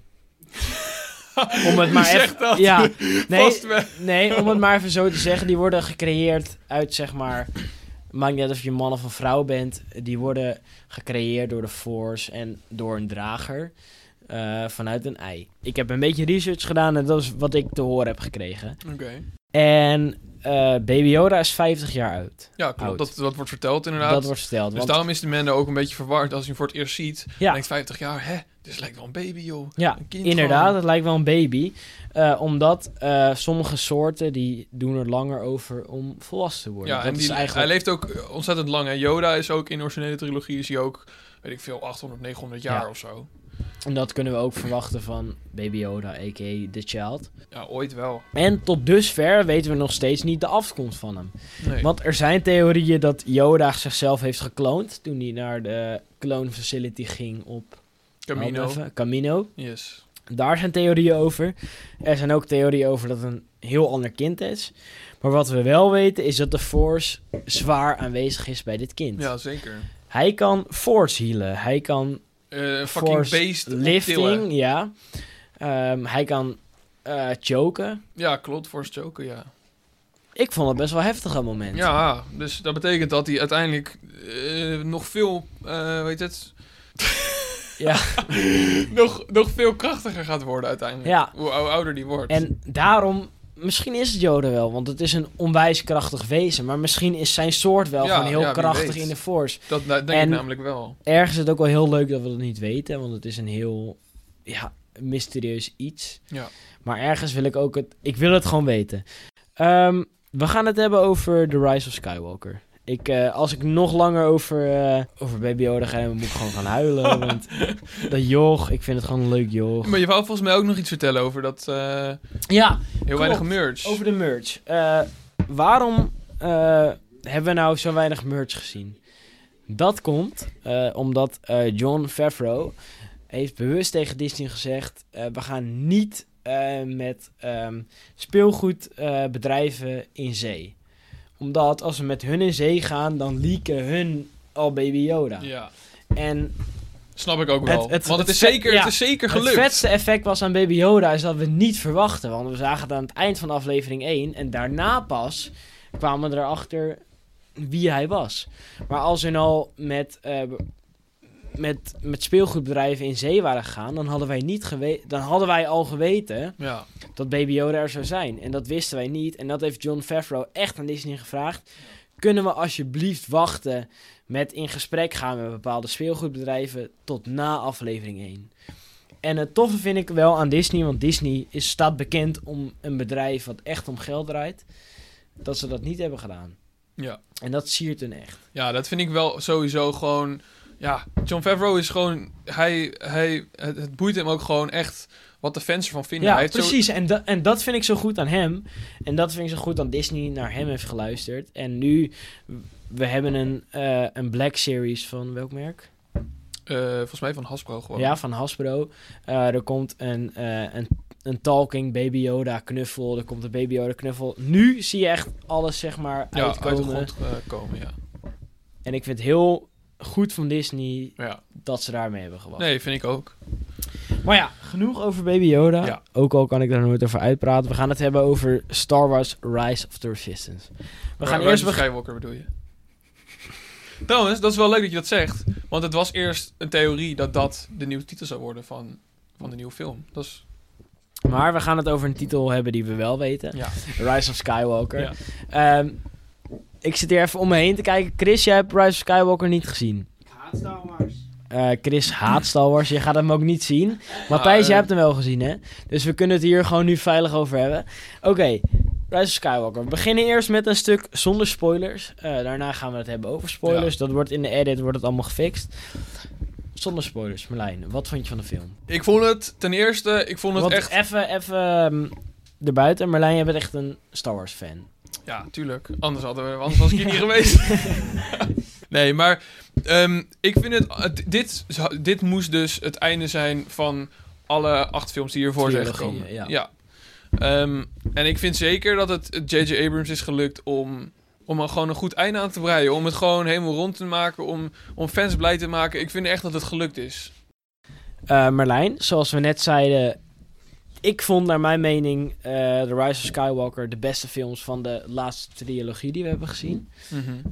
Om het maar
Wie
even-
zegt dat? [LAUGHS]
Ja, nee,
Vast wel.
nee,
[LAUGHS]
om het maar even zo te zeggen, die worden gecreëerd uit zeg maar, maakt niet uit of je man of een vrouw bent, die worden gecreëerd door de force en door een drager eh, vanuit een ei. Ik heb een beetje research gedaan en dat is wat ik te horen heb gekregen.
Oké.
En eh Baby Yoda is 50 jaar oud.
Ja, klopt.
Oud.
Dat, dat wordt verteld inderdaad.
Dat wordt verteld.
Dus
Want,
daarom is de Mendo ook een beetje verward als hij hem voor het eerst ziet.
ja,
Denkt 50 jaar, hè? Dit lijkt wel een baby, joh.
ja,
Een kind
Inderdaad,
gewoon.
het lijkt wel een baby. Eh, omdat eh, sommige soorten die doen er langer over om volwassen te worden.
Ja,
dat
en
is
die,
eigenlijk...
hij leeft ook eh, ontzettend lang. Hè? Yoda is ook in de originele trilogie, is hij ook, weet ik veel, 800, 900 jaar
Ja.
of zo.
En dat kunnen we ook verwachten van Baby Yoda, a.k.a. The Child.
Ja, ooit wel.
En tot dusver weten we nog steeds niet de afkomst van hem.
Nee.
Want er zijn theorieën dat Yoda zichzelf heeft gekloond toen hij naar de clone facility ging op
Camino.
help me even, Camino.
Yes.
Daar zijn theorieën over. Er zijn ook theorieën over dat het een heel ander kind is. Maar wat we wel weten is dat de Force zwaar aanwezig is bij dit kind.
Ja, zeker.
Hij kan Force healen. Hij kan
Eh, fucking
Force
beest. optillen.
lifting, ja. Ehm, hij kan eh choken.
Ja, klopt. Force choken, ja.
Ik vond het best wel heftig aan het moment.
Ja, dus dat betekent dat hij uiteindelijk eh, nog veel, eh, weet het...
[LAUGHS] Ja.
[LAUGHS] nog, nog veel krachtiger gaat worden uiteindelijk.
Ja.
Hoe, hoe ouder die wordt.
En daarom, misschien is het Yoda wel, want het is een onwijs krachtig wezen. Maar misschien is zijn soort wel
Ja,
gewoon heel
ja, wie
krachtig
weet.
in de Force.
dat nou, denk
en-
ik namelijk wel.
Ergens is het ook wel heel leuk dat we dat niet weten, want het is een heel ja, mysterieus iets.
Ja.
Maar ergens wil ik ook het, ik wil het gewoon weten. Ehm, we gaan het hebben over The Rise of Skywalker. Ik, eh, als ik nog langer over, eh, over Baby Yoda ga, dan moet ik gewoon gaan huilen. want dat joch, ik vind het gewoon een leuk joch.
Maar je wou volgens mij ook nog iets vertellen over dat eh, heel
Ja,
weinig merch.
Over de merch. Eh, waarom eh, hebben we nou zo weinig merch gezien? Dat komt eh, omdat eh, John Favreau heeft bewust tegen Disney gezegd... eh, we gaan niet eh, met ehm, speelgoedbedrijven in zee. Omdat als we met hun in zee gaan, dan leaken hun al Baby Yoda.
Ja,
En
snap ik ook
Het-
wel.
het-
Want het
het
is,
vet-
zeker,
ja,
het is zeker
het
gelukt.
vetste effect was aan Baby Yoda is dat we het niet verwachten. Want we zagen het aan het eind van aflevering 1. En daarna pas kwamen we erachter wie hij was. Maar als hun al met, eh, met, met speelgoedbedrijven in zee waren gegaan... Dan hadden, wij niet gewe- dan hadden wij al geweten
Ja,
dat Baby Yoda er zou zijn. En dat wisten wij niet. En dat heeft John Favreau echt aan Disney gevraagd. Kunnen we alsjeblieft wachten met in gesprek gaan met bepaalde speelgoedbedrijven tot na aflevering 1? En het toffe vind ik wel aan Disney, want Disney is, staat bekend om een bedrijf wat echt om geld draait, dat ze dat niet hebben gedaan.
ja.
En dat siert hun echt.
ja, dat vind ik wel sowieso gewoon... Ja, John Favreau is gewoon... Hij, hij, het, het boeit hem ook gewoon echt wat de fans ervan vinden.
Ja,
hij heeft zo-
precies. En, da- en dat vind ik zo goed aan hem. En dat vind ik zo goed aan Disney naar hem heeft geluisterd. En nu, we hebben een, eh, een Black Series van welk merk?
eh, volgens mij van Hasbro gewoon.
Ja, van Hasbro. Eh, er komt een, eh, een, een talking, Baby Yoda, knuffel. Er komt een Baby Yoda knuffel. Nu zie je echt alles, zeg maar,
Ja, uit de
uitkomen.
grond eh, komen, ja.
en ik vind het heel goed van Disney
ja.
dat ze daarmee hebben gewacht.
Nee, vind ik ook.
Maar ja, genoeg over Baby Yoda.
Ja.
Ook al kan ik daar nooit over uitpraten. We gaan het hebben over Star Wars Rise of the Resistance. We gaan eerst beginnen.
Skywalker bedoel je? [LAUGHS] Trouwens, dat is wel leuk dat je dat zegt. Want het was eerst een theorie dat dat de nieuwe titel zou worden van, van de nieuwe film. Dat is...
Maar we gaan het over een titel hebben die we wel weten.
Ja.
Rise of Skywalker.
Ja.
Ehm, ik zit hier even om me heen te kijken. Chris, jij hebt Rise of Skywalker niet gezien.
Ik haat Star Wars.
Eh, Chris haat Star Wars. Je gaat hem ook niet zien. Matthijs,
eh,
jij hebt hem wel gezien, hè? Dus we kunnen het hier gewoon nu veilig over hebben. Oké, Rise of Skywalker. We beginnen eerst met een stuk zonder spoilers. Eh, daarna gaan we het hebben over spoilers. Dat wordt in de edit wordt het allemaal gefixt. Zonder spoilers, Merlijn. Wat vond je van de film?
Ik vond het ten eerste, ik vond het
Want
echt...
even, even ehm, erbuiten. Merlijn, jij bent echt een Star Wars fan.
Ja, tuurlijk. Anders, hadden we, anders was ik hier niet geweest. nee, maar ehm, ik vind het, het- dit, dit moest dus het einde zijn van alle acht films die hiervoor zijn
Trilogieën,
gekomen.
ja.
Ehm, en ik vind zeker dat het het J.J. Abrams is gelukt om, om er gewoon een goed einde aan te breien. Om het gewoon helemaal rond te maken, om, om fans blij te maken. Ik vind echt dat het gelukt is.
Eh, Merlijn, zoals we net zeiden. Ik vond, naar mijn mening, eh The Rise of Skywalker de beste films van de laatste trilogie die we hebben gezien.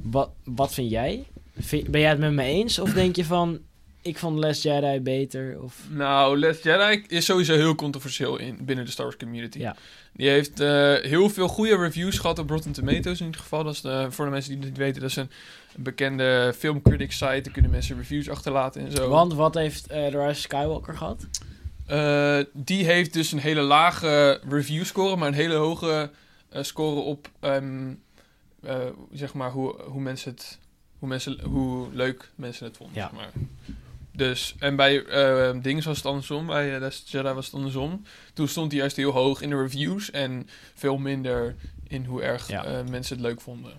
Wat, wat vind jij? Vind- ben jij het met me eens? Of denk je van, ik vond Last Jedi beter? Of...
Nou, Last Jedi is sowieso heel controversieel in, binnen de Star Wars community.
Ja.
Die heeft eh, heel veel goede reviews gehad op Rotten Tomatoes in ieder geval. Dat is de- voor de mensen die het niet weten, dat is een bekende filmcritic site. Daar kunnen mensen reviews achterlaten en zo.
Want wat heeft eh, The Rise of Skywalker gehad?
Eh, die heeft dus een hele lage review score, maar een hele hoge eh, score op ehm, eh, zeg maar hoe, hoe mensen het hoe, mensen, hoe leuk mensen het vonden.
Ja.
Zeg maar. Dus, en bij eh Dings was het andersom, bij eh, Last Jedi was het andersom. Toen stond hij juist heel hoog in de reviews en veel minder in hoe erg
Ja.
eh, mensen het leuk vonden.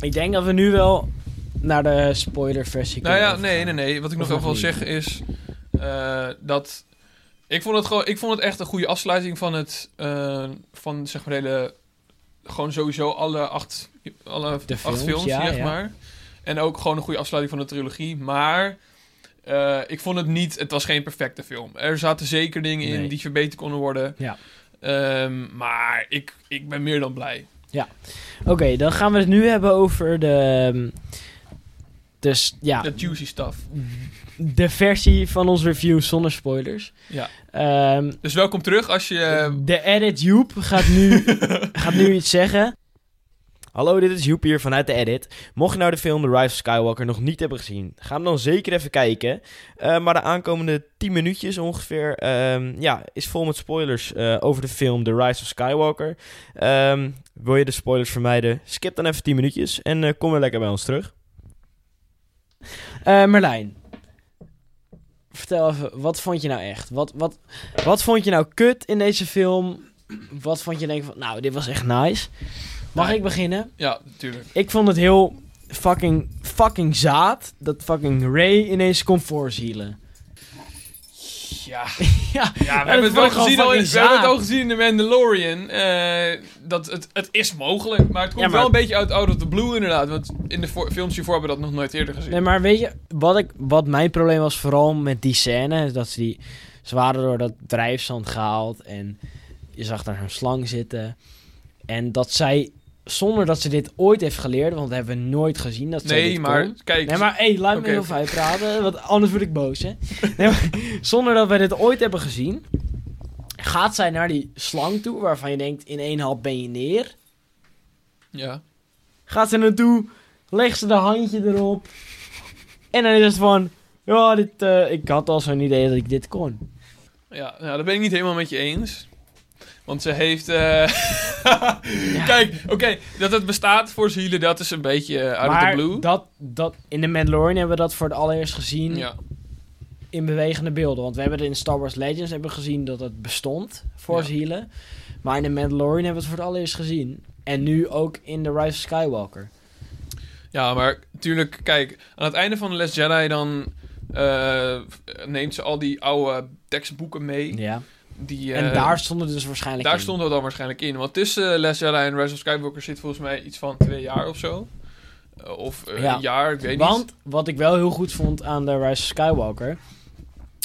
Ik denk dat we nu wel naar de spoilerversie
Nou ja,
kunnen
nee, nee,
overgaan.
nee. Wat ik
Of
nog even
nog
wil
niet?
zeggen is eh, dat ik vond het gewoon, ik vond het echt een goede afsluiting van het eh, van zeg maar de hele gewoon sowieso alle acht, alle
De
acht
films,
films,
ja,
zeg
ja.
maar. En ook gewoon een goede afsluiting van de trilogie, maar eh, ik vond het niet, het was geen perfecte film. Er zaten zeker dingen
Nee.
in die verbeterd konden worden.
Ja.
Ehm, maar ik, ik ben meer dan blij.
Oké, dan gaan we het nu hebben over de... ehm, Dus ja,
De juicy stuff.
de versie van ons review zonder spoilers.
Ja.
Ehm,
Dus welkom terug als je...
de edit Joep gaat nu, gaat nu iets zeggen.
Hallo, dit is Joep hier vanuit de Edit. Mocht je nou de film The Rise of Skywalker nog niet hebben gezien, ga hem dan zeker even kijken. Eh, maar de aankomende 10 minuutjes ongeveer ehm, ja, is vol met spoilers eh, over de film The Rise of Skywalker. Ehm, wil je de spoilers vermijden? Skip dan even 10 minuutjes en eh, kom weer lekker bij ons terug.
Eh, Merlijn, vertel even, wat vond je nou echt? Wat, wat, wat vond je nou kut in deze film? Wat vond je denk van, nou, dit was echt nice. Mag
Nee.
ik beginnen?
Ja, natuurlijk.
Ik vond het heel fucking, fucking zaad dat fucking Ray ineens kon voorzielen.
Ja.
[LAUGHS] ja,
Ja, we
dat
hebben het wel
vond ik
gezien,
gewoon
al in,
fucking
we hebben het
zaad.
al gezien in The Mandalorian. eh, dat het, het is mogelijk, maar het komt
Ja, maar-
wel een beetje uit Out of the Blue inderdaad. Want in de voor- films hiervoor hebben we dat nog nooit eerder gezien.
Nee, maar weet je, wat, ik, wat mijn probleem was vooral met die scène, is dat ze die... Ze waren door dat drijfzand gehaald en je zag daar zo'n slang zitten. En dat zij, zonder dat ze dit ooit heeft geleerd, want dat hebben we nooit gezien dat zij
Nee,
dit
maar
kon.
kijk,
Nee, maar hé, hey, laat
Oké,
me heel
oké.
fijn praten, want anders word ik boos, hè. Nee, maar [LAUGHS] zonder dat we dit ooit hebben gezien, gaat zij naar die slang toe, waarvan je denkt, in één hap ben je neer.
ja.
Gaat ze naartoe, legt ze de handje erop. En dan is het van, ja, dit, eh, ik had al zo'n idee dat ik dit kon.
Ja, nou, dat ben ik niet helemaal met je eens. Want ze
[LAUGHS]
heeft... eh, Kijk, oké, dat het bestaat voor zielen, dat is een beetje eh, Out of
maar
the Blue.
Dat, dat, in de Mandalorian hebben we dat voor het allereerst gezien
Ja,
in bewegende beelden. Want we hebben het in Star Wars Legends hebben we gezien dat het bestond, Force Healen. Maar in de Mandalorian hebben we het voor het allereerst gezien. En nu ook in The Rise of Skywalker.
ja, maar tuurlijk, kijk, aan het einde van The Last Jedi dan... eh, neemt ze al die oude tekstboeken mee.
Ja.
Die,
en
eh,
daar stonden dus waarschijnlijk
daar
in.
stond dat dan waarschijnlijk in. Want tussen Last Jedi en Rise of Skywalker zit volgens mij iets van twee jaar of zo. Eh, Of eh,
Ja.
een jaar, ik weet niet.
Want wat ik wel heel goed vond aan de Rise of Skywalker...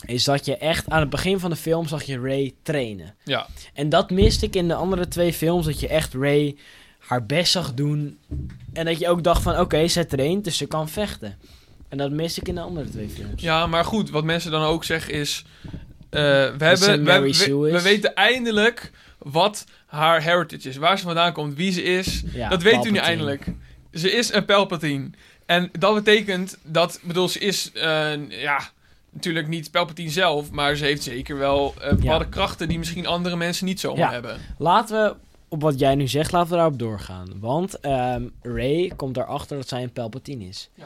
is dat je echt aan het begin van de film zag je Rey trainen.
Ja.
En dat miste ik in de andere twee films. Dat je echt Rey haar best zag doen. En dat je ook dacht van... Oké, zij traint, dus ze kan vechten. En dat miste ik in de andere twee films.
Ja, maar goed, wat mensen dan ook zeggen is... eh, we,
ze
hebben, we,
Mary
we-
Sue
we
is.
weten eindelijk wat haar heritage is. Waar ze vandaan komt, wie ze is.
Ja,
dat weet u nu
Palpatine.
eindelijk. Ze is een Palpatine. En dat betekent dat... bedoel, ze is... eh, ja, natuurlijk niet Palpatine zelf... maar ze heeft zeker wel eh, bepaalde krachten... die misschien andere mensen niet zomaar
Ja.
hebben.
Laten we op wat jij nu zegt, laten we daarop doorgaan. Want ehm Ray komt erachter dat zij een Palpatine is.
Ja.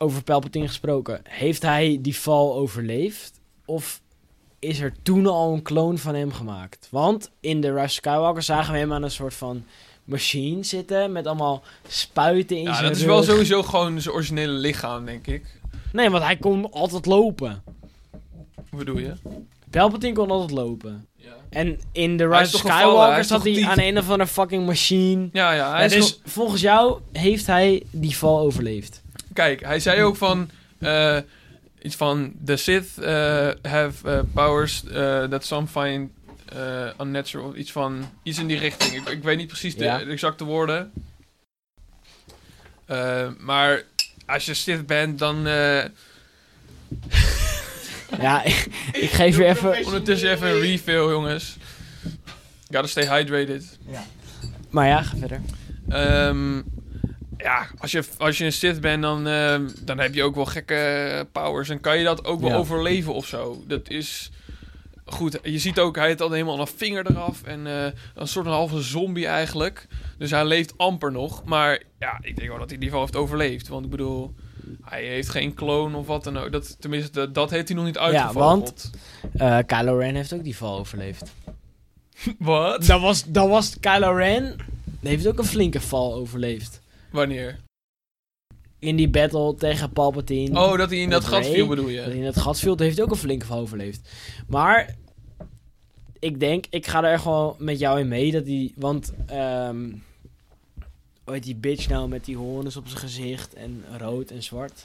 Over Palpatine gesproken, heeft hij die val overleefd? Of is er toen al een kloon van hem gemaakt? Want in de Rise of Skywalker zagen we hem aan een soort van machine zitten met allemaal spuiten in
Ja,
zijn
dat is wel
rug.
sowieso gewoon zijn originele lichaam, denk ik.
Nee, want hij kon altijd lopen.
Hoe bedoel je?
Palpatine kon altijd lopen.
Ja,
En in de
Hij
Rise
is
of
toch gevallen, hij
Skywalker
is
zat
toch
hij
diep.
aan een of andere fucking machine.
ja, ja hij
Ja,
is
dus
gewoon-
volgens jou heeft hij die val overleefd.
Kijk, hij zei ook van... eh, iets van... The Sith eh, have eh, powers eh, that some find eh, unnatural. Iets van... Iets in die richting. Ik, ik weet niet precies de,
Ja.
de exacte woorden. Eh, maar als je Sith bent, dan... eh,
Ja, ik, ik geef weer even.
ondertussen even een refill, jongens. Gotta stay hydrated.
Maar ja, ga verder.
Ehm, ja, als je, als je een Sith bent, dan, ehm, dan heb je ook wel gekke powers. En kan je dat ook wel
Ja.
overleven of zo. Dat is... Goed, je ziet ook, hij heeft al helemaal een vinger eraf. En eh, een soort van halve zombie eigenlijk. Dus hij leeft amper nog. Maar ja, ik denk wel dat hij in ieder geval heeft overleefd. Want ik bedoel, hij heeft geen kloon of wat dan ook. Dat, tenminste, dat, dat heeft hij nog niet uitgevogeld.
Eh, Kylo Ren heeft ook die val [LAUGHS] overleefd.
Wat?
Dat was, dat was Kylo Ren. Heeft ook een flinke val overleefd.
Wanneer?
In die battle tegen Palpatine.
Oh, dat hij in dat
Of
gat
Rey?
viel bedoel
Dat hij
je?
In het Gatfield heeft ook een flinke val overleefd. Maar ik denk, ik ga er gewoon met jou in mee dat die. Want. ehm hoe heet die bitch nou met die hoorns op zijn gezicht en rood en zwart?
[LAUGHS]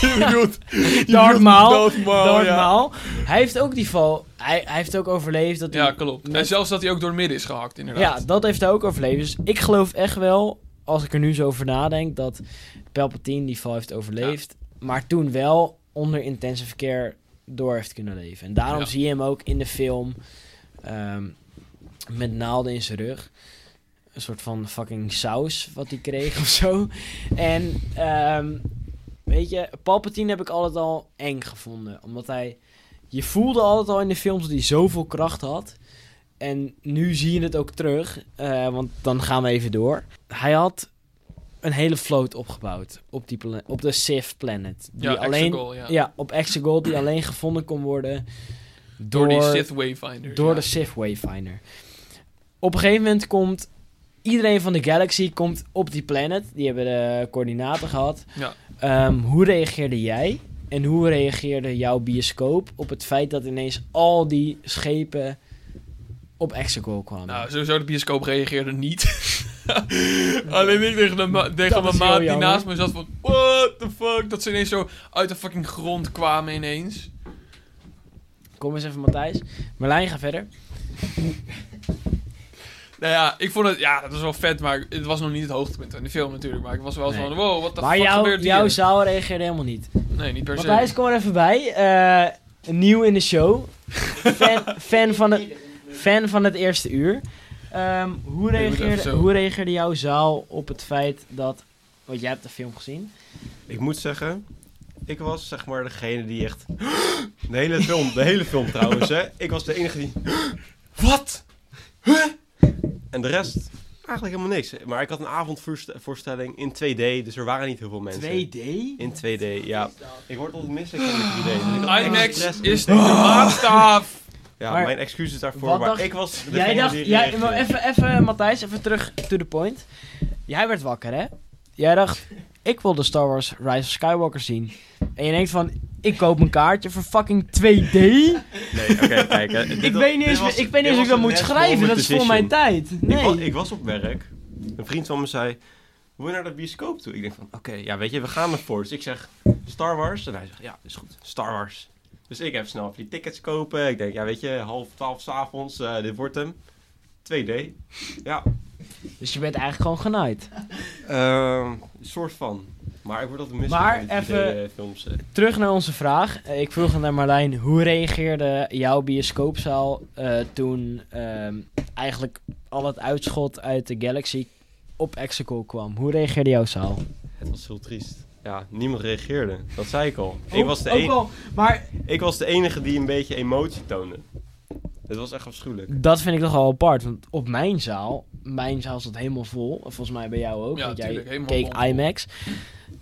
Je bedoelt- je
Darth
bedoelt
Maul.
Darth Maul, Oh, ja.
normaal. Hij heeft ook die val. Hij, hij heeft ook overleefd. Dat hij,
Ja, klopt.
met-
En zelfs dat hij ook door het midden is gehakt,
ja,
inderdaad.
dat heeft hij ook overleefd. Dus ik geloof echt wel, als ik er nu zo over nadenk, dat Palpatine die val heeft overleefd. Maar toen wel onder intensive care door heeft kunnen leven. En daarom
Ja.
zie je hem ook in de film ehm, met naalden in zijn rug. Een soort van fucking saus wat hij kreeg of zo. En ehm, weet je, Palpatine heb ik altijd al eng gevonden. Omdat hij. Je voelde altijd al in de films dat hij zoveel kracht had. En nu zie je het ook terug. eh, want dan gaan we even door. Hij had een hele vloot opgebouwd op, die plane- op de Sith Planet. Die
Ja,
alleen,
Exegol, ja.
ja, op Exegol die alleen gevonden kon worden
Door, die Sith Wayfinder.
door
ja.
de Sith Wayfinder. Op een gegeven moment komt iedereen van de galaxy komt op die planet. Die hebben de coördinaten gehad.
Ja.
Ehm, hoe reageerde jij? En hoe reageerde jouw bioscoop op het feit dat ineens al die schepen op Exegol kwamen?
Nou, sowieso de bioscoop
[LAUGHS]
reageerde niet. Alleen ik tegen, de ma-
Dat
tegen mijn
is heel
maat die
jammer.
naast me zat van... What the fuck? Dat ze ineens zo uit de fucking grond kwamen ineens.
Kom eens even, Matthijs. Merlijn, ga verder.
Nou ja, ik vond het... Ja, dat was wel vet, maar het was nog niet het hoogtepunt van de film natuurlijk. Maar ik was wel zo
Nee.
van... Wow, wat de
Maar
fuck
jouw,
gebeurt hier?
jouw zaal reageerde helemaal niet.
Nee, niet per se.
Matthijs, kom er even bij. Eh, nieuw in de show.
[LAUGHS]
fan, fan, van het, fan van het eerste uur. Ehm, hoe,
Nee, je moet even
reageerde,
zo.
hoe reageerde jouw zaal op het feit dat... Want jij hebt de film gezien.
Ik moet zeggen, ik was zeg maar degene die echt... [GASPS] De hele film, de hele film trouwens, hè. Ik was de enige die... [GASPS]
Wat?
En de rest, eigenlijk helemaal niks. Maar ik had een avondvoorstelling in 2D, dus er waren niet heel veel mensen.
2D?
In 2D, ja. Ik word altijd misselijk in de 3D. dus ik had echt
IMAX
stress.
[LAUGHS]
is de maatstaaf.
Ja,
Maar-
mijn excuses daarvoor,
Wat
maar
dacht-
ik was degene
Jij dacht...
die
Jij,
reageerde.
maar even, even, Matthijs, even terug to the point. Jij werd wakker, hè? Jij dacht, ik wil de Star Wars Rise of Skywalker zien. En je denkt van, Ik koop een kaartje voor fucking
[LAUGHS]
2D.
Nee, oké,
[LAUGHS]
kijk. hè, dit
ik
was-
weet niet
dit
eens,
was-
ik weet niet
dit
eens of ik
was
dat
een
moet
last
schrijven.
moment
Dat is voor
decision.
mijn tijd.
Ik, was,
Nee.
ik was op werk. Een vriend van me zei... Wil je naar de bioscoop toe? Ik denk van, oké, ja, weet je, we gaan ervoor. Dus ik zeg, Star Wars? En hij zegt, ja, is goed, Star Wars. Dus ik heb snel even die tickets kopen. Ik denk, ja, weet je, half twaalf s'avonds, eh dit wordt hem. 2D. Ja,
Dus je bent eigenlijk gewoon genaaid.
ehm, een soort van. Maar ik word altijd mis
Maar
met 3D
even-
eh, films. eh.
Terug naar onze vraag. Eh, Ik vroeg aan naar Marlijn, hoe reageerde jouw bioscoopzaal eh, toen ehm, eigenlijk al het uitschot uit de Galaxy op Exegol kwam? Hoe reageerde jouw zaal?
Het was heel triest. Ja, niemand reageerde. Dat zei ik al. ik, was de e- en-
maar
ik was de enige die een beetje emotie toonde. Het was echt afschuwelijk.
dat vind ik toch al apart. Want op mijn zaal, mijn zaal zat helemaal vol. Volgens mij bij jou ook.
Ja,
want jij
tuurlijk, helemaal
keek
bomvol.
IMAX.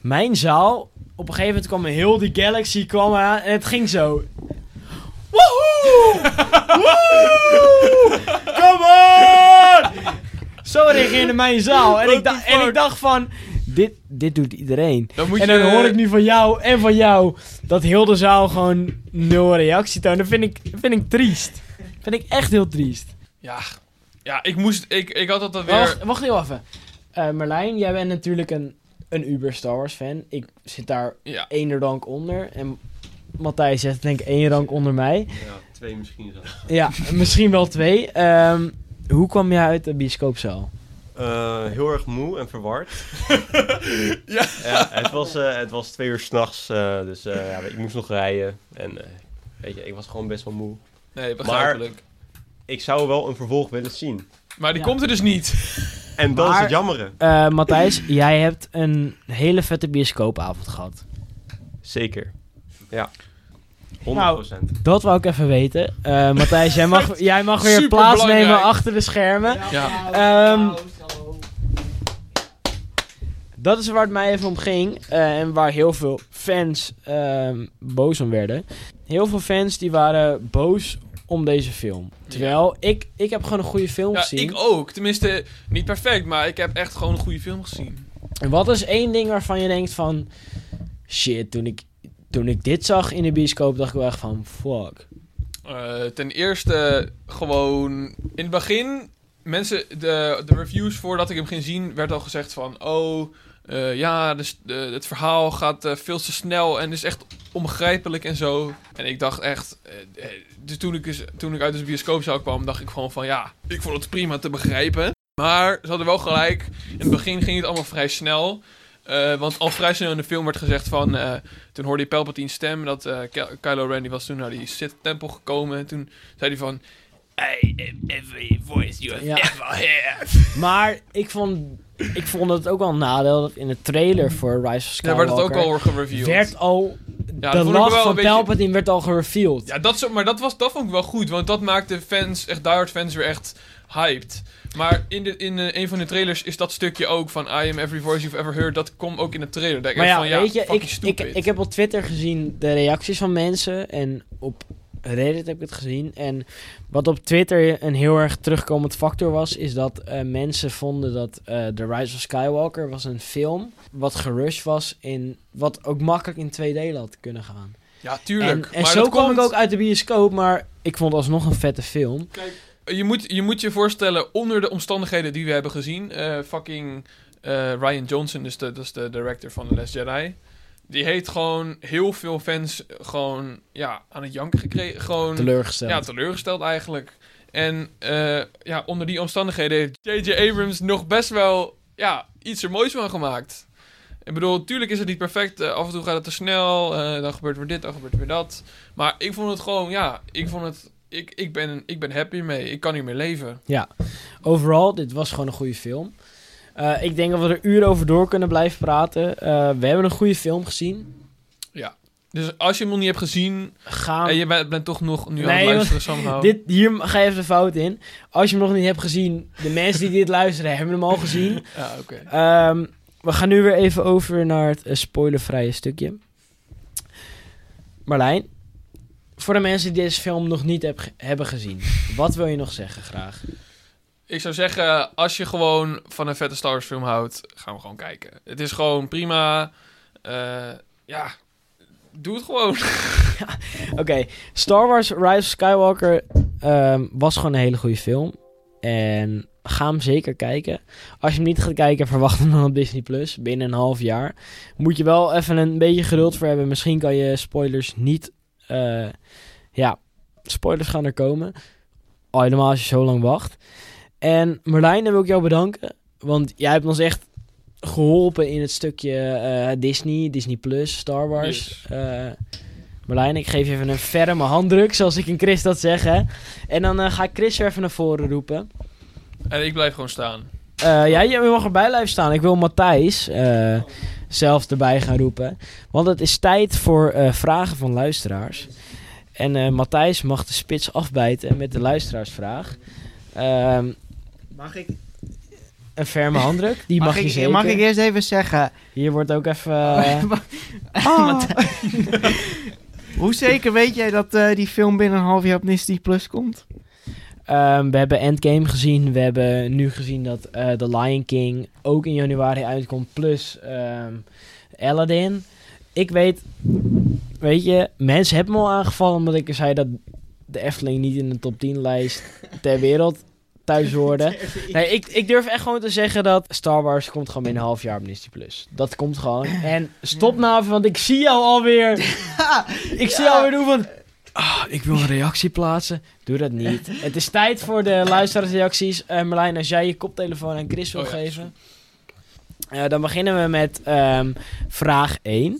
Mijn zaal, op een gegeven moment kwam heel die Galaxy kwam aan en het ging zo.
[LAUGHS]
Woehoe! Woehoe! Come on! Zo reageerde mijn zaal. En, ik, da- en ik dacht van, dit, dit doet iedereen.
Dan moet
En dan
je, eh,
hoor ik nu van jou en van jou dat heel de zaal gewoon nul reactie toont. Dat vind ik, vind ik triest. Vind ik echt heel triest.
Ja, ja ik, moest, ik, ik had dat
Maar
weer...
Wacht, wacht heel even. Eh, Merlijn, jij bent natuurlijk een, een uber Star Wars fan. Ik zit daar
Ja,
één rank onder. En Matthijs zegt denk ik één rank onder mij.
Ja, twee misschien zelfs.
Ja, misschien wel twee. Ehm, hoe kwam jij uit de bioscoopzaal?
Eh, heel erg moe en [LAUGHS] verward.
Ja.
het, was, eh, het was twee uur s'nachts, eh dus eh, ja, ik moest nog rijden. En eh, weet je, ik was gewoon best wel moe.
nee, begrijpelijk. Maar,
Ik zou wel een vervolg willen zien.
die
Ja.
komt er dus niet.
En dat is
Maar-
het jammere.
Eh, Matthijs, jij hebt een hele vette bioscoopavond gehad.
Zeker. Ja. 100%.
Dat wou ik even weten. Eh, Matthijs, jij
[LAUGHS]
mag, jij mag weer
Superbelangrijk.
plaatsnemen achter de schermen.
Ja.
Ehm, Dat is waar het mij even om ging. eh, en waar heel veel fans ehm, boos om werden. Heel veel fans die waren boos om deze film. Terwijl ik, ik heb gewoon een goede film
ja,
gezien.
ik ook. Tenminste, niet perfect, maar ik heb echt gewoon een goede film gezien.
En wat is één ding waarvan je denkt van... Shit, toen ik, toen ik dit zag in de bioscoop dacht ik wel echt van... Fuck.
Eh, ten eerste, gewoon in het begin, mensen, de, de reviews voordat ik hem ging zien, werd al gezegd van, oh, eh, ja, dus, eh, het verhaal gaat eh, veel te snel en is echt onbegrijpelijk en zo. En ik dacht echt, eh, eh, dus toen ik, dus, toen ik uit de bioscoopzaal kwam, dacht ik gewoon van, ja, ik vond het prima te begrijpen. Maar ze hadden wel gelijk, in het begin ging het allemaal vrij snel. Eh, want al vrij snel in de film werd gezegd van... eh, toen hoorde je Palpatine stem. Dat eh, Ky- Kylo Ren die was toen naar die Sith-tempel gekomen. En toen zei hij van... I am every voice you have
Ja.
ever heard.
Maar ik vond, ik vond het ook wel een nadeel dat in de trailer voor Rise of Skywalker...
Daar werd het ook al gereviewd.
Werd al...
dat
de
vond ik
lach
wel
van
een beetje-
Palpatine werd al gereveeld.
Ja, dat, zo- maar dat, was, dat vond ik wel goed. Want dat maakte fans, echt diehard fans, weer echt hyped. Maar in, de, in eh, een van de trailers is dat stukje ook van... I am every voice you've ever heard. Dat komt ook in de trailer. Daar
Maar
ik
ja,
van, ja,
weet je,
fucking
ik, ik,
stupid.
ik heb op Twitter gezien de reacties van mensen en op Reddit heb ik het gezien. En wat op Twitter een heel erg terugkomend factor was, is dat eh, mensen vonden dat eh The Rise of Skywalker was een film wat gerushed was in wat ook makkelijk in twee delen had kunnen gaan.
ja, tuurlijk.
En, en
maar
zo
dat
kwam
komt-
ik ook uit de bioscoop, maar ik vond het alsnog een vette film.
Je moet, je moet je voorstellen, onder de omstandigheden die we hebben gezien, eh, fucking eh, Ryan Johnson, dus de, dat is de director van The Last Jedi, die heeft gewoon heel veel fans gewoon ja, aan het janken gekregen. Gewoon,
Teleurgesteld.
ja, teleurgesteld eigenlijk. En eh, ja, onder die omstandigheden heeft J.J. Abrams nog best wel ja, iets er moois van gemaakt. Ik bedoel, tuurlijk is het niet perfect. eh, af en toe gaat het te snel. eh, dan gebeurt weer dit, dan gebeurt weer dat. Maar ik vond het gewoon, ja, ik vond het... Ik, ik, ben, ik ben happy mee. Ik kan hiermee leven.
Overal, dit was gewoon een goede film. Eh, ik denk dat we er uren over door kunnen blijven praten. Eh, we hebben een goede film gezien.
Dus als je hem nog niet hebt gezien...
Gaan
en je bent, bent toch nog nu
Ah. Nee,
aan het
want-
luisteren,
[LAUGHS]
nou. somehow.
Dit, hier ga je even de fout in. Als je hem nog niet hebt gezien, de mensen die dit [LAUGHS] luisteren hebben hem al gezien.
Ja, oké.
Ehm, we gaan nu weer even over naar het eh, spoilervrije stukje. Marlijn, voor de mensen die deze film nog niet heb, hebben gezien, wat wil je nog zeggen graag?
Ik zou zeggen, als je gewoon van een vette Star Wars film houdt, gaan we gewoon kijken. Het is gewoon prima. Eh, ja, Doe het gewoon. [LAUGHS]
Oké, Star Wars Rise of Skywalker ehm, was gewoon een hele goede film. En ga hem zeker kijken. Als je hem niet gaat kijken, verwacht hem dan op Disney Plus binnen een half jaar. Moet je wel even een beetje geduld voor hebben. Misschien kan je spoilers niet. eh, ja, spoilers gaan er komen. Al helemaal als je zo lang wacht. En Merlijn, dan wil ik jou bedanken. Want jij hebt ons echt geholpen in het stukje eh, Disney, Disney Plus, Star Wars. Eh, Merlijn, ik geef je even een ferme handdruk, zoals ik en Chris dat zeggen. En dan eh, ga ik Chris weer even naar voren roepen.
En ik blijf gewoon staan.
Eh, ja, je mag erbij blijven staan. Ik wil Matthijs eh, zelf erbij gaan roepen. Want het is tijd voor eh, vragen van luisteraars. En eh, Matthijs mag de spits afbijten met de luisteraarsvraag. Ehm,
Mag ik,
een ferme handdruk, die mag,
ik,
je zeker.
mag ik eerst even zeggen...
Hier wordt ook even...
[LAUGHS]
eh,
Oh. Hoe zeker weet jij dat eh, die film binnen een half jaar op Disney Plus [LAUGHS] komt?
Ehm, we hebben Endgame gezien. We hebben nu gezien dat eh The Lion King ook in januari uitkomt. Plus ehm, Aladdin. Ik weet... Weet je, mensen hebben me al aangevallen omdat ik zei dat de Efteling niet in de top 10 lijst ter wereld thuis hoorde. Nee, ik, ik durf echt gewoon te zeggen dat Star Wars komt gewoon binnen een half jaar op Disney+. Plus. Dat komt gewoon. En stop nou even, want ik zie jou alweer. Ik zie jou alweer doen van... Ah, ik wil een reactie plaatsen. Doe dat niet. Het is tijd voor de luisteraarsreacties. Eh Merlijn, als jij je koptelefoon aan Chris wil
Oh ja,
geven... Eh, dan beginnen we met ehm, vraag 1.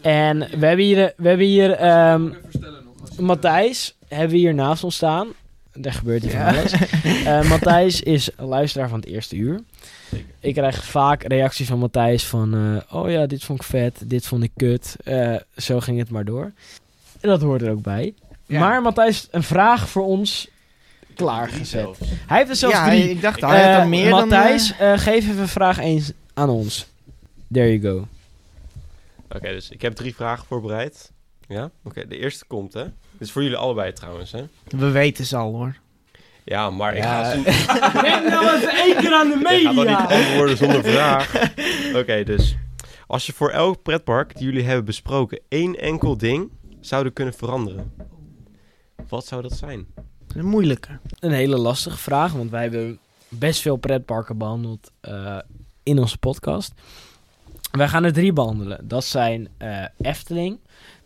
En we hebben hier, we hebben hier ehm, Matthijs hebben we hier naast ons staan. Er gebeurt hier van
[LAUGHS]
alles. Eh, Matthijs is een luisteraar van het eerste uur. Ik krijg vaak reacties van Matthijs van... eh, oh ja, dit vond ik vet, dit vond ik kut. Eh, zo ging het maar door. En dat hoort er ook bij.
Ja.
Maar Matthijs, een vraag voor ons klaargezet.
Zelf.
Hij heeft er zelfs
ja,
drie.
ik dacht al,
Eh,
hij had er meer dan...
Matthijs, eh, geef even vraag 1 aan ons. There you [LAUGHS] go.
Oké, dus ik heb drie vragen voorbereid. Ja? Oké, de eerste komt, hè? Dit is voor jullie allebei trouwens, hè?
eh, we weten ze al, hoor.
Ja, maar ik
Ja.
ga ze
Denk nou eens één keer aan de
Ik ga dat niet antwoorden zonder vraag. Oké, dus. Als je voor elk pretpark die jullie hebben besproken één enkel ding zouden kunnen veranderen. Wat zou dat zijn?
Dat is een moeilijke.
Een hele lastige vraag, want wij hebben best veel pretparken behandeld eh, in onze podcast. Wij gaan er drie behandelen. Dat zijn eh, Efteling,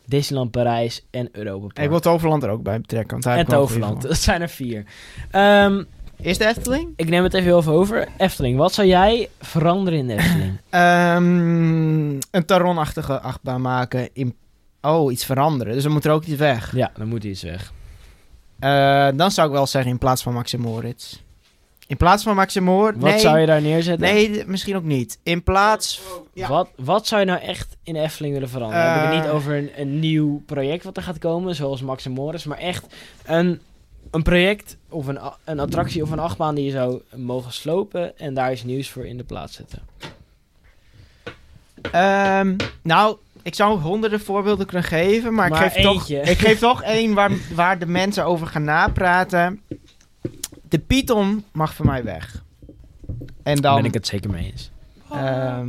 Disneyland Parijs en Europa Park.
Ik wil Toverland er ook bij betrekken, want hij
en
heeft wel een goede
Toverland, dat zijn er vier. Ehm,
film. Is de Efteling?
ik neem het even heel even over. Efteling, wat zou jij veranderen in de Efteling?
[LAUGHS] Ehm, een taronachtige achtbaan maken in... Oh, iets veranderen. Dus dan moet er ook iets weg.
ja, dan moet iets weg.
Eh, dan zou ik wel zeggen in plaats van Maxim Moritz. In plaats van Maxim Moritz...
Wat
nee,
zou je daar neerzetten?
Nee, d- misschien ook niet. In plaats... ja.
Wat, wat zou je nou echt in de Efteling willen veranderen? We hebben het niet
Eh.
over een, een nieuw project wat er gaat komen, zoals Max en Morris, maar echt een, een project of een, a- een attractie of een achtbaan die je zou mogen slopen en daar iets nieuws voor in de plaats zetten.
Ehm, nou, ik zou honderden voorbeelden kunnen geven, maar,
Maar
ik geef toch,
eentje.
[LAUGHS] ik geef toch één waar, waar de mensen over gaan napraten. De Python mag van mij weg. En
Daar
dan,
ben ik het zeker mee eens.
ehm,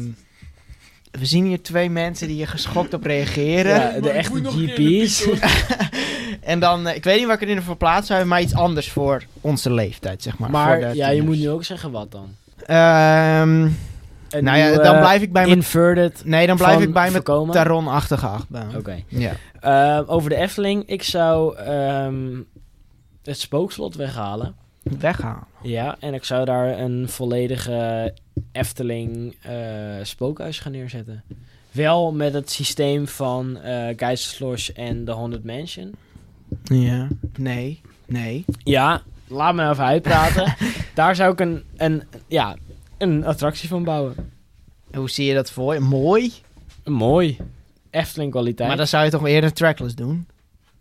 we zien hier twee mensen die hier geschokt op reageren.
Ja, de
maar ik
echte
moet nog een keer in de
GP's.
En dan, eh, ik weet niet wat ik erin voor plaats zou hebben, maar iets anders voor onze leeftijd, zeg maar. voor
[LAUGHS] Maar
de
ja, je
tieners.
moet nu ook zeggen wat dan.
Ehm,
Een
nou ja,
nieuwe
dan blijf ik bij mijn,
Inverted
nee, dan blijf
eh, van
ik bij mijn
voorkomen.
Taron-achtige achtbaan.
Oké.
Ja.
Ehm, over de Efteling, ik zou ehm, het spookslot weghalen.
Weggaan.
Ja, en ik zou daar een volledige Efteling eh, spookhuis gaan neerzetten. Wel met het systeem van eh Geisterslosh en de Haunted Mansion.
Ja. Nee. Nee.
Ja, laat me nou even
[LAUGHS]
uitpraten. daar zou ik een, een, ja, een attractie van bouwen.
Hoe zie je dat voor je? Mooi.
Mooi. Efteling kwaliteit.
Maar dan zou je toch eerder trackless doen?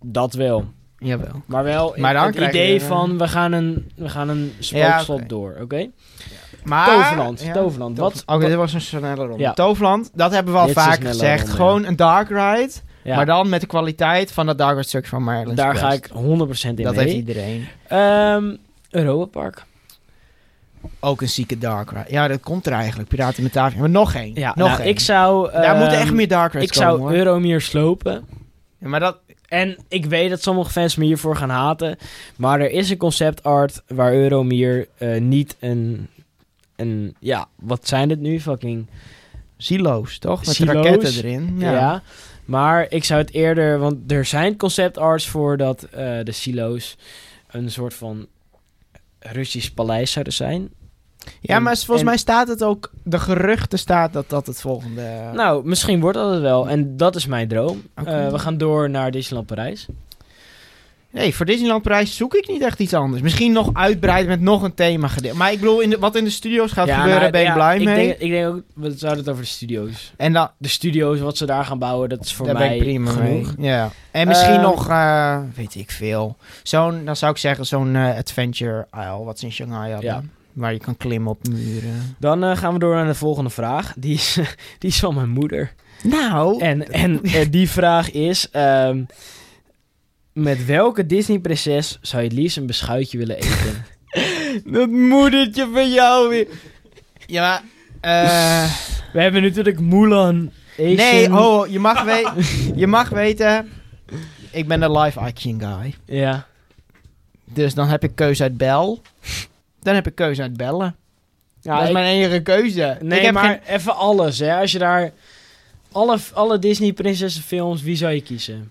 Dat wel.
Jawel.
Maar wel
Maar dan
het
krijg je-
idee van we gaan een, we gaan een spookslot
oké.
door, oké?
Maar,
Toverland,
Ja.
Toverland. Wat,
Oké, dit was een snelle ronde.
Ja.
Toverland, dat hebben we al
Dit is een
vaak
snelle
gezegd.
ronde,
Gewoon een dark ride,
ja,
maar dan met de kwaliteit van dat dark ride stuk van Marilyn
daar ga
Quest.
ik 100% in
Dat
mee.
heeft iedereen.
Ehm Europa Park.
Ook een zieke Dark Ride. Ja, dat komt er eigenlijk. Piraten met Tavia. Maar nog één.
Ja,
nog
nou,
één.
ik zou...
Daar moeten
ehm,
echt meer Dark Rides
Ik zou
komen, hoor.
Euromir slopen.
Ja, maar dat...
En ik weet dat sommige fans me hiervoor gaan haten. Maar er is een concept art waar Euromir eh, niet een, een... Ja, wat zijn het nu? Fucking...
Silo's, toch? Met
Silo's.
raketten erin.
Ja.
Ja.
Maar ik zou het eerder... Want er zijn concept arts voor dat eh, de silo's een soort van Russisch paleis zouden zijn.
Ja, maar volgens
en-
mij staat het ook... De geruchten staat dat dat het volgende... eh,
Nou, misschien wordt dat het wel. En dat is mijn droom.
Oké.
Eh, we gaan door naar Disneyland Parijs.
Nee, voor Disneyland Parijs zoek ik niet echt iets anders. Misschien nog uitbreiden met nog een thema Maar ik bedoel, in de, wat in de studio's gaat gebeuren,
nou,
ben ik
ja,
blij
ik
mee.
Denk, ik denk ook... We zouden het over de studio's.
en dan,
De studio's, wat ze daar gaan bouwen, dat is voor
daar
mij
ben ik prima
genoeg.
mee. Ja. En misschien
Ehm,
nog, eh, weet ik veel. Zo'n, dan zou ik zeggen, zo'n eh, Adventure Isle, wat ze in Shanghai hadden.
Ja.
Waar je kan klimmen op muren.
Dan eh, gaan we door naar de volgende vraag. Die is, [LAUGHS] die is van mijn moeder.
Nou,
En,
[LAUGHS]
en eh, die vraag is... ehm, met welke Disney-prinses zou je het liefst een beschuitje willen eten?
dat moedertje van jou weer. Ja, maar... [LAUGHS] eh,
We hebben natuurlijk Mulan. Asian.
nee, oh, je mag, we- je mag weten, ik ben de live action guy.
Ja.
Dus dan heb ik keuze uit bel. Dan heb ik keuze uit bellen. dat is
ik-
mijn enige keuze.
nee,
ik heb
maar
geen-
even alles. Hè. Als je daar... Alle, alle Disney-prinsessenfilms, wie zou je kiezen?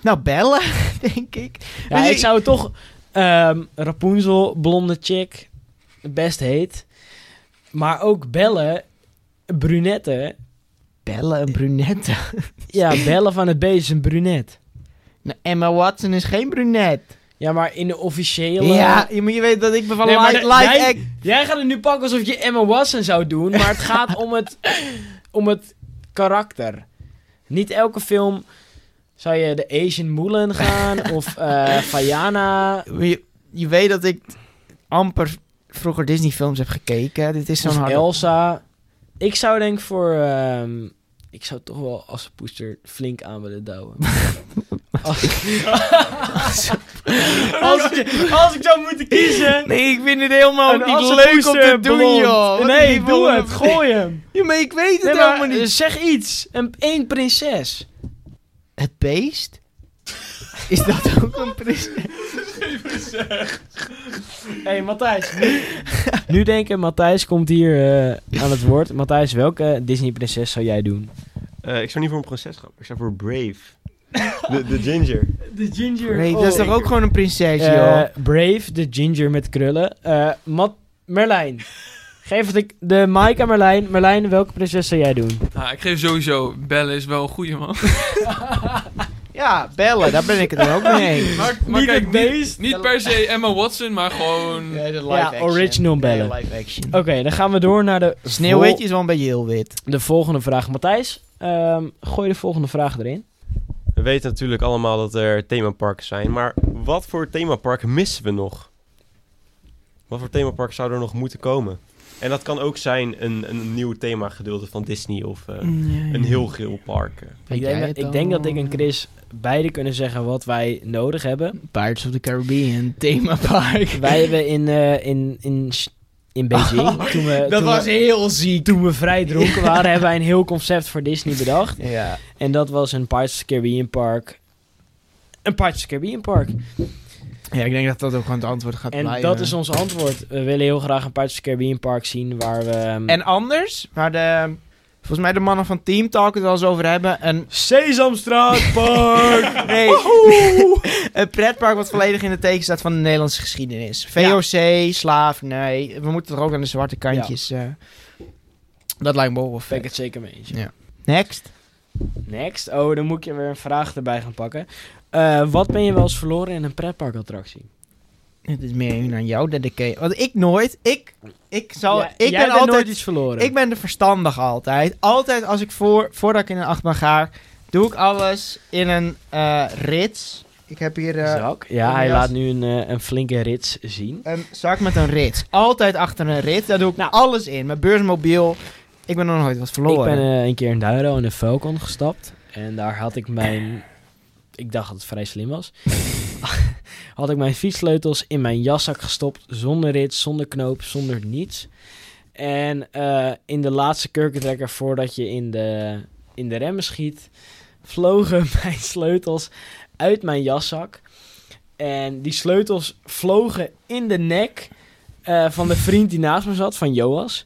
Nou, bellen, [LAUGHS] denk ik.
Ja,
Weet je-
ik zou toch... ehm, Rapunzel, blonde chick. Best heet. Maar ook Belle, brunette...
Bellen, een brunette.
Ja, Belle van het Beest is een brunet.
Nou, Emma Watson is geen brunet.
Ja, maar in de officiële...
Ja, je, maar je weet dat ik me van
Nee, maar
live,
de-
live
jij-
act...
Jij gaat het nu pakken alsof je Emma Watson zou doen, maar het gaat om het, om het karakter. Niet elke film zou je de Asian Mulan gaan of eh Fayana.
Je, je weet dat ik amper vroeger Disney films heb gekeken. Dit is zo'n
of
harde...
Elsa. Ik zou denk voor... ehm, ik zou toch wel als een poester flink aan willen
[LAUGHS]
douwen. als, als, ik, als ik zou moeten kiezen...
Nee, ik vind het helemaal
een
niet leuk om
assenpoester
te doen,
blond.
joh. Wat een
Nee,
lieve
doe
hond.
het. Gooi hem.
[LAUGHS] Ja, maar ik weet het
Nee,
helemaal
maar,
niet.
eh, zeg iets. Een één prinses. [LAUGHS]
Het beest? Is dat ook een prinses?
Hé, hey, Matthijs. Nu, [LAUGHS] nu denken, Matthijs komt hier eh, aan het woord. Matthijs, welke Disney-prinses zou jij doen?
Eh, ik zou niet voor een prinses gaan, ik zou voor Brave. De, de ginger.
De ginger.
Nee, dat is toch ook gewoon een prinses, joh.
Eh, Brave, de ginger met krullen. Eh, Mat
[LAUGHS]
Merlijn. Geef het ik de mic aan Merlijn. Merlijn, welke prinses zou jij doen?
Nou, ik geef sowieso... Bellen is wel een
[LAUGHS]
goeie, man.
Ja, bellen, daar ben ik het dan ook [LAUGHS] mee.
Maar, maar kijk, niet, niet per se Emma Watson, maar gewoon...
Ja, original bellen.
live action.
Oké, dan gaan we door naar de,
Sneeuwwitje is wel een beetje heel wit.
de volgende vraag. Matthijs, ehm, gooi de volgende vraag erin.
We weten natuurlijk allemaal dat er themaparken zijn, maar wat voor themapark missen we nog? Wat voor themapark zou er nog moeten komen? En dat kan ook zijn een, een nieuw themagedeelte van Disney of eh,
Hmm.
een heel geel park. eh.
Ik denk, dat, ik denk dat ik en Chris beide kunnen zeggen wat wij nodig hebben.
Pirates of the Caribbean themapark.
Wij hebben in, eh, in, in, Sh- in Beijing, toen, we,
[LAUGHS] dat
toen,
was
we,
heel ziek.
toen we vrij dronken waren, hebben wij een heel concept voor Disney bedacht.
Ja.
En dat was een Pirates of the Caribbean Park. Een Pirates of the Caribbean Park.
ja, ik denk dat dat ook gewoon het antwoord gaat
En
blijven.
dat is ons antwoord. We willen heel graag een Pirates of the Caribbean Park zien waar we... ehm,
En anders, waar de... Volgens mij de mannen van Team Talk het wel eens over hebben. Een,
Sesamstraat Park!
nee, [LAUGHS] een pretpark wat volledig in het teken staat van de Nederlandse geschiedenis. VOC, slaaf, nee. We moeten toch ook aan de zwarte kantjes. eh. dat lijkt me ook wel
ben ik
vet.
het zeker mee eens.
Next.
Next. Oh, dan moet je weer een vraag erbij gaan pakken. Eh, wat ben je wel eens verloren in een pretparkattractie?
Het is meer aan jou dedicated. Want ik nooit. Ik, ik zal.
Ja, jij
ik ben
bent
altijd.
nooit iets verloren.
ik ben de verstandige altijd. Altijd als ik voor, voordat ik in een achtbaan ga, doe ik alles in een eh, rits. Ik heb hier eh,
Zak. Ja, hij
Elias.
laat nu een, eh, een flinke rits zien.
een zak Ehm, met een rits. Altijd achter een rits. Daar doe ik
Nou.
alles in. Mijn beursmobiel. Ik ben nog nooit wat
Ik
verloren.
ben eh, een keer in Duiro in een Falcon gestapt. En daar had ik mijn... Ik dacht dat het vrij slim was. [LAUGHS] had ik mijn fietssleutels in mijn jaszak gestopt. Zonder rits, zonder knoop, zonder niets. En eh, in de laatste kurkentrekker voordat je in de, in de remmen schiet, vlogen [LAUGHS] mijn sleutels uit mijn jaszak. En die sleutels vlogen in de nek eh, van de vriend die naast me zat, van Joas.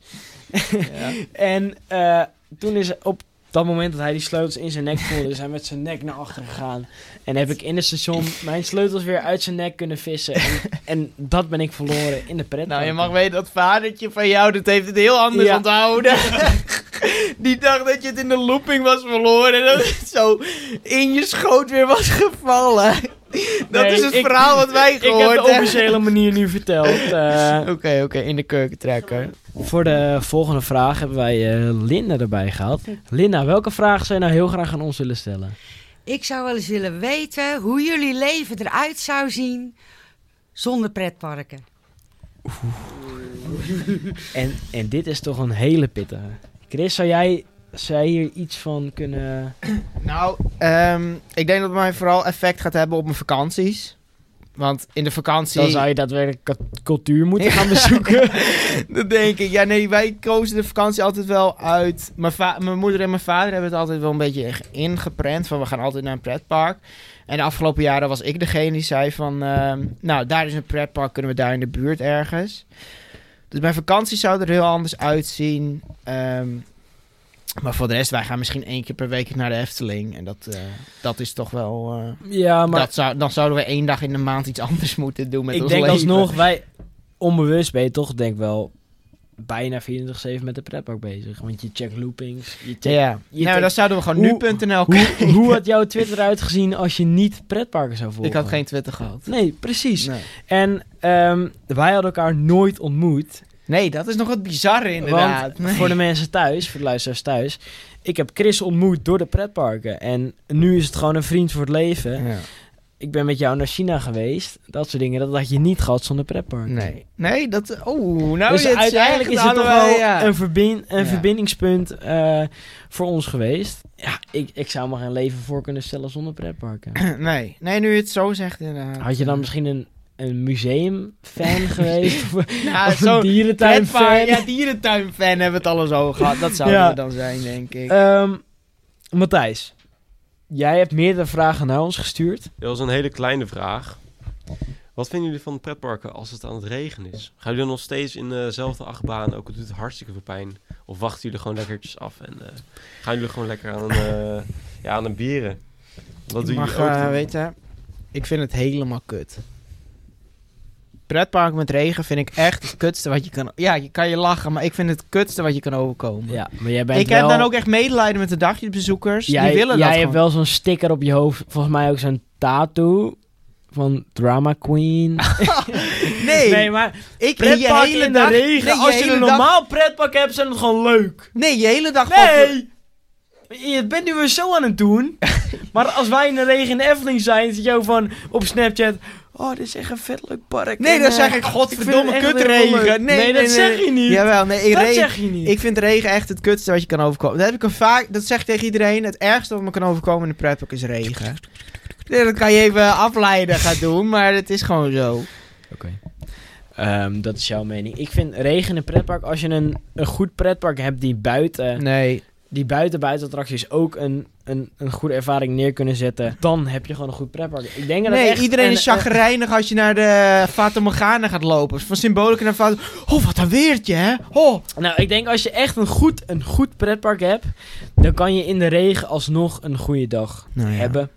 [LAUGHS] en eh, toen is op dat moment dat hij die sleutels in zijn nek voelde, is hij met zijn nek naar achter gegaan. En heb ik in het station mijn sleutels weer uit zijn nek kunnen vissen.
[LAUGHS]
En, en dat ben ik verloren in de pret.
Nou, je mag weten dat vadertje van jou, dat heeft het heel anders
Ja.
[LAUGHS] onthouden. Die dacht dat je het in de looping was verloren en dat het zo in je schoot weer was gevallen. Dat
Nee,
is het
ik-
verhaal wat wij
Ik heb
gehoord
de
hebben. Oké,
officiële manier nu verteld. eh.
[LAUGHS] oké, in de kurkentrekker.
voor de volgende vraag hebben wij eh Linda erbij gehaald. Linda, welke vraag zou je nou heel graag aan ons willen stellen?
Ik zou wel eens willen weten hoe jullie leven eruit zou zien zonder pretparken.
En, en dit is toch een hele pittige. Chris, zou jij, zou jij hier iets van kunnen...
Nou, ehm, ik denk dat het mij vooral effect gaat hebben op mijn vakanties. Want in de vakantie...
Dan zou je daadwerkelijk kat- cultuur moeten gaan bezoeken.
[LAUGHS] dat denk ik. Ja, nee, wij kozen de vakantie altijd wel uit. Mijn, va- mijn moeder en mijn vader hebben het altijd wel een beetje ingeprent. Van we gaan altijd naar een pretpark. En de afgelopen jaren was ik degene die zei van... ehm, nou, daar is een pretpark, kunnen we daar in de buurt ergens. Dus mijn vakantie zou er heel anders uitzien. Ehm, maar voor de rest, wij gaan misschien één keer per week naar de Efteling. En dat, eh, dat is toch wel... eh,
Ja, maar
dat zou, dan zouden we één dag in de maand iets anders moeten doen met
ik
ons
denk
leven.
alsnog, wij onbewust ben je toch denk ik wel bijna 24-7 met de pretpark bezig. Want je checkt loopings, je checkt...
Ja,
je
nou,
denkt-
dan zouden we gewoon
Hoe-
nu.nl
Hoe, hoe had jouw Twitter uitgezien als je niet pretparken zou volgen?
[LAUGHS] Ik had geen Twitter gehad.
Nee, precies.
Nee.
En ehm, wij hadden elkaar nooit ontmoet.
nee, dat is nog wat bizarre inderdaad.
Want voor de mensen thuis, voor de luisteraars thuis. Ik heb Chris ontmoet door de pretparken. En nu is het gewoon een vriend voor het leven.
Ja.
Ik ben met jou naar China geweest. Dat soort dingen. Dat had je niet gehad zonder pretparken.
Nee. Nee, dat... Oh, nou
dus
je het
uiteindelijk
zegt,
is het toch
allebei,
wel
ja.
een, verbind, een
Ja.
verbindingspunt eh, voor ons geweest. Ja, ik, ik zou me geen leven voor kunnen stellen zonder pretparken.
[CLEARS THROAT] Nee, nee, nu je het zo zegt inderdaad.
Had je dan misschien een, een
[LAUGHS]
museumfan geweest? Of,
Nou,
of een
zo'n
dierentuinfan?
pretpark- Ja, dierentuinfan hebben we het alles over gehad. Dat
[LAUGHS]
zouden
Ja.
we dan zijn, denk ik.
Ehm, Matthijs, jij hebt meerdere vragen naar ons gestuurd.
Dat was een hele kleine vraag. Wat vinden jullie van de pretparken als het aan het regenen is? Gaan jullie dan nog steeds in eh, dezelfde achtbaan, ook al doet het hartstikke veel pijn? Of wachten jullie gewoon lekkertjes af en eh, gaan jullie gewoon lekker aan, eh ja, aan de bieren? Wat
je
doen
mag
jullie ook?
eh, weten, ik vind het helemaal kut. Pretpark met regen vind ik echt het kutste wat je kan... Ja, je kan je lachen, maar ik vind het kutste wat je kan overkomen.
Ja, maar jij bent
ik heb dan ook echt medelijden met de dagjesbezoekers.
Jij,
die willen
jij hebt
dat gewoon.
wel zo'n sticker op je hoofd. Volgens mij ook zo'n tattoo van Drama Queen.
[LAUGHS] Nee,
maar
ik
pretpark in de regen.
nee,
Als je
hele
een
dag-
normaal pretpark hebt, zijn het gewoon leuk.
Nee, je hele dag... valt-
Nee! Je bent nu weer zo aan het
[LAUGHS]
doen. maar als wij in de regen in de Efteling zijn, zit jou van op Snapchat... Oh, dit is echt een vet leuk park.
Nee,
En,
dan
eh,
zeg ik godverdomme
vind het echt heel leuk.
kutregen. Nee,
Nee, dat zeg je niet.
Jawel, nee,
dat
regen-
zeg je niet.
Ik vind regen echt het kutste wat je kan overkomen. Dat heb ik een vaak, dat zeg ik tegen iedereen. Het ergste wat me kan overkomen in de pretpark is regen. Nee, dat kan je even afleiden gaan doen, maar het is gewoon zo.
Ehm, dat is jouw mening. Ik vind regen in pretpark, als je een, een goed pretpark hebt die buiten,
Nee.
die buiten buitenattracties ook een, een, een goede ervaring neer kunnen zetten, dan heb je gewoon een goed pretpark. Ik denk dat
Nee,
echt
iedereen
een-
is chagrijnig als je naar de Fata Morgana gaat lopen. Van symbolica naar Fata... Oh, wat een weertje, hè? Oh,
een- nou, ik denk als je echt een goed, een goed pretpark hebt, dan kan je in de regen alsnog een goede dag
Nou ja.
hebben.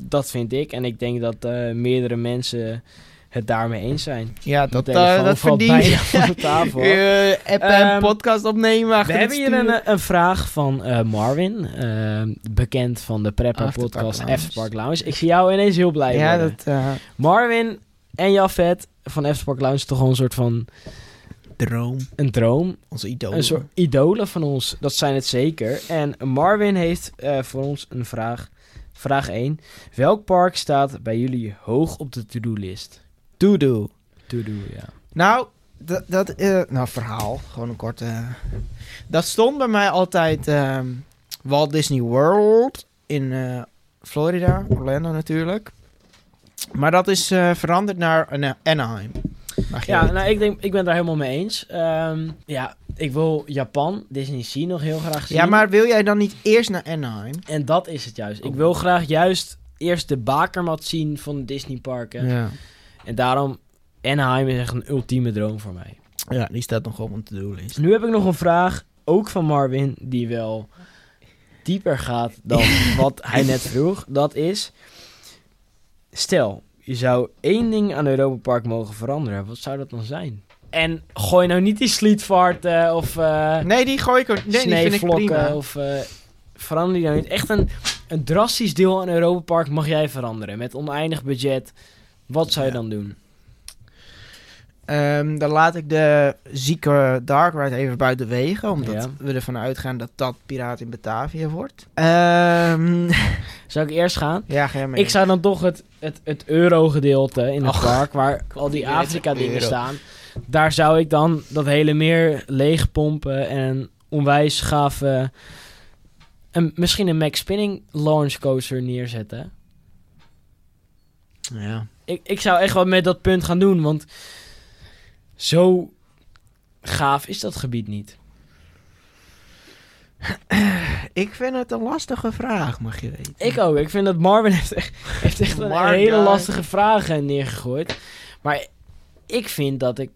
Dat vind ik. En ik denk dat eh, meerdere mensen het daarmee eens zijn.
Ja, dat,
Mijn telefoon
eh, dat
valt
verdien
bijna
je.
[LAUGHS] van de tafel.
Eh, app en
Ehm,
podcast opnemen achter
We
het
hebben hier
stuur.
een, eh, een vraag van eh, Marvin, ehm, bekend van de Prepper
Afterpark
podcast
Lounge.
Afterpark Lounge. Ik zie jou ineens heel blij
Ja,
worden.
dat... eh,
Marvin en Jafet van Afterpark Lounge is toch gewoon een soort van
droom.
een droom.
Onze idool.
Een soort idolen van ons, dat zijn het zeker. En Marvin heeft eh, voor ons een vraag. Vraag 1. Welk park staat bij jullie hoog op de to-do-list?
Doedoe.
To-do, ja.
Nou, dat, dat eh, nou, verhaal. Gewoon een korte. eh. Dat stond bij mij altijd ehm, Walt Disney World in eh, Florida, Orlando natuurlijk. Maar dat is eh, veranderd naar Ana- Anaheim. Mag jij
Ja,
weten.
nou, ik, denk, ik ben daar helemaal mee eens. Ehm, ja, ik wil Japan, Disney Sea nog heel graag zien.
ja, maar wil jij dan niet eerst naar Anaheim?
En dat is het juist. Ik wil graag juist eerst de bakermat zien van de Disneyparken.
Ja.
En daarom, Anaheim is echt een ultieme droom voor mij. Dus
ja, die staat nog op een to-do-list.
Nu heb ik nog een vraag, ook van Marvin, die wel dieper gaat [LAUGHS] dan wat hij net vroeg. Dat is, stel, je zou één ding aan Europa Park mogen veranderen. Wat zou dat dan zijn? En gooi nou niet die sleetvaarten of eh
Nee, die gooi ik ook. Nee, die vind ik prima.
sneeuwvlokken of eh, verander die nou niet. Echt een, een drastisch deel aan Europa Park mag jij veranderen met oneindig budget. Wat zou je dan doen?
Ehm, dan laat ik de zieke Dark Ride even buiten wegen. Omdat
Ja.
we ervan uitgaan dat dat Piraat in Batavia wordt. Ehm, [LAUGHS]
Zou ik eerst gaan?
ja, ga jij mee.
Ik zou dan toch het, het, het euro-gedeelte in het
Och,
park, waar al die
weer het
Afrika-dingen
[LAUGHS] euro.
staan, daar zou ik dan dat hele meer leegpompen en een onwijs gave. Een, misschien een Max Spinning launch coaster neerzetten.
Ja.
Ik, ik zou echt wat met dat punt gaan doen, want zo gaaf is dat gebied niet.
Ik vind het een lastige vraag, mag je weten.
Ik ook. Ik vind dat Marvin heeft echt, heeft echt een
Marvin.
hele lastige vragen neergegooid. Maar ik vind dat ik...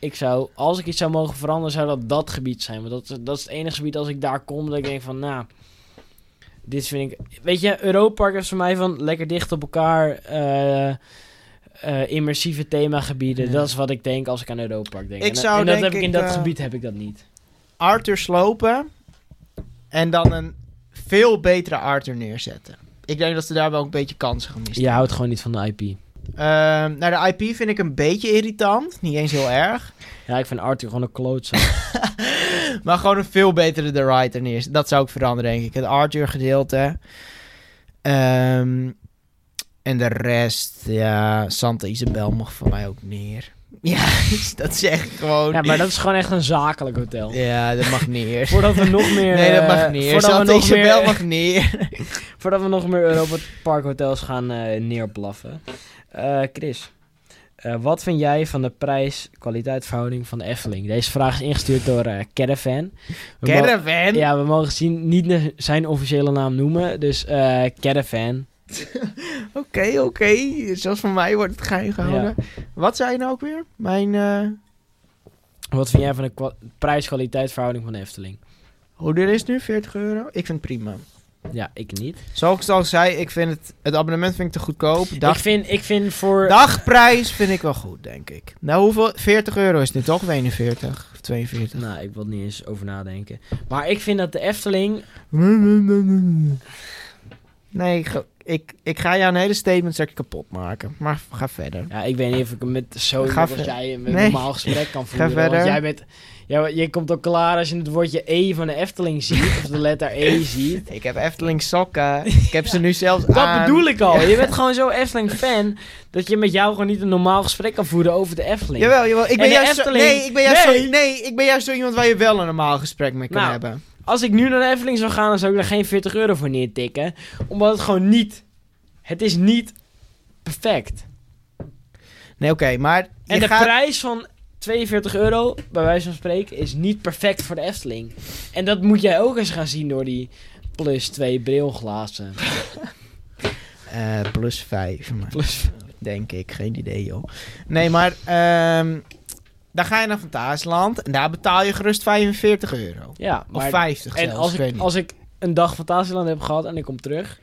Ik zou, als ik iets zou mogen veranderen, zou dat dat gebied zijn. Want dat, is- dat is het enige gebied als ik daar kom, dat ik denk van, nou... Dit vind ik... Weet je, Europark is voor mij van lekker dicht op elkaar... eh, eh, immersieve themagebieden.
Ja.
Dat is wat ik denk als ik aan Europark denk.
Ik
en, dat-
zou
en dat
denk
heb ik in
ik,
dat
eh,
gebied heb ik dat niet.
Arthur slopen en dan een veel betere Arthur neerzetten. Ik denk dat ze daar wel een beetje kansen gemist
Je houdt gewoon niet van de IP.
Ehm, nou, de IP vind ik een beetje irritant. Niet eens heel erg.
Ja, ik vind Arthur gewoon een klootzak.
Oh, Maar gewoon een veel betere The Rider neer. Dat zou ik veranderen, denk ik. Het Arthur gedeelte. Ehm, en de rest, ja, Santa Isabel mag voor mij ook neer. [LAUGHS] Ja, dat zeg ik gewoon.
Ja,
Ja,
maar dat is gewoon echt een zakelijk hotel.
dat mag neer.
[LAUGHS] Voordat we nog meer.
Nee, dat mag
eh,
neer.
Voordat, we
Santa
nog
Isabel
meer,
mag neer.
[LAUGHS] voordat we nog meer Europa Park hotels gaan eh, neerplaffen. Eh, Chris, eh, wat vind jij van de prijs-kwaliteitverhouding van de Efteling? Deze vraag is ingestuurd door eh, Caravan. We mo-
Caravan.
Ja, we mogen zien, niet ne- zijn officiële naam noemen. Dus eh, Caravan.
Oké, oké. Zelfs van mij wordt het geheim gehouden. Wat zei je nou ook weer? Mijn, eh,
Wat vind jij van de kwa- prijs-kwaliteitverhouding van de Efteling?
hoe duur is het nu? 40 euro? Ik vind het prima.
Ja, ik niet.
Zoals ik al zei, ik vind het, het abonnement vind ik te goedkoop. Dag,
Ik, vind, ik vind voor.
dagprijs vind ik wel goed, denk ik. Nou, hoeveel? 40 euro is het nu toch? 41 of 42?
Nou, ik wil er niet eens over nadenken. Maar ik vind dat de Efteling
Nee, ik, ga- ik, ik ga jou een hele statement zeg ik, kapot maken. Maar ga verder.
Ja, ik weet niet of ik hem met zo
Ga
als
ver-
jij een
Nee.
normaal gesprek kan voeren.
verder.
Want jij bent, ja, je komt ook klaar als je het woordje E van de Efteling ziet, of de letter
[LAUGHS]
E ziet.
Ik heb Efteling
[LAUGHS]
sokken. Ik heb ze nu zelfs
Dat
aan.
bedoel ik al.
Ja.
Je bent gewoon zo Efteling-fan dat je met jou gewoon niet een normaal gesprek kan voeren over de Efteling.
Jawel, jawel. Ik ben
de
juist zo,
Efteling-
nee, ik ben juist
Nee.
Zo, nee, ik ben juist zo iemand waar je wel een normaal gesprek mee kan
Nou.
hebben.
Als ik nu naar de Efteling zou gaan, dan zou ik daar geen 40 euro voor neertikken. Omdat het gewoon niet... Het is niet perfect.
Nee, oké, maar je
En de
gaat...
prijs van 42 euro, bij wijze van spreken, is niet perfect voor de Efteling. En dat moet jij ook eens gaan zien door die plus 2
[LAUGHS]
brilglazen.
Eh, plus vijf, maar
Plus...
denk ik. Geen idee, joh. Nee, maar ehm dan ga je naar Fantasieland en daar betaal je gerust 45 euro.
Ja, maar...
of 50
en
zelfs,
als
ik
ik,
weet niet.
als ik een dag Fantasieland heb gehad en ik kom terug,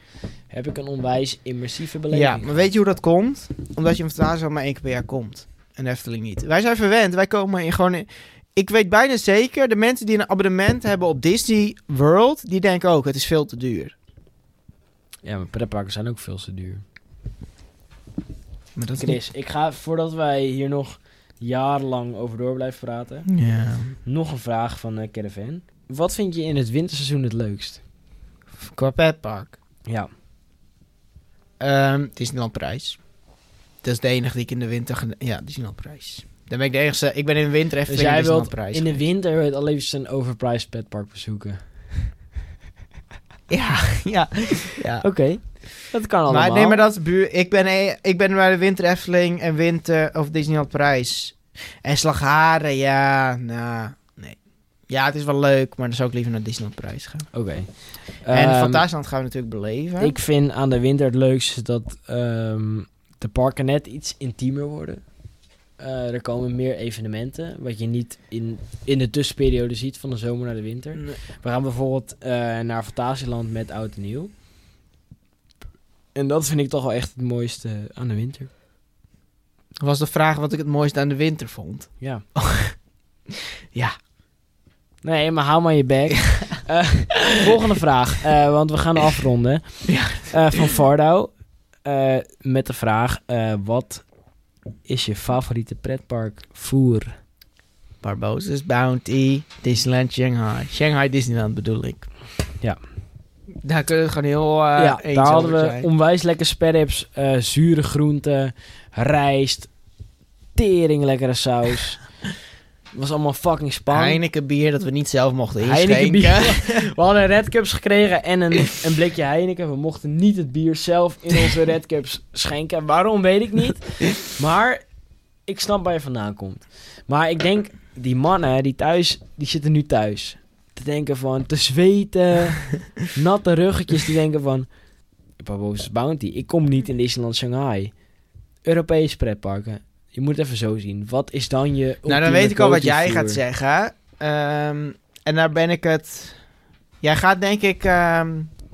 heb ik een onwijs immersieve beleving.
Ja, maar weet je hoe dat komt? Omdat je in Fantasieland maar één keer per jaar komt. En Efteling niet. Wij zijn verwend. Wij komen in gewoon... in- Ik weet bijna zeker, de mensen die een abonnement hebben op Disney World... die denken ook, het is veel te duur.
ja, maar pretparken zijn ook veel te duur.
Maar dat is niet-
Chris, ik ga, voordat wij hier nog jarenlang over door blijven praten,
Ja,
nog een vraag van eh, Caravan. Wat vind je in het winterseizoen het leukst?
qua petpark.
Ja.
Ehm Disneyland Prijs. Dat is de enige die ik in de winter... gene- Ja, Disneyland Prijs. Dan ben ik de enige... Ik ben in de winter even
Dus jij wilt
Disneyland nou Prijs.
in de winter het allerliefst een overpriced petpark bezoeken.
[LAUGHS] Ja, ja, ja.
Oké. Dat kan allemaal.
Maar nee, maar dat is buur. Ik ben, e- ik ben bij de Winter Efteling en Winter of Disneyland Prijs. En Slagharen, ja, nou, nee. Ja, het is wel leuk, maar dan zou ik liever naar Disneyland Prijs gaan.
Oké.
en
Ehm,
Fantasieland gaan we natuurlijk beleven.
Ik vind aan de winter het leukste dat ehm, de parken net iets intiemer worden. Eh, er komen meer evenementen, wat je niet in, in de tussenperiode ziet van de zomer naar de winter.
Nee.
We gaan bijvoorbeeld eh, naar Fantasieland met Oud en Nieuw. En dat vind ik toch wel echt het mooiste aan de winter.
Was de vraag wat ik het mooiste aan de winter vond.
Ja.
Ja.
Nee, maar hou maar je bek. Eh, volgende vraag, eh, want we gaan afronden. Eh, van Fardo. eh, met de vraag, eh, wat is je favoriete pretpark voer?
Barbosa's Bounty, Disneyland Shanghai. Shanghai Disneyland bedoel ik.
Ja.
Daar kunnen we gewoon heel eh
ja,
eens
daar hadden we
over zijn.
onwijs lekker sperrips, eh, zure groenten, rijst, tering lekkere
[LAUGHS]
saus. was allemaal fucking spannend.
Heineken bier dat we niet zelf mochten inschenken.
Heineken bier. [LAUGHS] We hadden Red Cups gekregen en een, een blikje Heineken. We mochten niet het bier zelf in onze Red Cups schenken. Waarom weet ik niet. Maar ik snap waar je vandaan komt. Maar ik denk, die mannen die thuis, die zitten nu thuis. Te denken van, te zweten,
[LAUGHS]
natte ruggetjes. Die denken van, Barbosa's Bounty, ik kom niet in Disneyland Shanghai. Europees pretparken. Je moet het even zo zien. Wat is dan je
[LAUGHS] Nou, dan
ultieme
weet ik al wat jij
go-to
gaat
tour?
zeggen. Ehm, en daar ben ik het... Jij gaat denk ik... ehm,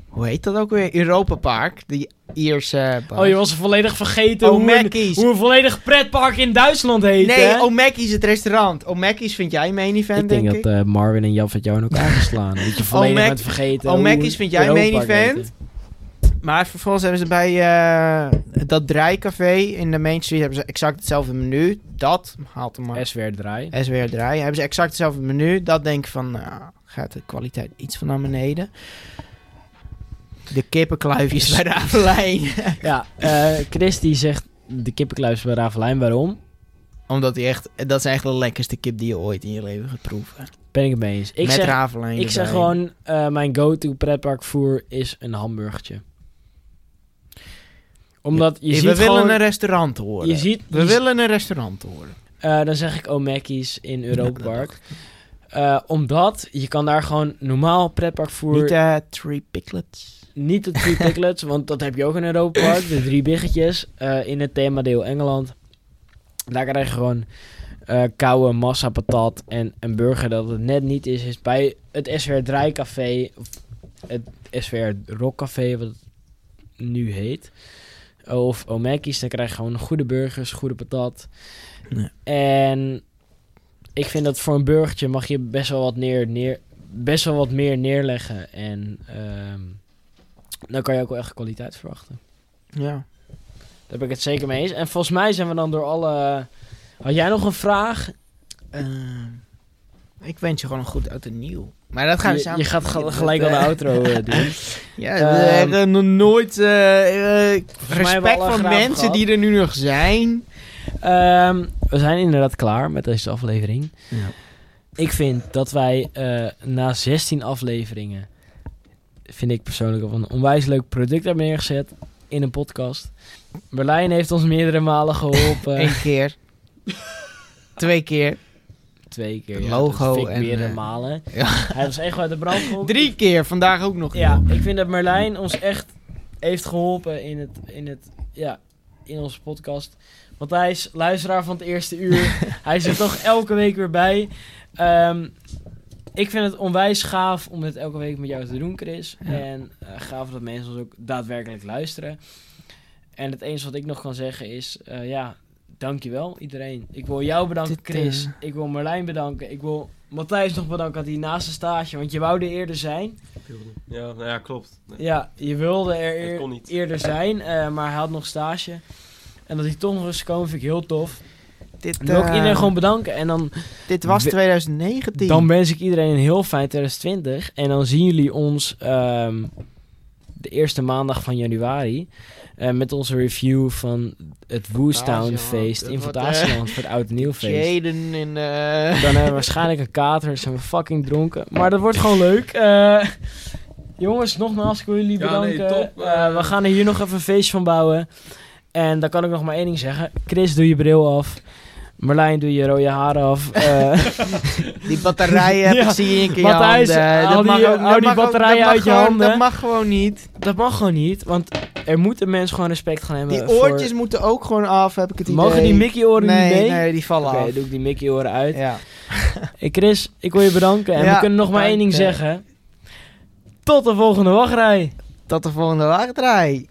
hoe heet dat ook weer? Europa Park. Die Ierse...
Oh, je was volledig vergeten
Oh,
hoe, een,
Mackey's.
hoe een volledig pretpark in Duitsland heet, hè?
Nee, O'Mackey's het restaurant. O'Mackey's vind jij main event,
Ik denk dat eh, Marvin en Jan van jou in elkaar gaan slaan. Dat je volledig
Mac-
bent vergeten.
Oh,
hoe
Mackey's
een
vind jij
Europa
main
Park
event?
heette.
Maar vervolgens hebben ze bij eh, dat draaicafé in de Main Street... hebben ze exact hetzelfde menu. Dat haalt hem maar.
SWR draai.
[LAUGHS] SWR draaien. Hebben ze exact hetzelfde menu. Dat denk ik van... nou, gaat de kwaliteit iets van naar beneden. De kippenkluifjes [LAUGHS] bij de Avelijn.
Ja, eh Chris die zegt de kippenkluis bij Ravelijn. Waarom?
Omdat die echt, dat is echt de lekkerste kip die je ooit in je leven gaat proeven.
Ben ik het mee eens. Ik
Met
zeg,
ravelijn.
ik zeg
erbij.
gewoon, eh, mijn go-to pretparkvoer is een hamburgertje. Omdat je
we
ziet
willen
gewoon...
een restaurant horen.
je ziet,
we
je
willen een restaurant horen.
Eh, dan zeg ik O'Mackey's in
Ja,
Europa
dat
Park. Eh, omdat je kan daar gewoon normaal pretparkvoer...
Niet eh Three Picklets.
Niet de drie piglets, want dat heb je ook in Europa Park. De drie biggetjes eh, in het themadeel Engeland. Daar krijg je gewoon eh, koude massa patat en een burger dat het net niet is. is bij het SWR Draaicafé, of het SWR Rockcafé, wat het nu heet. Of Omeki's, dan krijg je gewoon goede burgers, goede patat.
Nee.
En ik vind dat voor een burgertje mag je best wel wat, neer, neer, best wel wat meer neerleggen. En... ehm, dan kan je ook wel echt kwaliteit verwachten.
Ja.
Daar ben ik het zeker mee eens. En volgens mij zijn we dan door alle... Had jij nog een vraag?
Ehm, ik wens je gewoon een goed oud en nieuw. Maar dat gaan we
je,
samen.
je gaat
beginnen.
gel- gelijk al
Dat,
de
eh,
outro eh, doen.
[LAUGHS] Ja,
Ehm,
we hebben nog nooit eh, eh,
mij hebben we
respect
alle
voor
graven
mensen
gehad.
die er nu nog zijn.
Ehm, we zijn inderdaad klaar met deze aflevering.
Ja.
Ik vind dat wij eh, na 16 afleveringen... vind ik persoonlijk al een onwijs leuk product hebben neergezet in een podcast. Berlijn heeft ons meerdere malen geholpen.
[LAUGHS] Eén
[LAUGHS]
keer. Twee keer.
Twee keer.
Het
ja,
logo
dat vind ik
en,
meerdere
eh,
malen.
ja.
Hij was echt wel uit de brand geholpen.
Drie keer. Vandaag ook nog.
Ja, ik vind dat Merlijn ons echt heeft geholpen in, het, in, het, ja, in onze podcast. Want hij is luisteraar van het eerste
[LAUGHS]
uur. hij zit toch elke week weer bij. Ehm, ik vind het onwijs gaaf om dit elke week met jou te doen, Chris.
Ja.
En eh, gaaf dat mensen ons ook daadwerkelijk luisteren. En het enige wat ik nog kan zeggen is, eh ja, dankjewel iedereen. Ik wil jou bedanken,
Dit,
Chris.
eh,
Ik wil Merlijn bedanken. Ik wil Matthijs nog bedanken aan die naaste stage, want je wou er eerder zijn.
Ja, nou ja, klopt. Nee.
Ja, je wilde er
Het
eer-
kon niet.
eerder zijn, eh, maar hij had nog stage. En dat hij toch nog eens kwam, vind ik heel tof.
Dit,
Dan wil ik
eh,
iedereen gewoon bedanken. En dan,
Dit was
We-
2019.
dan wens ik iedereen een heel fijn 2020. En dan zien jullie ons ehm, de eerste maandag van januari. eh, met onze review van het Woestown feest in
Dat wordt,
Fantasieland
eh,
voor het Oud en Nieuw feest.
Jaden in eh
Dan hebben we waarschijnlijk een kater, zijn we fucking dronken. Maar dat wordt gewoon leuk. Eh, Jongens, nogmaals, ik wil jullie
Ja, nee,
bedanken.
top.
Eh,
Eh,
we gaan er hier nog even een feestje van bouwen. En dan kan ik nog maar één ding zeggen. Chris, doe je bril af. Merlijn, doe je rode haren af. Eh,
[LAUGHS]
Die
[LAUGHS]
batterijen heb ik
Ja,
zie je in je
Matthijs,
handen.
haal
Dat mag
die-
ook-
haal
dat
die
mag ook-
batterijen
dat mag
uit je
gewoon-
handen.
Dat mag gewoon niet.
dat mag gewoon niet, want er moet een mens gewoon respect gaan hebben
Die
Eh, voor-
oortjes moeten ook gewoon af, heb ik het idee.
Mogen die Mickey-oren
nee,
niet mee?
Nee, die vallen
Oké,
af.
doe ik die Mickey-oren uit.
Ja.
Hey Chris, ik wil je bedanken. En
Ja,
we kunnen nog maar één ding
bedankt,
zeggen. Tot de volgende wachtrij.
Tot de volgende wachtrij.